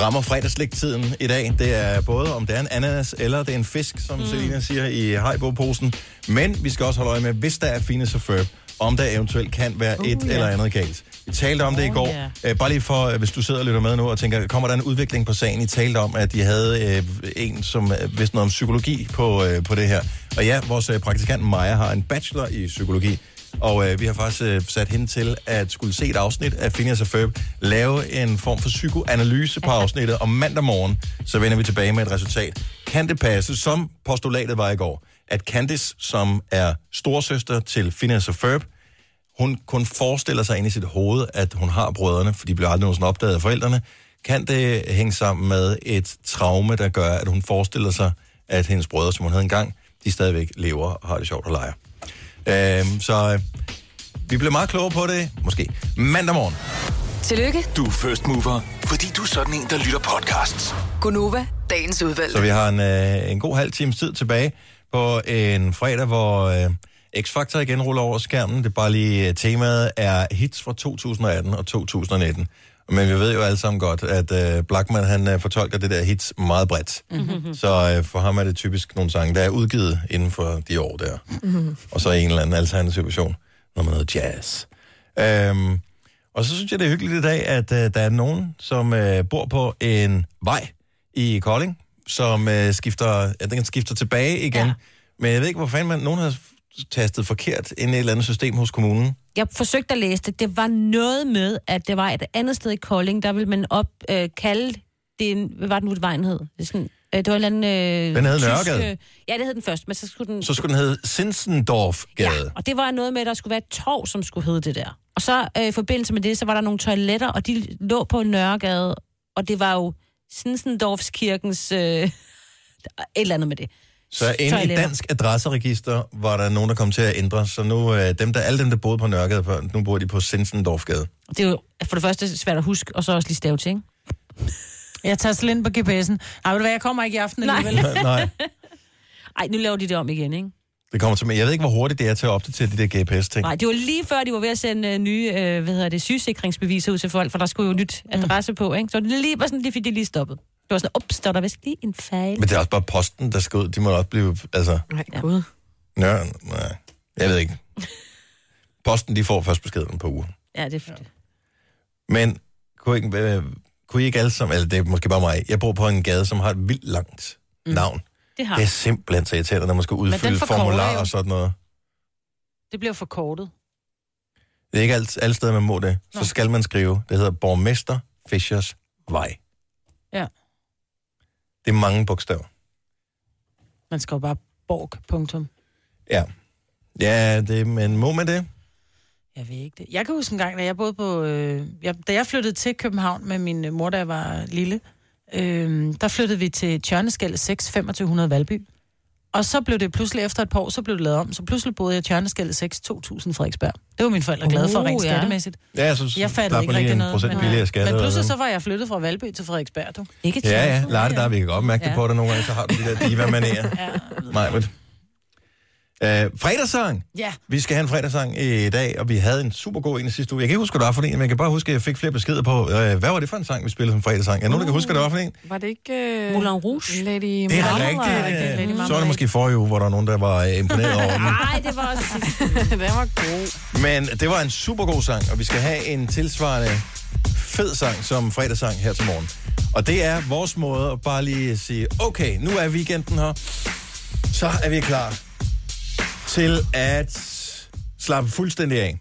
[SPEAKER 1] rammer fredagslægtiden i dag. Det er både, om det er en ananas eller det er en fisk, som mm. Selina siger i hejbo-posen. Men vi skal også holde øje med, hvis der er finesse furb, om der eventuelt kan være uh, et yeah. eller andet galt. Vi talte om det i går. Øh, bare lige for, øh, hvis du sidder og lytter med nu og tænker, kommer der en udvikling på sagen? I talte om, at I havde øh, en, som øh, vidste noget om psykologi på, øh, på det her. Og ja, vores øh, praktikant Maja har en bachelor i psykologi. Og øh, vi har faktisk øh, sat hende til at skulle se et afsnit af Phineas og Ferb lave en form for psykoanalyse på afsnittet. Og mandag morgen, så vender vi tilbage med et resultat. Kan det passe, som postulatet var i går, at Candice, som er storsøster til Phineas og Ferb, hun kun forestiller sig ind i sit hoved, at hun har brødrene, for de bliver aldrig nogensinde opdaget af forældrene, kan det hænge sammen med et traume, der gør, at hun forestiller sig, at hendes brødre, som hun havde engang, de stadigvæk lever og har det sjovt og leger. Øhm, så øh, vi bliver meget klogere på det, måske mandag morgen.
[SPEAKER 7] Tillykke,
[SPEAKER 8] Du er first mover, fordi du er sådan en, der lytter podcasts.
[SPEAKER 7] Gunova, dagens udvalgte.
[SPEAKER 1] Så vi har en, øh, en god halv times tid tilbage på en fredag, hvor øh, X-Factor igen ruller over skærmen. Det er bare lige, øh, temaet er hits fra 2018 og 2019. Men vi ved jo alle sammen godt, at øh, Blackman han øh, fortolker det der hits meget bredt. Mm-hmm. Så øh, for ham er det typisk nogle sange, der er udgivet inden for de år der.
[SPEAKER 6] Mhm.
[SPEAKER 1] Og så en eller anden alternativ version, når man noget jazz. Øhm, og så synes jeg, det er hyggeligt i dag, at øh, der er nogen, som øh, bor på en vej i Kolding, som øh, skifter, ja, den skifter tilbage igen. Ja. Men jeg ved ikke, hvor fanden man... Nogen har tastet forkert ind i et eller andet system hos kommunen.
[SPEAKER 3] Jeg forsøgte at læse det. Det var noget med, at det var et andet sted i Kolding, der ville man op øh, kalde det en, hvad var det nu, det vejen hed? Det, er sådan, øh, det var en eller anden... Øh,
[SPEAKER 1] Den hed
[SPEAKER 3] tysk,
[SPEAKER 1] Nørregade.
[SPEAKER 3] øh, Ja, det hed den først, men så skulle den...
[SPEAKER 1] Så skulle den hedde Sinsendorfgade.
[SPEAKER 3] Og det var noget med, at der skulle være et torv, som skulle hedde det der. Og så øh, i forbindelse med det, så var der nogle toiletter, og de lå på Nørregade, og det var jo Sinsendorfskirkens... Øh, et eller andet med det.
[SPEAKER 1] Så inde i
[SPEAKER 3] Toiletter.
[SPEAKER 1] Dansk Adresseregister var der nogen, der kom til at ændre, så nu øh, dem, der, alle dem, der boede på Nørregade før, nu bor de på Sinsendorfgade.
[SPEAKER 3] Det er jo for det første svært at huske, og så også lige stave til, ikke?
[SPEAKER 2] Jeg tager slet ind på GPS'en. Ej, ved du hvad, jeg kommer ikke i aften
[SPEAKER 3] Nej.
[SPEAKER 2] alligevel.
[SPEAKER 1] Nej,
[SPEAKER 3] Ej, nu laver de det om igen, ikke?
[SPEAKER 1] det kommer til mig. Jeg ved ikke, hvor hurtigt det er til at opdatere de der GPS-ting.
[SPEAKER 3] Nej, det var lige før, de var ved at sende øh, nye øh, hvad hedder det, sygesikringsbeviser ud til folk, for der skulle jo nyt
[SPEAKER 1] Mm.
[SPEAKER 3] adresse på, ikke? Så det lige var sådan, lige fik de lige stoppet. Det var sådan, ups, der er der vist lige en fejl.
[SPEAKER 1] Men det er også bare posten, der skal ud. De må også blive... Altså,
[SPEAKER 5] Nej, gud.
[SPEAKER 1] nør, nej. Jeg ved ikke. Posten, de får først beskeden på ugen.
[SPEAKER 3] Ja, det er fordi.
[SPEAKER 1] Men kunne, ikke, øh, kunne I ikke alle sammen, eller det er måske bare mig, jeg bor på en gade, som har et vildt langt navn.
[SPEAKER 2] Det har
[SPEAKER 1] Det er simpelthen så irriterende, når man skal
[SPEAKER 2] Mm. Men den
[SPEAKER 1] udfylde
[SPEAKER 2] forkorter
[SPEAKER 1] formularer
[SPEAKER 2] jo.
[SPEAKER 1] og sådan noget.
[SPEAKER 2] Det bliver forkortet.
[SPEAKER 1] Det er ikke alt, alle steder, man må det. Så skal man skrive, det hedder Borgmester Fischers Vej.
[SPEAKER 2] Ja.
[SPEAKER 1] Det er mange bogstaver.
[SPEAKER 2] Man skal jo bare borg, punktum.
[SPEAKER 1] Ja. Ja, det, men må man det?
[SPEAKER 2] Jeg ved ikke det. Jeg kan huske en gang, da jeg boede på... Øh, jeg, da jeg flyttede til København med min øh, mor, da jeg var lille, øh, der flyttede vi til Tjørneskæld 6, 2500 Valby. Og så blev det pludselig efter et par år, så blev det lavet om. Så pludselig boede jeg i Tjørneskæld 6, 2000 Frederiksberg. Det var mine forældre glade for,
[SPEAKER 1] Uh,
[SPEAKER 2] rent
[SPEAKER 1] ja.
[SPEAKER 2] skattemæssigt.
[SPEAKER 1] Ja, så
[SPEAKER 2] jeg
[SPEAKER 1] slap
[SPEAKER 2] fattede
[SPEAKER 1] man
[SPEAKER 2] ikke
[SPEAKER 1] lige
[SPEAKER 2] rigtig
[SPEAKER 1] en
[SPEAKER 2] noget.
[SPEAKER 1] procent billigere
[SPEAKER 2] men,
[SPEAKER 1] skat,
[SPEAKER 2] men
[SPEAKER 1] eller
[SPEAKER 2] pludselig så
[SPEAKER 1] hvad?
[SPEAKER 2] var jeg flyttet fra Valby til Frederiksberg, du.
[SPEAKER 1] Ja, ja. Larte, der, vi kan godt mærke det
[SPEAKER 2] Ja.
[SPEAKER 1] på dig nogle gange, så har du de der diva-manerer. Nej, men... Øh, fredagssang.
[SPEAKER 2] Ja.
[SPEAKER 1] Vi skal have en fredagssang i dag, og vi havde en super god en i sidste uge. Jeg kan ikke huske, hvad det var for en, men jeg kan bare huske, at jeg fik flere beskeder på, øh, hvad var det for en sang, vi spillede som fredagssang? Er der nogen, der kan huske, hvad det var for en?
[SPEAKER 5] Var det ikke... Uh,
[SPEAKER 3] Moulin Rouge?
[SPEAKER 5] Lady
[SPEAKER 1] Det er
[SPEAKER 5] Marmalade. Lady
[SPEAKER 1] rigtigt. øh, Så var det
[SPEAKER 5] Marmalade.
[SPEAKER 1] måske forrige uge, hvor der var nogen, der var øh, imponeret
[SPEAKER 2] Ah,
[SPEAKER 1] over den.
[SPEAKER 3] Nej, det var også
[SPEAKER 5] Den var god.
[SPEAKER 1] Men det var en super god sang, og vi skal have en tilsvarende fed sang som fredagssang her til morgen. Og det er vores måde at bare lige sige, okay, nu er weekenden her, så er vi klar til at slappe fuldstændig af.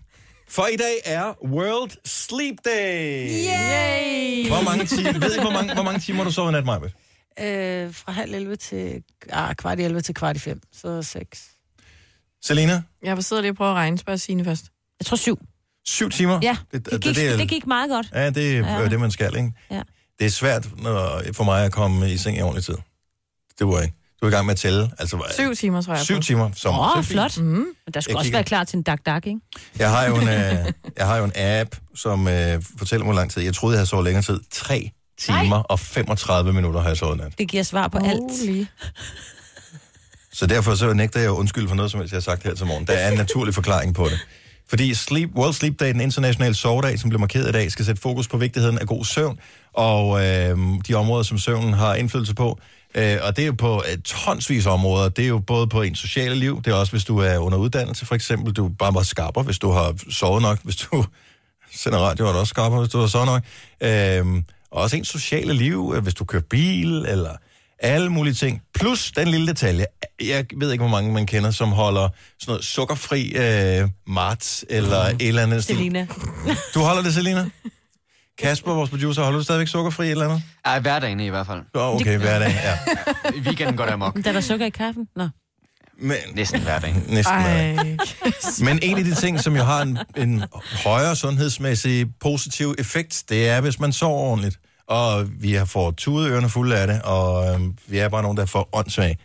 [SPEAKER 1] For i dag er World Sleep Day.
[SPEAKER 2] Yay!
[SPEAKER 1] Hvor mange timer, ved I, hvor mange, hvor mange timer du sov i nat, Maja?
[SPEAKER 2] Øh, fra halv 11 til... Ah, kvart i 11 til kvart i 5. Så 6.
[SPEAKER 1] Selina?
[SPEAKER 5] Jeg vil sidde lige og prøve at regne. Spørg Signe først.
[SPEAKER 3] Jeg tror syv.
[SPEAKER 1] Syv timer?
[SPEAKER 3] Ja,
[SPEAKER 1] det,
[SPEAKER 3] det gik,
[SPEAKER 1] er-
[SPEAKER 3] det gik meget godt.
[SPEAKER 1] Ja, det er
[SPEAKER 3] Ja.
[SPEAKER 1] ja. det, man skal, ikke?
[SPEAKER 3] Ja.
[SPEAKER 1] Det er svært når, for mig at komme i seng i ordentlig tid. Det var ikke. Du er i gang med at tælle. Altså, hvor-
[SPEAKER 5] Syv timer, tror jeg.
[SPEAKER 1] Syv
[SPEAKER 5] på.
[SPEAKER 1] timer. Som,
[SPEAKER 3] Åh, oh,
[SPEAKER 1] så fint.
[SPEAKER 3] flot. Mm. Men der skulle
[SPEAKER 1] Jeg
[SPEAKER 3] også
[SPEAKER 1] kigger.
[SPEAKER 3] være klar til en dak-dak, ikke?
[SPEAKER 1] Jeg har jo en, øh, jeg har jo en app, som øh, fortæller mig, hvor lang tid. Jeg troede, jeg havde sovet længere tid. 3 timer og 35 minutter har jeg sovet i nat.
[SPEAKER 3] Det giver svar på oh, alt.
[SPEAKER 1] Så derfor så nægter jeg at undskylde for noget, som helst, jeg har sagt her til morgen. Der er en naturlig forklaring på det. Fordi Sleep, World Sleep Day, den internationale sovedag, som blev markeret i dag, skal sætte fokus på vigtigheden af god søvn, og øh, de områder, som søvnen har indflydelse på. Øh, og det er jo på øh, tonsvis af områder. Det er jo både på ens sociale liv, det er også, hvis du er under uddannelse, for eksempel. Du er bare meget skarpere, hvis du har sovet nok, hvis du sender radio, er du også skarpere, hvis du har sovet nok. Øh, og også ens sociale liv, øh, hvis du kører bil, eller alle mulige ting. Plus den lille detalje. Jeg ved ikke, hvor mange man kender, som holder sådan noget sukkerfri øh, marts, eller et eller andet. stil.
[SPEAKER 3] Selina.
[SPEAKER 1] Du holder det, Selina? Kasper, vores producer, holder du stadigvæk sukkerfri et eller andet?
[SPEAKER 4] Ej, hverdagen i hvert fald.
[SPEAKER 1] Åh, okay, hverdag, ja.
[SPEAKER 4] I weekenden går der amok.
[SPEAKER 3] Der er der sukker i kaffen? Nå.
[SPEAKER 1] Men,
[SPEAKER 4] Næsten hverdagen.
[SPEAKER 1] Næsten hverdag. Men en af de ting, som jo har en, en højere sundhedsmæssig positiv effekt, det er, hvis man sover ordentligt. Og vi har fået tudet ørerne fulde af det, og øhm, vi er bare nogen, der er for åndssvage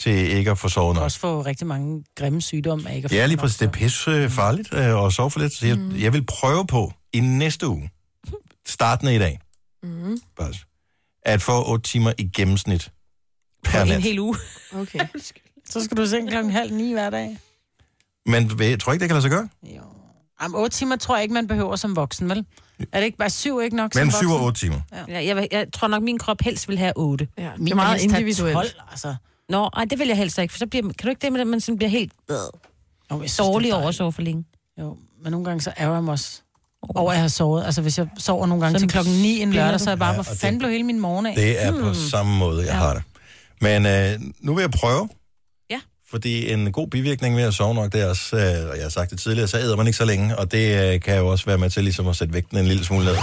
[SPEAKER 1] til ikke at få sovet
[SPEAKER 2] Du
[SPEAKER 1] nok.
[SPEAKER 2] også få rigtig mange grimme sygdomme af ikke at få
[SPEAKER 1] Ja, lige
[SPEAKER 2] nok.
[SPEAKER 1] præcis. Det er pisse farligt øh, at sove for lidt. Så jeg, mm. jeg vil prøve på i næste uge, startende i dag,
[SPEAKER 5] Mm.
[SPEAKER 1] bare, at få 8 timer i gennemsnit per
[SPEAKER 2] På
[SPEAKER 1] nat.
[SPEAKER 2] en hel uge.
[SPEAKER 5] Okay.
[SPEAKER 2] så skal du i seng klokken halv ni hver dag.
[SPEAKER 1] Men ved- jeg tror ikke, det kan lade sig gøre.
[SPEAKER 2] Jamen, otte timer tror jeg ikke, man behøver som voksen, vel? Er det ikke bare syv ikke nok
[SPEAKER 1] Mellem
[SPEAKER 2] som
[SPEAKER 1] 7 og
[SPEAKER 2] voksen?
[SPEAKER 1] 8 timer.
[SPEAKER 3] Ja, jeg, vil- jeg tror nok, min krop helst vil have 8.
[SPEAKER 5] Ja,
[SPEAKER 2] Min er helst have 12, altså.
[SPEAKER 3] Nå, ej, det vil jeg helst ikke, for så bliver, kan du ikke det med, at man sådan bliver helt
[SPEAKER 2] øh,
[SPEAKER 3] synes, dårlig over at sove for længe?
[SPEAKER 2] Jo, men nogle gange så ærger jeg mig også over, at jeg har sovet. Altså, hvis jeg sover nogle gange
[SPEAKER 3] Sådan
[SPEAKER 2] til klokken 9 en
[SPEAKER 3] spilder
[SPEAKER 2] lørdag,
[SPEAKER 3] du.
[SPEAKER 2] så er jeg bare,
[SPEAKER 1] Ja,
[SPEAKER 2] hvor
[SPEAKER 1] og det-
[SPEAKER 2] fanden blev hele min morgen af?
[SPEAKER 1] Det er på samme måde, jeg har det. Men øh, nu vil jeg prøve.
[SPEAKER 3] Ja.
[SPEAKER 1] Fordi en god bivirkning ved at sove nok, det er også, øh, og jeg har sagt det tidligere, så æder man ikke så længe, og det øh, kan jo også være med til ligesom at sætte vægten en lille smule ned.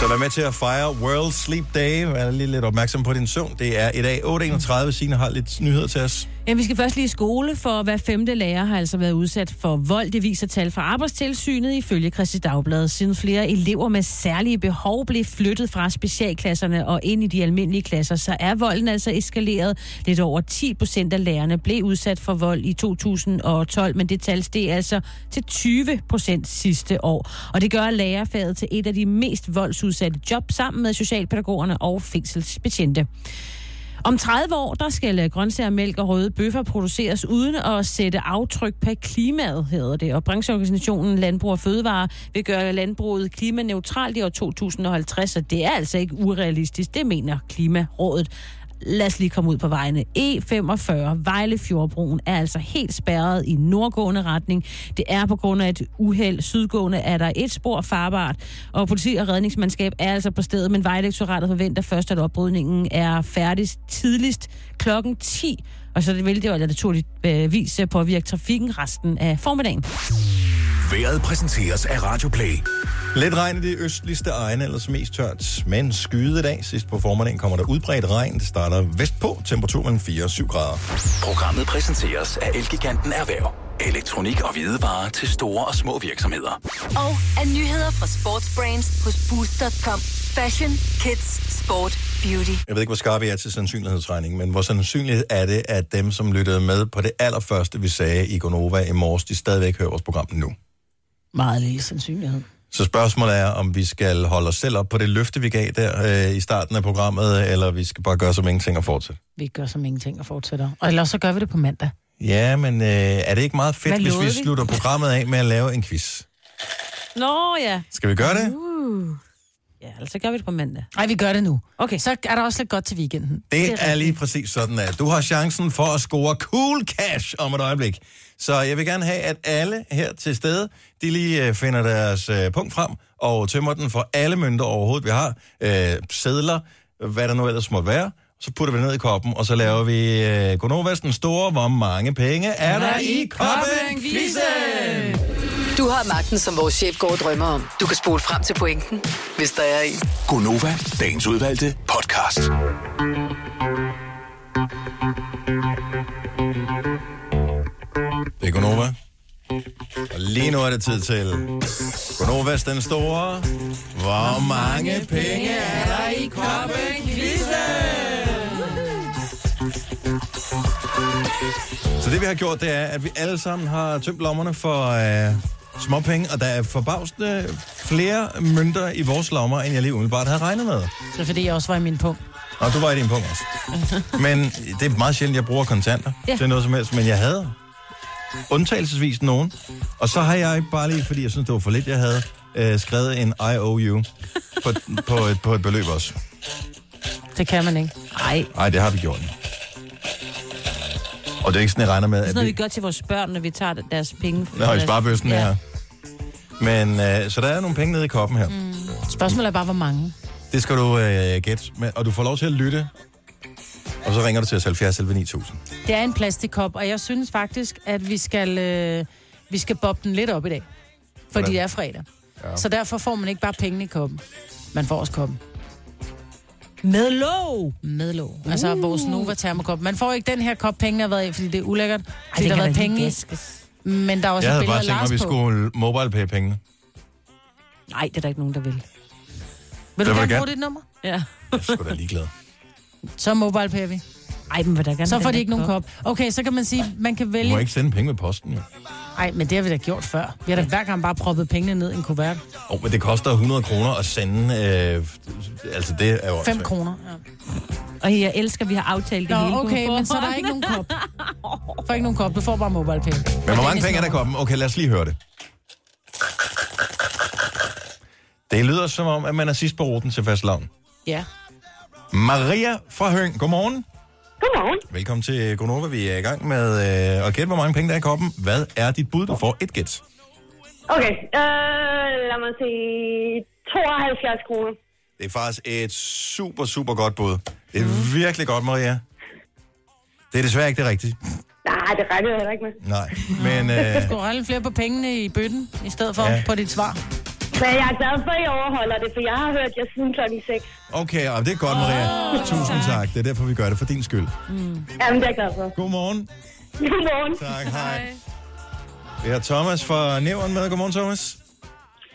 [SPEAKER 1] Så vær med til at fejre World Sleep Day. Vær lige lidt opmærksom på din søvn. Det er i dag 8.31. Signe har lidt nyheder til os.
[SPEAKER 3] Ja, vi skal først lige i skole, for hver femte lærer har altså været udsat for vold. Det viser tal fra Arbejdstilsynet ifølge Kristi Dagblad. Siden flere elever med særlige behov blev flyttet fra specialklasserne og ind i de almindelige klasser, så er volden altså eskaleret. Lidt over 10 procent af lærerne blev udsat for vold i 2012, men det tal steg altså til 20 procent sidste år. Og det gør lærerfaget til et af de mest voldsudsatte job sammen med socialpædagogerne og fængselsbetjente. Om 30 år, der skal øh, grøntsager, mælk og røde bøffer produceres uden at sætte aftryk på klimaet, hedder det. Og brancheorganisationen Landbrug og Fødevare vil gøre landbruget klimaneutralt i år 2050, og det er altså ikke urealistisk, det mener Klimarådet. Lad os lige komme ud på vejene. E E45 Vejlefjordbroen er altså helt spærret i nordgående retning. Det er på grund af et uheld. Sydgående er der et spor farbart, og politi og redningsmandskab er altså på stedet, men Vejlektoratet forventer først, at oprydningen er færdig tidligst klokken 10, og så vil det jo naturligvis øh, påvirke trafikken resten af formiddagen.
[SPEAKER 8] Været præsenteres af Radio Play.
[SPEAKER 1] Lidt regn i de østligste egne, ellers mest tørt, men skyde i dag. Sidst på formiddagen kommer der udbredt regn. Det starter vestpå, temperatur mellem 4 og 7 grader.
[SPEAKER 8] Programmet præsenteres af Elgiganten Erhverv. Elektronik og hvidevarer til store og små virksomheder.
[SPEAKER 7] Og af nyheder fra sportsbrands hos Boost.com. Fashion, kids, sport, beauty.
[SPEAKER 1] Jeg ved ikke, hvor skarp jeg er til sandsynlighedsregning, men hvor sandsynlighed er det, at dem, som lyttede med på det allerførste, vi sagde i Gonova i morges, de stadigvæk hører vores program nu.
[SPEAKER 3] Meget lille sandsynlighed.
[SPEAKER 1] Så spørgsmålet er, om vi skal holde os selv op på det løfte, vi gav der øh, i starten af programmet, eller vi skal bare gøre som ingenting og fortsætte.
[SPEAKER 2] Vi gør som ingenting og fortsætter. Og ellers så gør vi det på mandag.
[SPEAKER 1] Ja, men øh, er det ikke meget fedt,
[SPEAKER 2] Hvad
[SPEAKER 1] hvis vi,
[SPEAKER 2] lovede vi?
[SPEAKER 1] slutter programmet af med at lave en quiz?
[SPEAKER 3] Nå ja.
[SPEAKER 1] Skal vi gøre det?
[SPEAKER 3] Uh. Ja, ellers så gør vi det på mandag.
[SPEAKER 2] Nej, vi gør det nu. Okay. Så er der også lidt godt til weekenden.
[SPEAKER 1] Det er lige præcis sådan, at du har chancen for at score cool cash om et øjeblik. Så jeg vil gerne have, at alle her til stede, de lige øh, finder deres øh, punkt frem og tømmer den for alle mønter overhovedet, vi har. Øh, sædler, hvad der nu ellers måtte være. Så putter vi det ned i koppen, og så laver vi øh, Gonovas den store, hvor mange penge er der i koppen?
[SPEAKER 7] Du har magten, som vores chef går og drømmer om. Du kan spole frem til pointen, hvis der er en.
[SPEAKER 8] Gonova, dagens udvalgte podcast.
[SPEAKER 1] Det er Gonova. Og lige nu er det tid til Gonovas den store, hvor mange penge er der i koppen? Så det vi har gjort, det er, at vi alle sammen har tømt lommerne for øh, småpenge, og der er forbavsende flere mønter i vores lommer, end jeg lige umiddelbart havde regnet med.
[SPEAKER 2] Det er fordi, jeg også var i min punkt.
[SPEAKER 1] Og du var i din punkt også. Men det er meget sjældent, jeg bruger kontanter
[SPEAKER 2] Ja.
[SPEAKER 1] ja. til noget som helst, men jeg havde undtagelsesvis nogen. Og så har jeg bare lige, fordi jeg synes, det var for lidt, jeg havde øh, skrevet en IOU på, på, et, på et beløb også.
[SPEAKER 2] Det kan man ikke. Nej.
[SPEAKER 1] Nej, det har vi gjort. Og det er ikke sådan, jeg regner med,
[SPEAKER 3] Det er
[SPEAKER 1] at
[SPEAKER 3] sådan
[SPEAKER 1] vi...
[SPEAKER 3] noget, vi gør til vores børn, når vi tager deres penge.
[SPEAKER 1] Nå, i sparebøsten,
[SPEAKER 3] Ja.
[SPEAKER 1] ja. Men, øh, så der er nogle penge nede i koppen her. Mm.
[SPEAKER 2] Spørgsmålet er bare, hvor mange.
[SPEAKER 1] Det skal du øh, gætte. Men, og du får lov til at lytte. Og så ringer du til os 70 11 9000.
[SPEAKER 2] Det er en plastikkop, og jeg synes faktisk, at vi skal, øh, vi skal bobbe den lidt op i dag. Fordi
[SPEAKER 1] Hvordan?
[SPEAKER 2] det er fredag.
[SPEAKER 1] Ja.
[SPEAKER 2] Ja. Så derfor får man ikke bare pengene i koppen. Man får også koppen. Med låg! Med låg. Altså
[SPEAKER 3] Uh.
[SPEAKER 2] vores Nova termokop. Man får ikke den her kop, pengene har været i, fordi det er ulækkert. Fordi
[SPEAKER 3] det kan
[SPEAKER 2] der har været
[SPEAKER 3] da lige
[SPEAKER 2] penge i. Men der er også
[SPEAKER 1] Jeg
[SPEAKER 2] et
[SPEAKER 1] havde
[SPEAKER 2] billede
[SPEAKER 1] bare
[SPEAKER 2] af
[SPEAKER 1] tænkt mig,
[SPEAKER 2] Lars
[SPEAKER 1] at vi
[SPEAKER 2] på.
[SPEAKER 1] skulle mobile pengene.
[SPEAKER 3] Nej, det er der ikke nogen, der vil.
[SPEAKER 2] Vil
[SPEAKER 1] Det
[SPEAKER 2] du gerne
[SPEAKER 1] var gerne.
[SPEAKER 2] bruge dit nummer? Ja.
[SPEAKER 1] Jeg skulle da ligeglad.
[SPEAKER 2] Så mobile pay vi. Ej, men hvordan Så
[SPEAKER 3] den
[SPEAKER 2] får de
[SPEAKER 3] der
[SPEAKER 2] ikke nogen kop.
[SPEAKER 3] kop?
[SPEAKER 2] Okay, så kan man sige, man kan
[SPEAKER 1] Du må
[SPEAKER 2] vælge...
[SPEAKER 1] ikke sende penge med posten, jo.
[SPEAKER 2] Nej, men det har vi da gjort før. Vi har da hver gang bare proppet pengene ned i en kuvert.
[SPEAKER 1] Oh, men det koster 100 kroner at sende... Øh, altså, det er jo...
[SPEAKER 2] 5
[SPEAKER 1] åndssvagt.
[SPEAKER 2] kroner. Ja.
[SPEAKER 3] Og jeg elsker, at vi har aftalt det hele.
[SPEAKER 2] Nå,
[SPEAKER 3] på
[SPEAKER 2] okay, men så er der
[SPEAKER 3] forhånd.
[SPEAKER 2] ikke nogen kop. Du får ikke nogen kop, du får bare mobile pay.
[SPEAKER 1] Men hvor mange penge er der i koppen? Okay, lad os lige høre det. Det lyder som om, at man er sidst på ruten til fastlavn.
[SPEAKER 2] Ja.
[SPEAKER 1] Maria fra Høng, godmorgen. Godmorgen. Velkommen til Gonova. Vi er i gang med øh, at gætte, hvor mange penge der er i koppen. Hvad er dit bud? Du får et gæt.
[SPEAKER 16] Okay, øh, lad mig se. 72 kroner.
[SPEAKER 1] Det er faktisk et super, super godt bud. Det er virkelig godt, Maria. Det er desværre ikke det rigtige.
[SPEAKER 16] Nej, det regnede jeg heller ikke med.
[SPEAKER 1] Nej, men...
[SPEAKER 2] Du
[SPEAKER 1] Øh,
[SPEAKER 2] skulle regne flere på pengene i bøtten, i stedet for
[SPEAKER 1] Ja.
[SPEAKER 2] ja. på dit svar.
[SPEAKER 16] Men jeg er glad for, at I overholder det, for jeg har hørt jer siden klokken 6.
[SPEAKER 1] okay, ja, det er godt, Maria. Oh, Tusind tak. tak. Det er derfor, vi gør det, for din skyld.
[SPEAKER 16] Mm. Jamen, det er jeg glad for.
[SPEAKER 1] Godmorgen.
[SPEAKER 16] Godmorgen.
[SPEAKER 1] Tak, hej. Vi har Thomas fra Nævren med. Godmorgen, Thomas.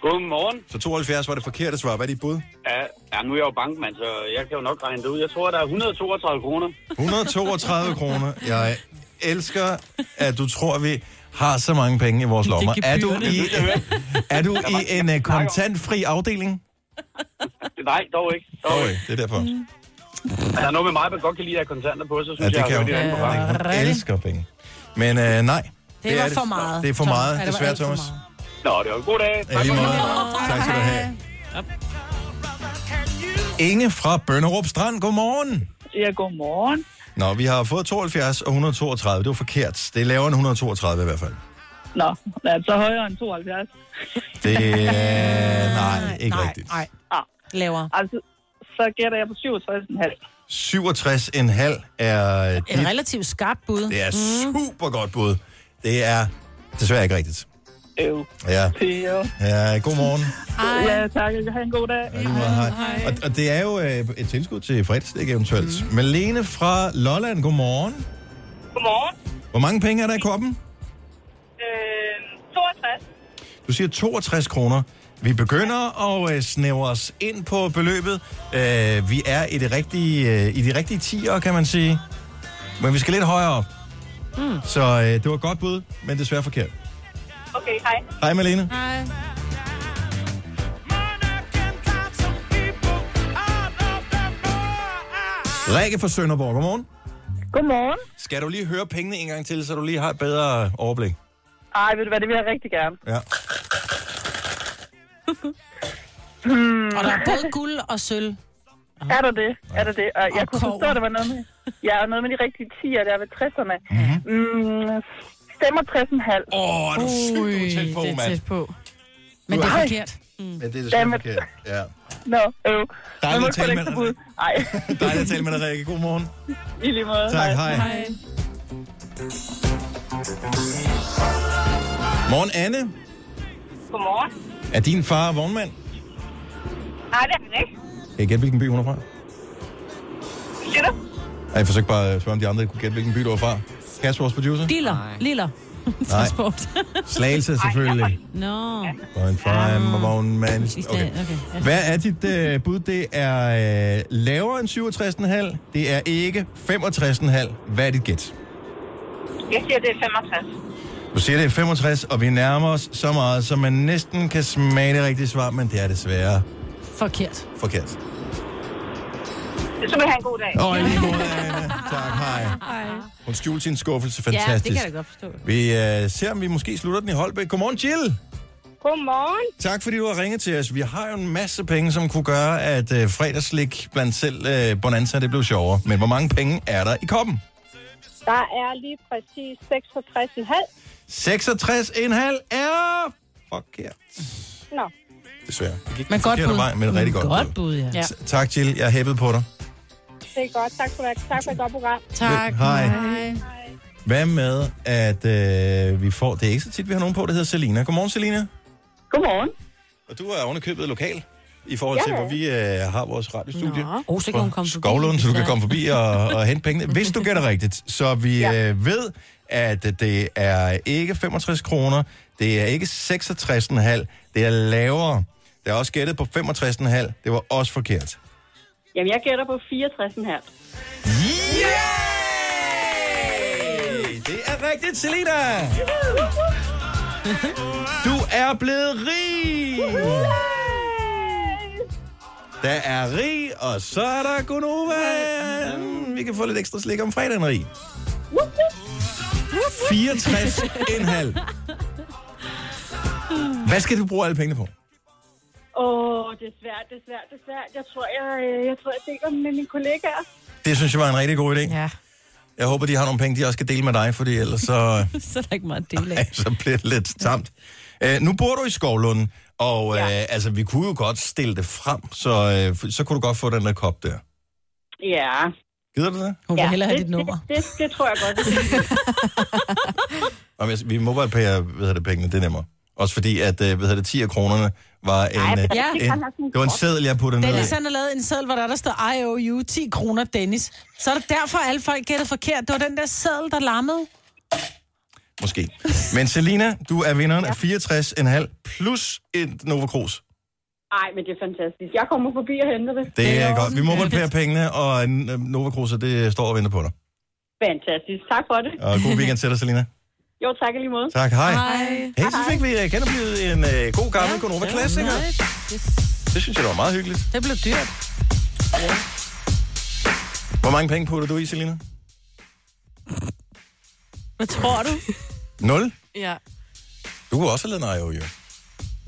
[SPEAKER 17] Godmorgen.
[SPEAKER 1] Så 72 var det forkerte svar. Hvad er dit bud?
[SPEAKER 17] Ja, ja, nu er jeg jo bankmand, så jeg kan jo nok regne det ud. Jeg tror, der er 132 kroner.
[SPEAKER 1] 132 kroner. Jeg elsker, at du tror, vi har så mange penge i vores lommer. Er du i, er du i en øh, kontantfri afdeling?
[SPEAKER 17] Nej, dog ikke. Dog
[SPEAKER 1] ikke. Det er derfor.
[SPEAKER 17] Er der noget med mig, man godt kan lide at have kontanter på, så
[SPEAKER 1] Ja,
[SPEAKER 17] synes
[SPEAKER 1] det
[SPEAKER 17] jeg,
[SPEAKER 1] kan
[SPEAKER 17] jeg,
[SPEAKER 1] jo.
[SPEAKER 17] at det er på vej.
[SPEAKER 1] Hun elsker penge. Men øh, nej.
[SPEAKER 2] Det var for meget,
[SPEAKER 1] Det er for
[SPEAKER 2] Thomas.
[SPEAKER 1] meget,
[SPEAKER 2] Ja, det var
[SPEAKER 1] desværre,
[SPEAKER 2] alt for
[SPEAKER 1] Thomas.
[SPEAKER 17] Nå, det var en god dag.
[SPEAKER 1] Ja, lige meget. Tak skal du have. Inge fra Bønderup Strand, godmorgen.
[SPEAKER 18] Ja, godmorgen.
[SPEAKER 1] Nå, vi har fået 72 og 132. Det var forkert. Det er lavere end 132 i hvert fald.
[SPEAKER 18] Nå, er det så højere end 72?
[SPEAKER 1] Det er... Nej, ikke nej. rigtigt.
[SPEAKER 2] Nej,
[SPEAKER 18] ah.
[SPEAKER 2] lavere.
[SPEAKER 18] Altså, så gætter jeg på 67,5.
[SPEAKER 1] 67,5 er... øh, Et
[SPEAKER 2] Et relativt skarpt bud.
[SPEAKER 1] Det er super godt bud. Det er desværre ikke rigtigt.
[SPEAKER 18] øv.
[SPEAKER 1] Ja.
[SPEAKER 18] Pære.
[SPEAKER 1] ja, godmorgen.
[SPEAKER 18] Ja, tak. Jeg har en god dag.
[SPEAKER 1] Ja, hej. Og, og det er jo øh, et tilskud til fredagsdæk eventuelt. Mm. Malene fra Lolland, godmorgen.
[SPEAKER 19] Godmorgen.
[SPEAKER 1] Hvor mange penge er der i koppen?
[SPEAKER 19] Øh, 62.
[SPEAKER 1] Du siger 62 kroner. Vi begynder at øh, snævre os ind på beløbet. Øh, vi er i, det rigtige, øh, i de rigtige tiger, kan man sige. Men vi skal lidt højere op.
[SPEAKER 19] Mm.
[SPEAKER 1] Så øh, det var et godt bud, men desværre forkert.
[SPEAKER 19] Okay, hej.
[SPEAKER 1] Hej Malene.
[SPEAKER 19] Hej.
[SPEAKER 1] Rikke fra Sønderborg, godmorgen.
[SPEAKER 18] Godmorgen.
[SPEAKER 1] Skal du lige høre pengene en gang til, så du lige har et bedre overblik?
[SPEAKER 18] Ej, ved du hvad, det vil jeg rigtig gerne.
[SPEAKER 1] Ja.
[SPEAKER 18] Hmm.
[SPEAKER 2] Og der er både guld og sølv.
[SPEAKER 18] Er der det? Er der det? Og jeg kunne forstå, at det var noget med, ja, og noget med de rigtige 10'er der ved 60'erne.
[SPEAKER 1] Mhm.
[SPEAKER 18] Mm-hmm. Mm, stemmer 60,5.
[SPEAKER 1] Åh, er du sygt, du er tæt på, mand.
[SPEAKER 5] på.
[SPEAKER 1] Men det er
[SPEAKER 18] forkert.
[SPEAKER 1] Mm. Ja, det er
[SPEAKER 18] Jamen.
[SPEAKER 1] desværre forkert. Ja.
[SPEAKER 18] Nå, øv. Man må
[SPEAKER 1] Dejligt at
[SPEAKER 18] sgu
[SPEAKER 1] tale med
[SPEAKER 18] ikke
[SPEAKER 1] dig,
[SPEAKER 18] forbyde. Ej,
[SPEAKER 1] Rikke. Dejligt at tale med dig, Rikke. God morgen.
[SPEAKER 18] i lige måde.
[SPEAKER 1] Tak, hej.
[SPEAKER 18] hej.
[SPEAKER 1] Morgen, Anne.
[SPEAKER 19] Godmorgen.
[SPEAKER 1] Er din far vognmand?
[SPEAKER 19] Nej, det er han ikke.
[SPEAKER 1] Kan I gætte, hvilken by hun er fra?
[SPEAKER 19] Siger du?
[SPEAKER 1] Ej, jeg forsøgte bare at spørge, om de andre kunne gætte, hvilken by du er fra. Kasper, vores producer?
[SPEAKER 3] Diller. Liller. Transport.
[SPEAKER 1] Slagelse, selvfølgelig.
[SPEAKER 3] Nå.
[SPEAKER 1] Og en far er vognmand. Okay.
[SPEAKER 3] Okay. ja.
[SPEAKER 1] Hvad er dit øh, bud? Det er øh, lavere end 67,5. Det er ikke 65,5. Hvad er dit gæt?
[SPEAKER 19] Jeg siger, det er 65.
[SPEAKER 1] Du siger, det er 65, og vi nærmer os så meget, så man næsten kan smage det rigtige svar, men det er desværre
[SPEAKER 2] Forkert.
[SPEAKER 1] forkert.
[SPEAKER 19] Så vil jeg have en god dag.
[SPEAKER 1] Åh, i lige måde, Anne. Tak, hej. Hun skjulte sin skuffelse. Fantastisk.
[SPEAKER 19] godt forstå.
[SPEAKER 1] Vi øh, ser, om vi måske slutter den i Holbæk. Godmorgen, Jill.
[SPEAKER 19] Godmorgen.
[SPEAKER 1] Tak, fordi du har ringet til os. Vi har jo en masse penge, som kunne gøre, at øh, fredagslik blandt selv øh, Bonanza, det blev sjovere. Men hvor mange penge er der i koppen?
[SPEAKER 19] Der er lige præcis 66,5.
[SPEAKER 1] 66,5 er forkert.
[SPEAKER 19] Nå.
[SPEAKER 1] Desværre. Det gik
[SPEAKER 19] Men
[SPEAKER 1] den
[SPEAKER 19] godt
[SPEAKER 1] forkerte
[SPEAKER 19] bud. Mm,
[SPEAKER 1] Vej, men rigtig godt,
[SPEAKER 19] Godt bud, ja. Ja.
[SPEAKER 1] T- Tak, Jill. Jeg hæppede på dig.
[SPEAKER 19] Det er godt. Tak for, tak for et godt program.
[SPEAKER 1] Tak. Hej.
[SPEAKER 19] Hej.
[SPEAKER 1] Hvad med, at øh, vi får... Det er ikke så tit, vi har nogen på, der hedder Selina. Godmorgen, Selina.
[SPEAKER 18] Godmorgen.
[SPEAKER 1] Og du er ovenikøbet lokal i forhold til,
[SPEAKER 18] Ja, ja.
[SPEAKER 1] hvor vi øh, har vores radiostudie.
[SPEAKER 3] Nå. Oh, så kan
[SPEAKER 1] På
[SPEAKER 3] hun komme forbi.
[SPEAKER 1] Skovlund, så du kan
[SPEAKER 3] Ja.
[SPEAKER 1] komme forbi og, og hente pengene, hvis du gætter rigtigt. Så vi ja. øh, ved, at det er ikke 65 kroner, det er ikke 66,5, det er lavere. Der er også gættet på 65,5, det var også forkert.
[SPEAKER 16] Jamen, jeg gætter på 64,5.
[SPEAKER 1] Det er rigtigt, Selina! Du er blevet rig! Der er rig, og så er der Gunova. Vi kan få lidt ekstra slik om fredagen, rig. 64,5. Hvad skal du bruge alle pengene på?
[SPEAKER 16] Åh, det er svært, det er svært, det er svært. Jeg tror, jeg, øh, jeg, tror, jeg deler den med mine kollegaer.
[SPEAKER 1] Det synes jeg var en rigtig god idé.
[SPEAKER 5] Ja.
[SPEAKER 1] Jeg håber, de har nogle penge, de også skal dele med dig, fordi ellers så...
[SPEAKER 3] så er der ikke meget at dele
[SPEAKER 1] Ej,
[SPEAKER 3] af.
[SPEAKER 1] så bliver det lidt tamt. Øh, nu bor du i Skovlund, og ja. øh, altså, vi kunne jo godt stille det frem, så, øh, f- så kunne du godt få den der kop der.
[SPEAKER 16] Ja.
[SPEAKER 1] Gider du det?
[SPEAKER 2] Hun
[SPEAKER 16] ja,
[SPEAKER 2] vil hellere have
[SPEAKER 16] det,
[SPEAKER 2] dit nummer.
[SPEAKER 16] Det, det, det, tror jeg godt.
[SPEAKER 1] Om jeg, altså, vi må bare pære, hvad hedder det, pengene, det er nemmere. Også fordi, at, øh, hvad hedder det, 10 af kronerne var en...
[SPEAKER 2] men
[SPEAKER 1] øh,
[SPEAKER 2] ja.
[SPEAKER 1] en det var en seddel, jeg puttede ned
[SPEAKER 2] Dennis
[SPEAKER 1] i.
[SPEAKER 2] han har lavet en seddel, hvor der, der står IOU 10 kroner Dennis. Så er det derfor, alle folk gætter forkert. Det var den der seddel, der lammede.
[SPEAKER 1] Måske. Men Selina, du er vinderen af 64,5 plus et Nova Cruz.
[SPEAKER 16] Ej, men det er fantastisk. Jeg kommer forbi og henter det.
[SPEAKER 1] Det er godt. Vi må godt pære pengene, og en øh, Nova Cruz, det står og venter på dig.
[SPEAKER 16] Fantastisk. Tak for det.
[SPEAKER 1] Og god weekend til dig, Selina.
[SPEAKER 16] Jo, tak i lige måde.
[SPEAKER 1] Tak, hej.
[SPEAKER 16] Hej.
[SPEAKER 1] Hey, så fik vi uh, genoplevet en uh, god gammel Gonova Classic. Det synes jeg, det var meget hyggeligt.
[SPEAKER 2] Det blev dyrt.
[SPEAKER 1] Hvor mange penge putter du i, Selina?
[SPEAKER 5] Hvad tror du?
[SPEAKER 1] Nul.
[SPEAKER 5] Ja.
[SPEAKER 1] Du kunne også have lavet en IOU.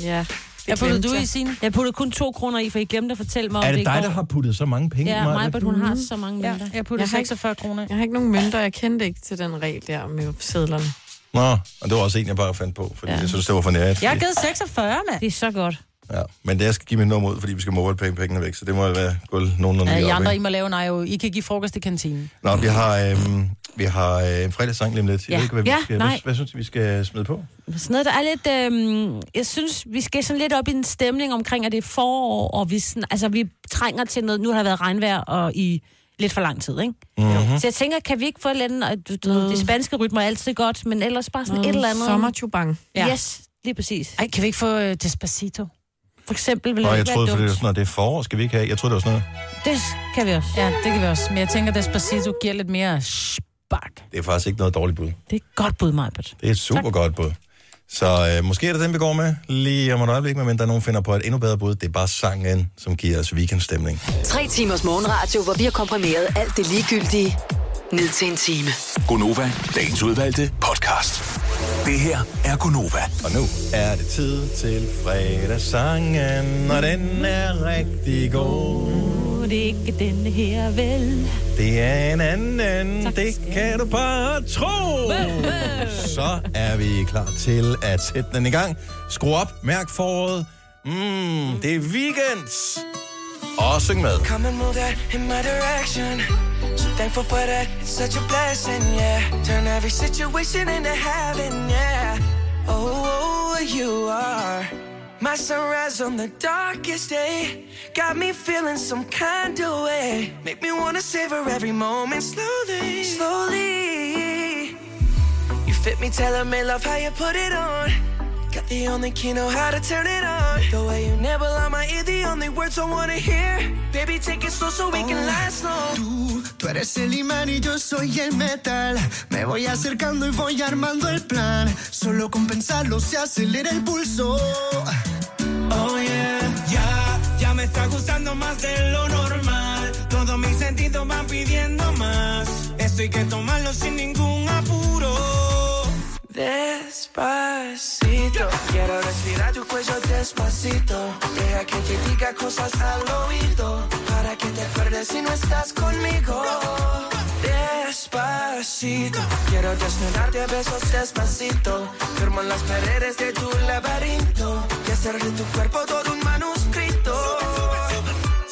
[SPEAKER 5] Ja.
[SPEAKER 3] Jeg puttede
[SPEAKER 5] glemte
[SPEAKER 3] du i
[SPEAKER 5] jeg.
[SPEAKER 3] sin. Jeg puttede kun to kroner i, for I glemte at fortælle mig, om
[SPEAKER 1] Er det
[SPEAKER 3] i går.
[SPEAKER 1] dig, der har puttet så mange penge i
[SPEAKER 3] Ja,
[SPEAKER 1] mig?
[SPEAKER 3] mig, hun har så mange mønter.
[SPEAKER 2] Jeg puttede 46 kroner.
[SPEAKER 5] Jeg har ikke nogen mønter. Jeg kendte ikke til den regel der med sædlerne.
[SPEAKER 1] Nå, og det var også en, jeg bare fandt på, fordi ja. jeg synes, det var for nært.
[SPEAKER 2] Jeg har givet 46, mand.
[SPEAKER 3] Det er så godt.
[SPEAKER 1] Ja, men det jeg skal give mit nummer ud, fordi vi skal mobile penge pengene væk, så det må jo være gået nogenlunde
[SPEAKER 2] Ja,
[SPEAKER 1] lige
[SPEAKER 2] I
[SPEAKER 1] op,
[SPEAKER 2] andre, I
[SPEAKER 1] ikke?
[SPEAKER 2] må lave en IOU. I kan give frokost i kantinen.
[SPEAKER 1] Nå, vi har øhm, Vi har øh, en fredagssang lige om lidt. Jeg
[SPEAKER 3] Ja.
[SPEAKER 1] ved ikke, hvad, vi
[SPEAKER 3] Ja,
[SPEAKER 1] skal,
[SPEAKER 3] nej.
[SPEAKER 1] hvad, hvad synes du, vi skal smide på?
[SPEAKER 3] Sådan noget, der er lidt... Øh, jeg synes, vi skal sådan lidt op i en stemning omkring, at det er forår, og vi, sådan, altså, vi trænger til noget. Nu har der været regnvejr og i lidt for lang tid, ikke?
[SPEAKER 5] Mhm.
[SPEAKER 3] Mm-hmm. Så jeg tænker, kan vi ikke få et eller andet... og Du, du, ved, det spanske rytmer er altid godt, men ellers bare sådan et eller andet...
[SPEAKER 5] Sommerchubang.
[SPEAKER 3] Ja. Yes, lige præcis.
[SPEAKER 2] Ej, kan vi ikke få øh, Despacito?
[SPEAKER 3] For eksempel vil
[SPEAKER 1] Nå,
[SPEAKER 3] det
[SPEAKER 1] jeg
[SPEAKER 3] ikke
[SPEAKER 1] troede,
[SPEAKER 3] være
[SPEAKER 1] fordi
[SPEAKER 3] dumt.
[SPEAKER 1] det var sådan noget, det er forår, skal vi ikke have? Jeg troede, det var sådan
[SPEAKER 3] Det
[SPEAKER 1] noget.
[SPEAKER 3] kan vi også.
[SPEAKER 2] Ja, det kan vi også. Men jeg tænker, Despacito giver lidt mere spark.
[SPEAKER 1] Det er faktisk ikke noget dårligt bud.
[SPEAKER 3] Det er et godt bud, Majbert.
[SPEAKER 1] Det er et super tak. godt bud. Så øh, måske er det den, vi går med lige om et øjeblik, men der nogen finder på et endnu bedre bud. Det er bare sangen, som giver os weekendstemning.
[SPEAKER 7] Tre timers morgenradio, hvor vi har komprimeret alt det ligegyldige ned til en time.
[SPEAKER 8] Gonova, dagens udvalgte podcast. Det her er Gonova.
[SPEAKER 1] Og nu er det tid til fredagssangen, og den er rigtig god.
[SPEAKER 3] Det er ikke denne her, vel?
[SPEAKER 1] Det er en anden, tak, det kan du bare tro. Så er vi klar til at sætte den i gang. Skru op, mærk foråret. Mm, det er weekend. Og syng med.
[SPEAKER 20] Come and move that in my direction. So thankful for that, it's such a blessing, yeah. Turn every situation into heaven, yeah. Oh, you are my sunrise on the darkest day. Got me feeling some kind of way. Make me wanna savor every moment slowly, slowly. You fit me, telling me love how you put it on. Got the only key, know how to turn it on. The way you never lie my ear, the only words I wanna hear. Baby, take it slow so we can last long.
[SPEAKER 21] Tú, tú eres el imán y yo soy el metal. Me voy acercando y voy armando el plan. Solo con pensarlo se acelera el pulso.
[SPEAKER 20] Oh yeah, ya, ya me está gustando más de lo normal. Todos mis sentidos van pidiendo más. Esto hay que tomarlo sin ningún apuro. Despacito, quiero respirar tu cuello despacito. Deja que te diga cosas al oído. Para que te acuerdes si no estás conmigo. Despacito, quiero desnudarte a besos despacito. Firmo en las paredes de tu laberinto. Y hacer de tu cuerpo todo un manuscrito.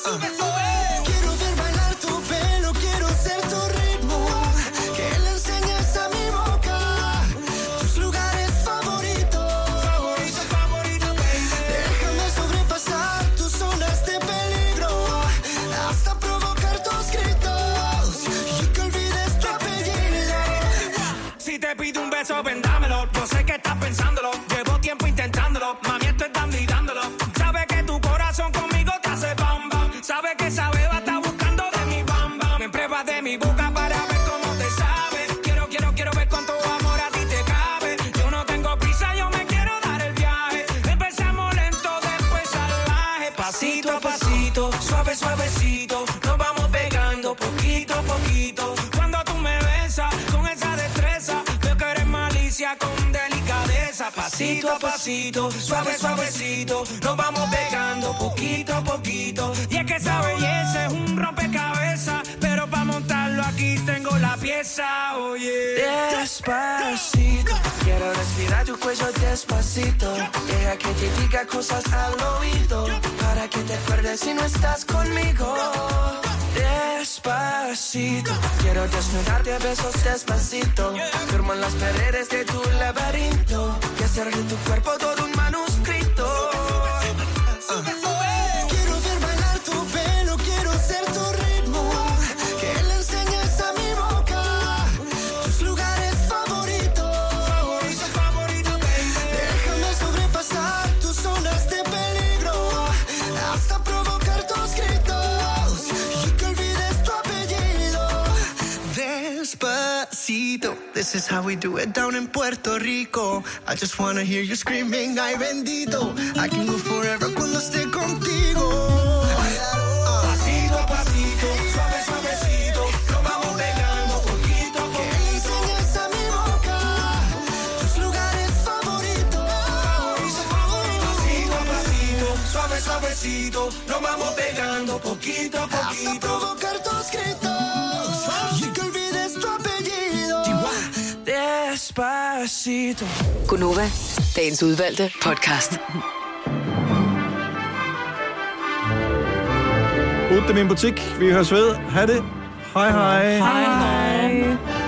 [SPEAKER 21] Sube, sube. Quiero ver bailar tu pelo, quiero ser tu ritmo. Que le enseñes a mi boca tus lugares favoritos. Favorito, favorito, Déjame sobrepasar tus zonas de peligro. Hasta provocar tus gritos. Y que olvides tu apellido.
[SPEAKER 20] Si te pido un beso, vendámelo. Yo sé que estás pensándolo. Llevo tiempo intentándolo. Mami, esto es dando y dándolo. Sabes que tu corazón conmigo te hace bam bam. Sabes que esa beba está buscando de mi bam bam. Me pruebas de mi boca para ver cómo te sabe. Quiero, quiero, quiero ver cuánto amor a ti te cabe. Yo no tengo prisa, yo me quiero dar el viaje. Empezamos lento, después salvaje. Pasito a pasito, suave, suavecito. Nos vamos pegando poquito a poquito. Cuando tú me besas con esa destreza, veo que eres malicia con delicadeza. Pasito a pasito, suave, suavecito. Nos vamos pegando poquito a poquito. Y es que esa belleza es un rompecabezas. Pero para montarlo aquí tengo la pieza, oh. oye. Despacito, quiero respirar tu cuello despacito. Deja que te diga cosas al oído. Para que te acuerdes si no estás conmigo. Despacito, quiero desnudarte a besos despacito. Firmo en las paredes de tu laberinto. Y hacer de tu cuerpo todo un manuscrito.
[SPEAKER 21] Quiero ver bailar tu pelo, quiero ser tu ritmo. Que le enseñes a mi boca tus lugares favoritos. Favorito, favorito, Déjame sobrepasar tus zonas de peligro. Hasta provocar tus gritos. Y que olvides tu apellido.
[SPEAKER 20] Despacito,
[SPEAKER 21] this is how we do it down in Puerto Rico. I just wanna hear you screaming, ay bendito. I can go forever cuando esté contigo.
[SPEAKER 20] Pasito a pasito, suave, suavecito, nos vamos pegando poquito a poquito.
[SPEAKER 21] Que enseñes a mi boca tus lugares favoritos.
[SPEAKER 20] Pasito a pasito, suave, suavecito, nos vamos pegando poquito a
[SPEAKER 21] Hasta
[SPEAKER 20] poquito.
[SPEAKER 21] provocar tus gritos y que olvides tu apellido.
[SPEAKER 20] Despacito.
[SPEAKER 7] Gunova, dagens udvalgte podcast.
[SPEAKER 1] 8 min butik. Vi høres ved. Ha' det. Hej hej.
[SPEAKER 20] Hej, hej.